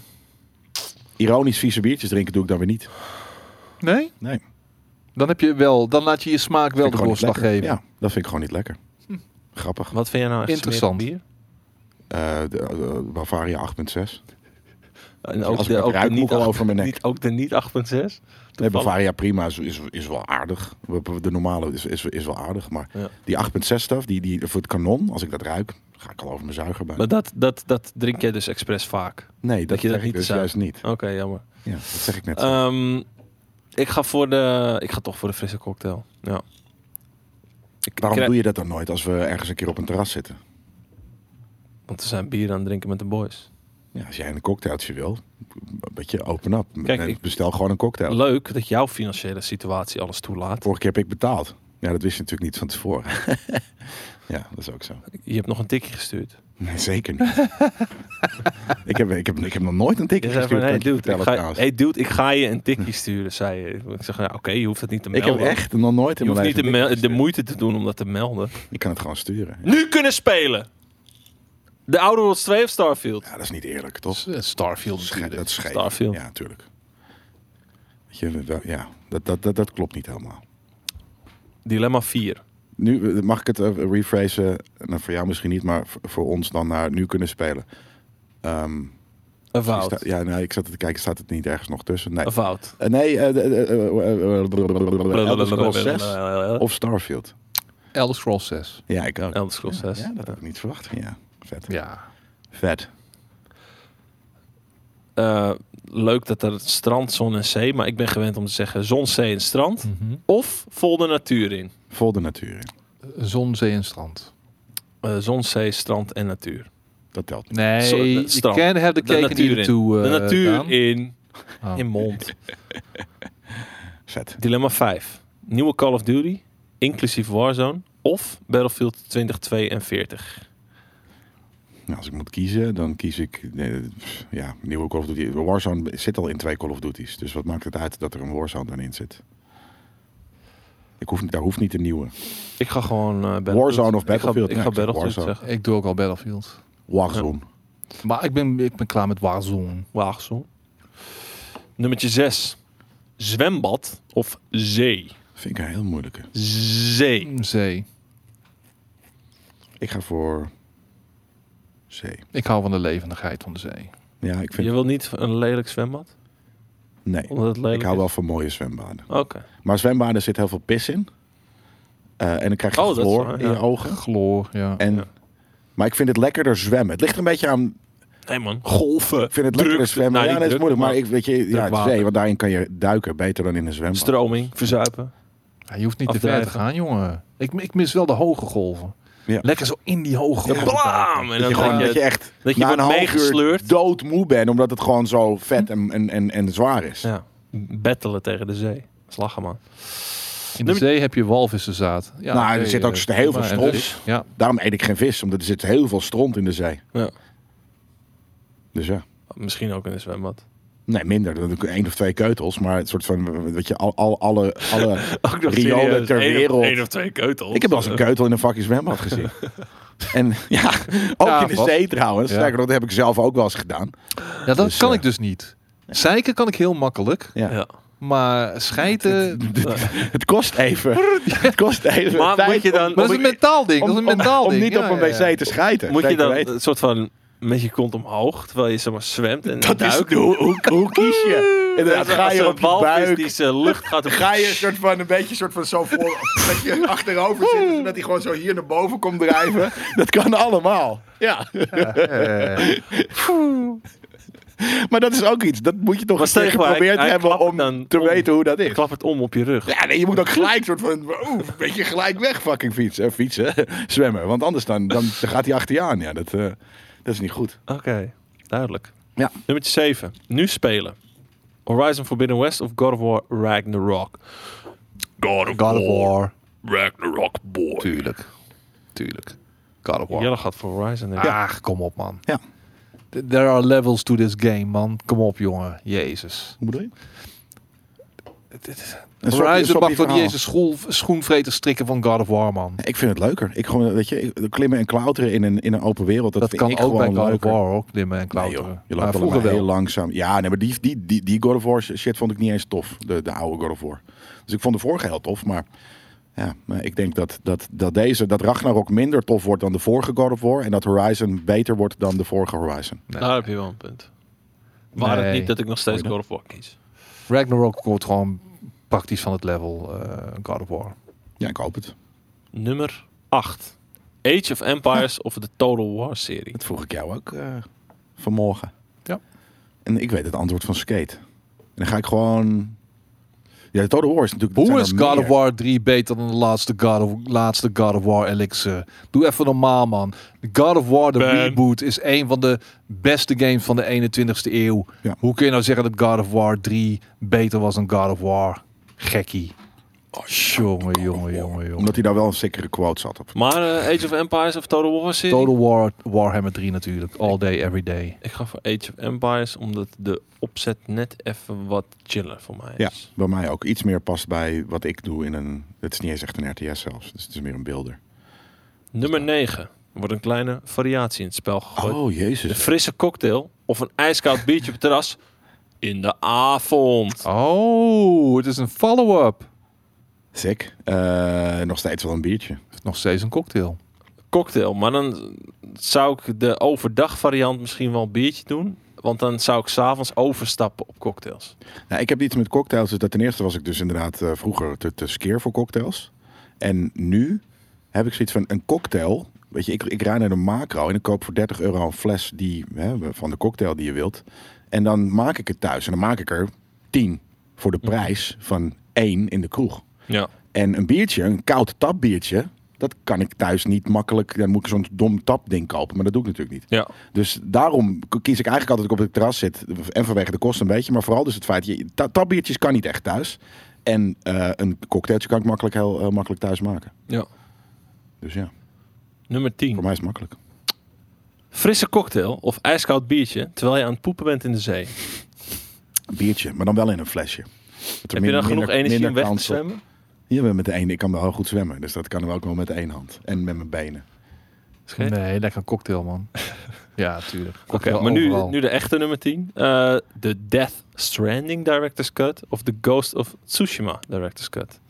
C: Ironisch vieze biertjes drinken doe ik dan weer niet.
B: Nee?
C: Nee.
B: Dan heb je wel, dan laat je je smaak wel
C: Vind
B: de
C: ik gewoon niet
B: doorslag
C: lekker.
B: geven.
C: Ja, dat vind ik gewoon niet lekker. Grappig.
A: wat vind jij nou echt
B: Interessant.
A: smerig
C: Eh, de, eh, Bavaria 8.6.
A: bier? En
C: Als
A: ook
C: ik
A: de,
C: het
A: ook de
C: ruik, moet
A: niet
C: ik al
A: 8
C: over mijn nek.
A: Niet, ook de niet 8.6?
C: Nee,
A: Toevallig.
C: Bavaria prima is, is, is wel aardig. De normale is, is, is wel aardig. Maar
A: Ja.
C: die 8.6 stuff, die, die, voor het kanon, als ik dat ruik, ga ik al over mijn zuiger bij.
A: Maar dat, dat, dat drink jij dus expres vaak.
C: nee, dat,
A: dat je dat
C: zeg ik
A: niet
C: dus
A: zou-
C: juist niet.
A: Oké, jammer.
C: Ja, dat zeg ik net. zo.
A: Ehm, ik ga voor de. Ik ga toch voor de frisse cocktail. Ja. Ik,
C: Waarom
A: krijg-
C: doe je dat dan nooit als we ergens een keer op een terras zitten?
A: Want we zijn bier aan het drinken met de boys.
C: Ja, als jij een cocktailtje wil, een beetje open up.
A: Kijk,
C: Nee,
A: ik-
C: Bestel gewoon een cocktail.
A: Leuk dat jouw financiële situatie alles toelaat.
C: Vorige keer heb ik betaald. Ja, dat wist je natuurlijk niet van tevoren. <laughs> ja, dat is ook zo.
A: Je hebt nog een tikje gestuurd.
C: Nee, zeker niet. <laughs> ik, heb, ik, heb, ik heb nog nooit een
A: Je
C: ticket
A: zei
C: gestuurd.
A: van,
C: kan
A: hey
C: ik je
A: dude, ik
C: vertellen
A: ga,
C: trouwens.
A: hey dude, ik ga <laughs> je een tikje sturen, zei je. Ik zeg, ja, oké, je hoeft het niet te
C: ik
A: melden.
C: heb echt nog nooit in
A: je hoeft
C: mijn
A: niet de,
C: leven
A: mel-
C: een
A: de
C: ticket
A: moeite te doen om dat te melden.
C: gestuurd. Je kan het gewoon sturen.
A: Nu kunnen spelen! De Outer Worlds 2 of Starfield?
C: Ja, dat is niet eerlijk, toch?
B: S- eh, Starfield
C: Dat is ge-
B: natuurlijk.
C: dat is scheef.
A: Starfield.
C: Ja, natuurlijk. Weet je, dat- ja, dat, dat, dat, dat klopt niet helemaal.
A: Dilemma 4.
C: Nu eh, mag ik het eh, rephrasen, nou, voor jou misschien niet, maar voor, voor ons dan naar nu kunnen spelen. Ehm,
A: Een
C: sta-
A: fout.
C: ja, nou, ik zat te kijken, staat het niet ergens nog tussen? Nee.
A: Een fout.
C: Eh, nee, eh, eh, eh, eh, eh, Elder Scrolls 6 of Starfield.
B: Elder Scrolls 6.
C: Ja, ik ook.
A: <laughs> Elder Scrolls 6.
C: Ja, dat had ik niet verwacht. Ja, vet.
B: Ja.
C: Vet.
A: Eh, leuk dat er strand, zon en zee, maar ik ben gewend om te zeggen zon, zee en strand. Of vol de natuur in.
C: Vol de natuur in.
B: Zon, zee en strand.
A: Eh, zon, zee, strand en natuur.
C: Dat telt niet.
B: Nee,
A: Zo, eh,
B: je
A: strand.
B: can have the
A: De
B: cake and eat
A: natuur
B: it
A: in.
B: too.
A: de
B: eh,
A: natuur
B: Daan.
A: in.
B: Oh.
A: In mond.
C: Vet.
A: Dilemma 5. Nieuwe Call of Duty, inclusief Warzone. Of Battlefield 2042.
C: Nou, als ik moet kiezen, dan kies ik... eh, pff, Ja, nieuwe Call of Duty. Warzone zit al in twee Call of Duty's. Dus wat maakt het uit dat er een Warzone dan in zit? Ik hoef, niet- daar hoeft niet een nieuwe.
A: Ik ga gewoon eh, Battlefield.
C: Warzone of Battlefield?
A: Ik
C: Ja,
A: ga, ik ga
C: ik zeg
A: Battlefield
C: Warzone.
A: zeggen.
B: Ik doe ook al Battlefield.
C: Warzone.
B: Maar ik ben, ik ben klaar met Warzone.
A: Warzone. Nummertje 6. Zwembad of zee?
C: Vind ik een heel moeilijke.
A: Zee.
B: Zee.
C: Ik ga voor... C.
B: Ik hou van de levendigheid van de zee.
C: Ja, ik
A: Je
C: vind...
A: wil niet een lelijk zwembad?
C: Nee.
A: Omdat het lelijk
C: Ik hou
A: is?
C: wel van mooie zwembaden.
A: Oké.
C: Maar zwembaden zit heel veel pis in. Eh, en dan krijg je
A: Oh, dat is
C: chloor
A: waar,
C: in
A: ja.
C: je ogen.
B: Gloor, ja.
C: En,
A: Ja.
C: Maar ik vind het lekkerder zwemmen. Het ligt er een beetje aan.
A: Nee man, golven.
C: Ik vind het
A: Druk.
C: lekkerder zwemmen.
A: Nou,
C: ja,
A: niet
C: dat is
A: druk,
C: moeilijk. Maar,
A: maar
C: ik weet je, ja, het is
A: water.
C: zee, want daarin kan je duiken beter dan in een zwembad.
A: Stroming, verzuipen.
B: Ja, je hoeft niet te ver te
A: Afdrijven.
B: gaan, jongen. Ik, ik mis wel de hoge golven.
C: Ja.
B: Lekker zo in die hoge golven.
A: Blam! En
C: dat
A: dan
C: je, gewoon,
A: denk
C: dat je
A: je...
C: echt
A: dat je
C: na een
A: wordt
C: half uur
A: meegesleurd.
C: doodmoe bent, omdat het gewoon zo vet en, en, en, en zwaar is.
A: Ja, battelen tegen de zee. Slagen man.
B: In de zee heb je walvissenzaad. Ja,
C: Nou, er
B: oké,
C: zit ook
B: eh,
C: heel veel
B: prima. En
C: stront.
B: vis. Ja,
C: Daarom eet ik geen vis, omdat er zit heel veel stront in de zee.
A: Ja.
C: Dus ja,
A: Misschien ook in een zwembad.
C: Nee, minder. Dan doe ik één of twee keutels. Maar het soort van, weet je, al, al, alle,
B: <laughs>
C: alle riolen
A: serieus,
C: ter
A: één of-
C: wereld.
A: één of twee keutels.
C: Ik heb wel eens een keutel in een vakje zwembad
B: <laughs>
C: gezien. en ja, ook
B: Ja,
C: in de
B: vast.
C: zee trouwens.
B: Ja.
C: Sterker nog, dat heb ik zelf ook wel eens gedaan.
B: Ja, dat
C: Dus,
B: kan
C: eh,
B: ik dus niet. Zeiken kan ik heel makkelijk,
C: Ja.
A: Ja.
B: maar schijten...
C: Het kost
B: <laughs>
C: even. Het kost even.
A: Maar
C: tijd
A: moet je dan-
C: om-
B: Maar dat is een mentaal ding.
C: om-
B: dat is een
C: om-
B: mentaal
C: om
B: ding.
C: niet
B: Ja,
C: op een
B: ja, ja.
C: wc te schijten.
A: Moet je
C: zeker
A: dan
C: weten.
A: een soort van met je kont omhoog terwijl je zeg maar zwemt en
C: <laughs> Dat is
A: duikt?
C: hoe, hoe, hoe
B: <laughs>
C: kies je?
A: En
C: Inderdaad, ga je op je buik.
A: die zijn lucht
C: <laughs>
A: gaat op
C: Ga je een soort van een beetje soort van zo voor dat je achterover zit, en dat hij gewoon zo hier naar boven komt drijven. Dat kan allemaal. Ja.
B: Eh,
C: <laughs> maar dat is ook iets. Dat moet je toch
A: Maar
C: eens
A: stel
C: een keer
A: je voor,
C: geprobeerd
A: hij- hij
C: hebben
A: klapt
C: om
A: dan
C: te
A: om.
B: Oh.
C: weten hoe dat is.
A: klappert om op je rug.
C: Ja, nee, je moet ook gelijk soort van, oeh, een beetje gelijk weg fucking fietsen, eh, fietsen, <laughs> zwemmen. Want anders dan, dan gaat hij achter je aan. Ja, dat, eh, dat is niet goed.
A: Oké, duidelijk.
C: Ja.
A: Nummer 7. Nu spelen. Horizon Forbidden West of God of War Ragnarok? God of,
B: God of War.
A: Ragnarok boy.
B: oh, Tuurlijk. Tuurlijk. God of War.
A: Jelle gaat voor Horizon. denk ik.
B: Ja. Ach, kom op, man.
C: Ja.
B: Th- There are levels to this game, man. Kom op, jongen. Jezus.
C: Hoe bedoel je?
B: Horizon mag toch niet eens een schoel, schoenvreter strikken van God of War, man.
C: Ik vind het leuker. Ik gewoon, weet je, ik- klimmen en klauteren in een, in een open wereld, dat,
B: Dat,
C: vind
B: kan
C: ik
B: ook bij
C: gewoon
B: God of
C: leuker.
B: War, hoor. Klimmen en
C: Nee,
B: klauteren.
C: joh. Je
B: Maar
C: loopt allemaal
B: vroeger wel.
C: heel langzaam. Ja, nee, maar die, die, die, die God of War shit vond ik niet eens tof. De, de oude God of War. Dus ik vond de vorige heel tof. Maar ja, maar ik denk dat, dat, dat deze, dat Ragnarok minder tof wordt dan de vorige God of War. En dat Horizon beter wordt dan de vorige Horizon.
A: Daar Nou heb je wel een punt. Waar het
B: Nee.
A: niet dat ik nog steeds
C: Goeie.
A: God of War kies.
B: Ragnarok komt gewoon praktisch van het level eh, God of War.
C: Ja, ik hoop het.
A: Nummer 8. Age of Empires of de Total War serie.
C: Dat vroeg ik jou ook eh, vanmorgen.
B: Ja.
C: En ik weet het antwoord van Skate. En dan ga ik gewoon... Ja, de Total War is natuurlijk... dat
B: Hoe
C: zijn
B: is
C: er
B: God of
C: meer.
B: War 3 beter dan de laatste God of, laatste God of War Elixir? Doe even normaal, man. God of War, de
A: Ben.
B: reboot, is een van de beste games van de 21ste eeuw.
C: Ja.
B: Hoe kun je nou zeggen dat God of War 3 beter was dan God of War? Gekkie. Oh, jongen, jongen, jongen, jongen.
C: Omdat hij daar wel een zekere quote zat op.
A: Maar eh, Age of Empires of Total War serie?
B: Total War, Warhammer 3 natuurlijk. All day, every day.
A: Ik ga voor Age of Empires omdat de opzet net even wat chiller voor mij
C: Ja,
A: is.
C: bij mij ook. Iets meer past bij wat ik doe in een... Het is niet eens echt een RTS zelfs. Dus het is meer een beelder.
A: Nummer 9. Wordt een kleine variatie in het spel
C: Oh.
A: gegooid. Een
C: jezus.
A: frisse cocktail of een ijskoud biertje op het terras in de avond.
B: Oh, het is een follow-up.
C: Sick. Eh, nog steeds wel een biertje.
B: Nog steeds een cocktail.
A: Cocktail, maar dan zou ik de overdag variant misschien wel een biertje doen. Want dan zou ik s'avonds overstappen op cocktails.
C: Nou, ik heb iets met cocktails. Dus dat ten eerste was ik dus inderdaad eh, vroeger te, te skeer voor cocktails. En nu heb ik zoiets van een cocktail. Weet je, ik, ik rij naar de macro en ik koop voor 30 euro een fles die, hè, van de cocktail die je wilt. En dan maak ik het thuis. En dan maak ik er 10 voor de prijs van één in de kroeg.
A: Ja.
C: En een biertje, een koud tapbiertje, dat kan ik thuis niet makkelijk. Dan moet ik zo'n dom tapding kopen, maar dat doe ik natuurlijk niet.
A: Ja.
C: Dus daarom k- kies ik eigenlijk altijd dat ik op het terras zit. En vanwege de kosten een beetje, maar vooral dus het feit... Je, ta- tapbiertjes kan niet echt thuis. En eh, een cocktailtje kan ik makkelijk heel eh, makkelijk thuis maken.
A: ja.
C: Dus ja,
A: Nummer
C: voor
A: 10.
C: mij is het makkelijk.
A: Frisse cocktail of ijskoud biertje terwijl je aan het poepen bent in de zee.
C: Een biertje, maar dan wel in een flesje. Dat er
A: Heb je
C: min-
A: dan genoeg
C: minder-
A: energie
C: minder
A: om weg te
C: kans op-
A: zwemmen?
C: Ja, met de ene, ik kan wel heel goed zwemmen. Dus dat kan ook wel met één hand. En met mijn benen.
A: Scheet?
B: Nee, lekker een cocktail,
A: <laughs>
B: man. ja, tuurlijk.
A: Oké,
B: Cocktail
A: maar nu,
B: overal.
A: nu de echte nummer 10. Eh, de Death Stranding Director's Cut of The Ghost of Tsushima Director's Cut.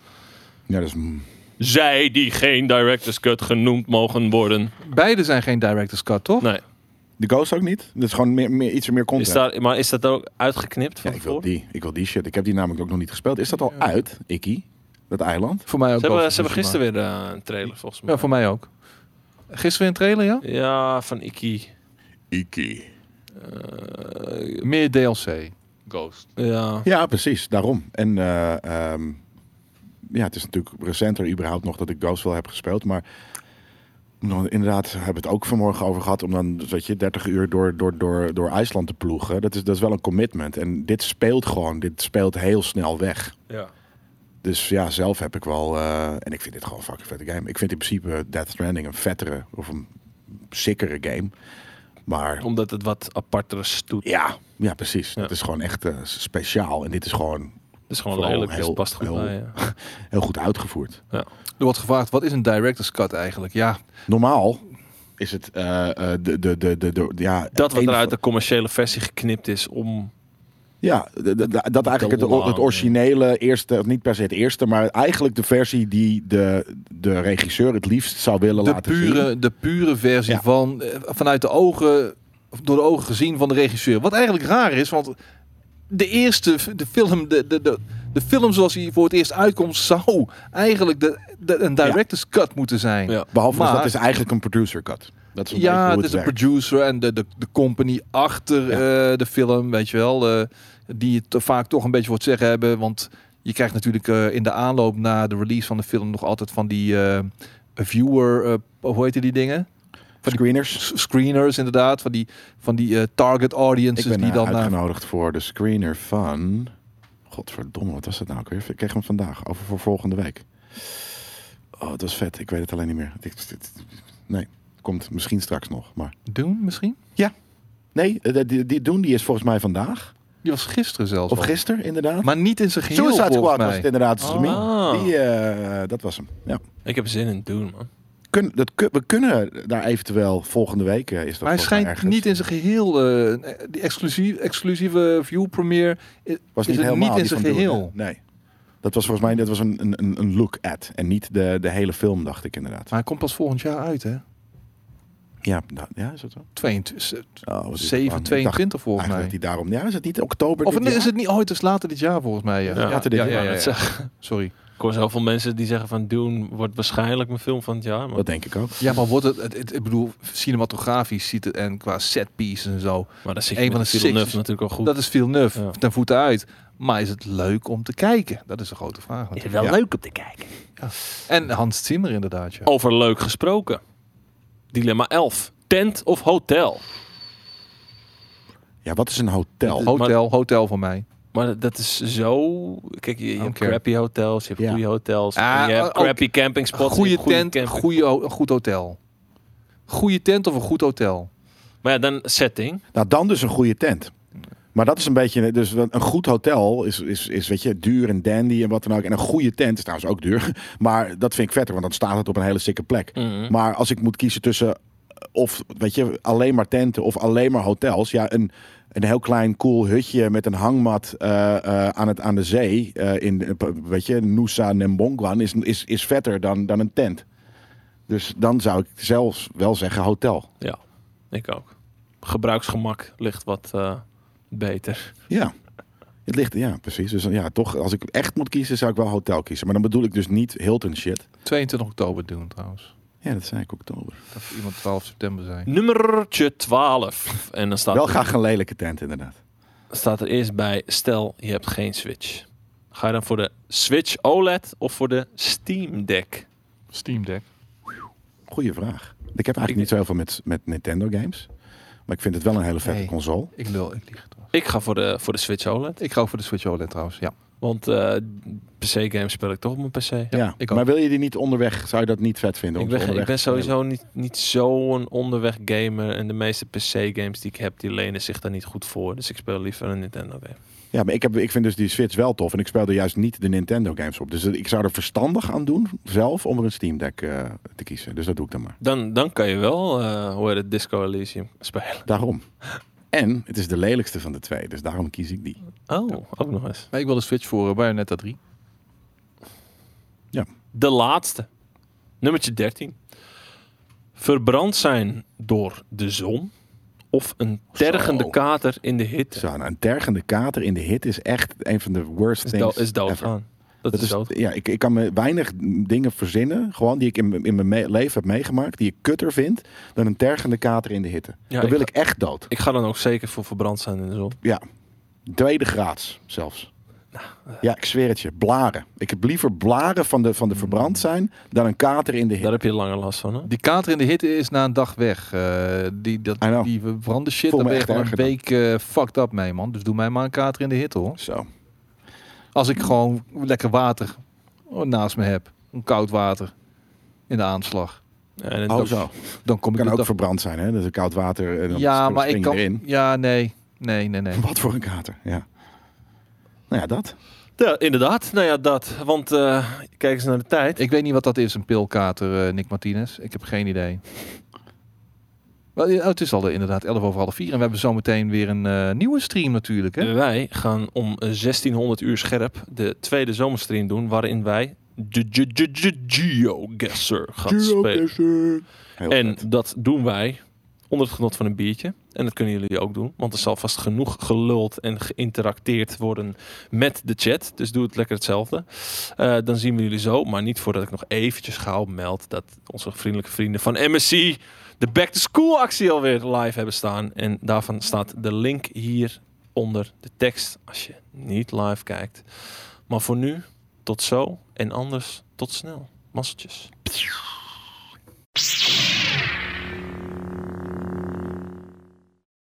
C: Ja, dus... mm,
A: Zij die geen Director's Cut genoemd mogen worden.
B: Beide zijn geen director's cut, toch?
A: Nee.
C: De ghost ook niet. Dat is gewoon meer, meer, iets meer content.
A: Is daar, maar is dat ook uitgeknipt
C: Ja,
A: van
C: ik wil
A: tevoren?
C: die. Ik wil die shit. Ik heb die namelijk ook nog niet gespeeld. Is dat al uit, Ikkie? Dat eiland?
B: Voor mij ook.
A: Ze hebben,
B: wel.
A: ze hebben gisteren weer eh, een trailer volgens mij.
B: Ja, voor mij ook. Gisteren weer een trailer, ja?
A: Ja, van Iki.
C: Ikkie.
B: Meer DLC. Ghost.
A: Ja.
C: Ja, precies. Daarom. En eh, ehm, ja, het is natuurlijk recenter überhaupt nog dat ik Ghost wel heb gespeeld. Maar nou, inderdaad, we hebben het ook vanmorgen over gehad. Om dan, weet je, 30 uur door, door, door, door IJsland te ploegen. Dat is, dat is wel een commitment. En dit speelt gewoon. Dit speelt heel snel weg.
A: ja. Dus
C: Dus ja, zelf heb ik wel. eh, en ik vind dit gewoon een fucking vette game. Ik vind in principe Death Stranding een vettere of een sickere game. Maar
A: Omdat het wat apartere stoet.
C: ja, ja precies.
A: Ja.
C: Het is gewoon echt eh, speciaal. En dit is gewoon
A: Het is gewoon
C: Vooral
A: lelijk, dus
C: heel-
A: het past goed
C: heel-
A: bij. Ja.
C: heel goed uitgevoerd.
B: Er wordt gevraagd, wat is een director's cut eigenlijk? Ja,
C: Normaal is het eh, eh, de, de, de, de, de- ja,
A: Dat wat
C: een
A: er
C: van-
A: uit de commerciële versie geknipt is om...
C: Ja, d- d- d- dat eigenlijk het,
A: lang,
C: het originele eerste, of niet per se het eerste, maar eigenlijk de versie die de, de regisseur het liefst zou willen
B: de
C: laten zien.
B: pure, de pure versie
C: Ja.
B: van, eh, vanuit de ogen, of door de ogen gezien van de regisseur. Wat eigenlijk raar is, want de eerste, f- de film, de, de, de, de film zoals hij voor het eerst uitkomt, zou eigenlijk de, de, een director's cut moeten zijn.
A: Ja.
C: Behalve
B: Maar-
C: dus dat is eigenlijk een producer cut. Dat is een beetje
B: Ja,
C: hoe
B: het
C: het
B: is een
C: werkt.
B: producer en de, de, de company achter eh, de film, weet je wel. eh, die het vaak toch een beetje voor het zeggen hebben. Want je krijgt natuurlijk eh, in de aanloop na de release van de film nog altijd van die eh, viewer, eh, hoe heet die dingen?
C: Screeners.
B: S- Screeners inderdaad, van die, van die eh, target
C: Ik
B: audiences
C: ben
B: die
C: eh,
B: dan naar...
C: uitgenodigd voor de screener van... Godverdomme, wat was dat nou ook weer? Ik kreeg hem vandaag, over voor volgende week. Oh, het was vet. Ik weet het alleen niet meer. Dit- dit- Nee, komt misschien straks nog. Maar...
B: doen misschien?
C: Nee, eh, die, die doen die is volgens mij vandaag.
B: Die was gisteren zelfs
C: Of
B: al.
C: gisteren, inderdaad.
B: Maar niet in zijn geheel
C: Suicide
B: volgens
C: Squad was
B: mij.
C: het inderdaad. Streaming.
A: Ah.
C: Die, eh, dat was hem. Ja.
A: Ik heb zin in doen, man.
C: Kun, dat, kun- we kunnen daar eventueel volgende week eh, is dat
B: Maar hij
C: volgens mij
B: schijnt
C: ergens.
B: niet in zijn geheel, eh, die exclusieve, exclusieve view premiere eh, is
C: was niet
B: het
C: helemaal
B: niet in
C: die
B: zijn
C: van Dune,
B: geheel.
C: hè? nee. Dat was volgens mij dat was een, een- een, een look at en niet de, de hele film, dacht ik inderdaad.
B: Maar hij komt pas volgend jaar uit, hè?
C: Ja, nou, ja is dat zo?
B: 22,
C: Oh, wat is het lang.
B: 7,
C: Ik dacht
B: 22 volgens
C: Eigenlijk
B: mij.
C: dat die daarom. Ja, is het niet oktober?
B: Of
C: dit
B: nee,
C: jaar?
B: is het niet ooit? Het is later dit jaar volgens mij. Ja,
A: Ja, later
C: dit
B: ja,
C: jaar.
B: ja, ja, ja. <laughs> Sorry.
A: Ik hoor zoveel mensen die zeggen van Doen wordt waarschijnlijk mijn film van het jaar. Maar,
C: Dat denk ik ook.
B: Ja, maar wordt het, het, het- ik bedoel, cinematografisch ziet het en qua set pieces en zo,
A: maar dat zit
B: Een
A: je
B: van
A: met
B: de
A: Villeneuve
B: six-
A: natuurlijk al goed.
B: dat is veel nuf
A: Ja.
B: ten voeten uit. Maar is het leuk om te kijken? Dat is een grote vraag.
A: is
B: natuurlijk.
A: wel
C: Ja.
A: leuk om te kijken.
B: En Hans Zimmer inderdaad, ja.
A: Over leuk gesproken. Dilemma 11. Tent of hotel?
C: Ja, wat is een hotel?
A: Oh,
B: hotel, hotel van mij.
A: Maar dat- dat is zo... Kijk, je, je hebt
B: Oké.
A: crappy hotels, je hebt
C: Ja.
A: goede hotels.
B: Ah,
A: en je hebt
B: ook-
A: crappy campingspots. je
B: goede
A: hebt goede
B: tent,
A: camping-
B: goede, ho- een goed hotel. Goede tent of een goed hotel?
A: Maar ja, dan setting.
C: Nou, dan dus een goede tent. Maar dat is een beetje, dus een goed hotel is, is, is, weet je, duur en dandy en wat dan ook. En een goede tent is trouwens ook duur. <laughs> Maar dat vind ik vetter, want dan staat het op een hele sikke plek.
A: Mhm.
C: Maar als ik moet kiezen tussen, eh, of weet je, alleen maar tenten of alleen maar hotels. Ja, een, een heel klein cool hutje met een hangmat eh, eh, aan, het, aan de zee. eh, in, eh, weet je, Nusa Nembongwan is, is, is vetter dan, dan een tent. Dus dan zou ik zelfs wel zeggen hotel.
A: Ja, ik ook. Gebruiksgemak ligt wat eh, beter.
C: Ja. Het ligt, ja, precies. Dus ja, toch, als ik echt moet kiezen, zou ik wel hotel kiezen. Maar dan bedoel ik dus niet Hilton shit.
B: 22 oktober doen trouwens.
C: Ja, dat zei ik oktober.
B: Dat iemand 12 september zei.
A: Nummertje 12. En dan staat,
C: Wel graag een lelijke tent, inderdaad.
A: staat er eerst bij, stel je hebt geen Switch. Ga je dan voor de Switch OLED of voor de Steam Deck?
B: Steam Deck.
C: Goeie vraag. Ik heb eigenlijk niet zo heel veel met, met Nintendo games. Maar ik vind het wel een hele vette
B: Nee.
C: console.
B: Ik lul, ik lieg trouwens.
A: Ik ga voor de, voor de Switch OLED.
B: Ik ga ook voor de Switch OLED trouwens, ja.
A: Want eh, PC-games speel ik toch op mijn PC.
C: Ja,
B: ik ook.
C: maar wil je die niet onderweg? Zou je dat niet vet vinden? om
A: Ik
C: ze
A: ben, ik
C: onderweg
A: ben
C: te spelen?
A: sowieso niet, niet zo'n onderweg gamer. En de meeste PC-games die ik heb, die lenen zich daar niet goed voor. Dus ik speel liever een Nintendo game.
C: Ja, maar ik, heb, ik vind dus die Switch wel tof. En ik speel er juist niet de Nintendo games op. Dus eh, ik zou er verstandig aan doen, zelf, om er een Steam Deck eh, te kiezen. Dus dat doe ik dan maar.
A: Dan, dan kan je wel, eh hoe heet het, Disco Elysium spelen.
C: Daarom. En het is de lelijkste van de twee. Dus daarom kies ik die.
A: Oh, ook nog eens.
B: Maar ik wil de Switch voor uh, Bayonetta 3.
A: De laatste. Nummertje 13. Verbrand zijn door de zon of een tergende
C: Zo.
A: kater in de hitte.
C: Zo, nou, een tergende kater in de hit is echt een van de worst
A: Is,
C: things
A: dood, is
C: ever.
A: doodgaan. Dat,
C: Dat
A: is dood.
C: is, ja, ik, ik kan me weinig dingen verzinnen, gewoon die ik in, mijn- in mijn me- leven heb meegemaakt, die ik kutter vind dan een tergende kater in de hitte.
A: Ja,
C: dan wil
A: ik-
C: ik, echt dood.
A: Ik ga dan ook zeker voor verbrand zijn in de zon.
C: Ja, tweede graads zelfs.
A: Nou, eh.
C: Ja, ik zweer het je, blaren. Ik heb liever blaren van de, van de verbrand zijn dan een kater in de
A: Daar
C: hitte.
A: heb je langer last van, hè?
B: Die kater in de hitte is na een dag weg. Eh, die dat,
C: I know.
B: die verbrande shit,
C: Ah, Voel
B: daar
C: me
B: ben je
C: echt
B: gewoon een
C: erger dan.
B: week eh, fucked up mee, man. Dus doe mij maar een kater in de hitte, hoor.
C: Zo.
B: Als ik oh, gewoon lekker water naast me heb. Een koud water in de aanslag.
A: Ja, en
C: Oh,
A: dat-
C: zo.
B: Dan kom ik
C: Kan
B: er
C: ook
B: dan-
C: verbrand zijn, hè? Dat is koud water en dan
B: Ja,
C: spring
B: maar ik
C: je
B: kan.
C: erin.
B: Ja, nee. Nee, nee, nee.
C: <laughs> Wat voor een kater, ja. Nou ja, dat.
A: Ja, inderdaad. Nou ja, dat. Want eh, kijk eens naar de tijd.
B: Ik weet niet wat dat is, een pilkater, eh, Nick Martinez. Ik heb geen idee. Wel, ja, het is al eh, inderdaad 11 over half 4. En we hebben zometeen weer een eh, nieuwe stream natuurlijk. Hè?
A: Wij gaan om eh, 1600 uur scherp de tweede zomerstream doen, waarin wij Ge- Ge- Ge- Ge- GeoGuessr gaan spelen.
C: Heel
A: En
C: vet.
A: dat doen wij onder het genot van een biertje. En dat kunnen jullie ook doen, want er zal vast genoeg geluld en geïnteracteerd worden met de chat. Dus doe het lekker hetzelfde. Eh, dan zien we jullie zo, maar niet voordat ik nog eventjes gauw meld dat onze vriendelijke vrienden van MSC de Back to School actie alweer live hebben staan. En daarvan staat de link hier onder de tekst als je niet live kijkt. Maar voor nu, tot zo en anders tot snel. Masseltjes.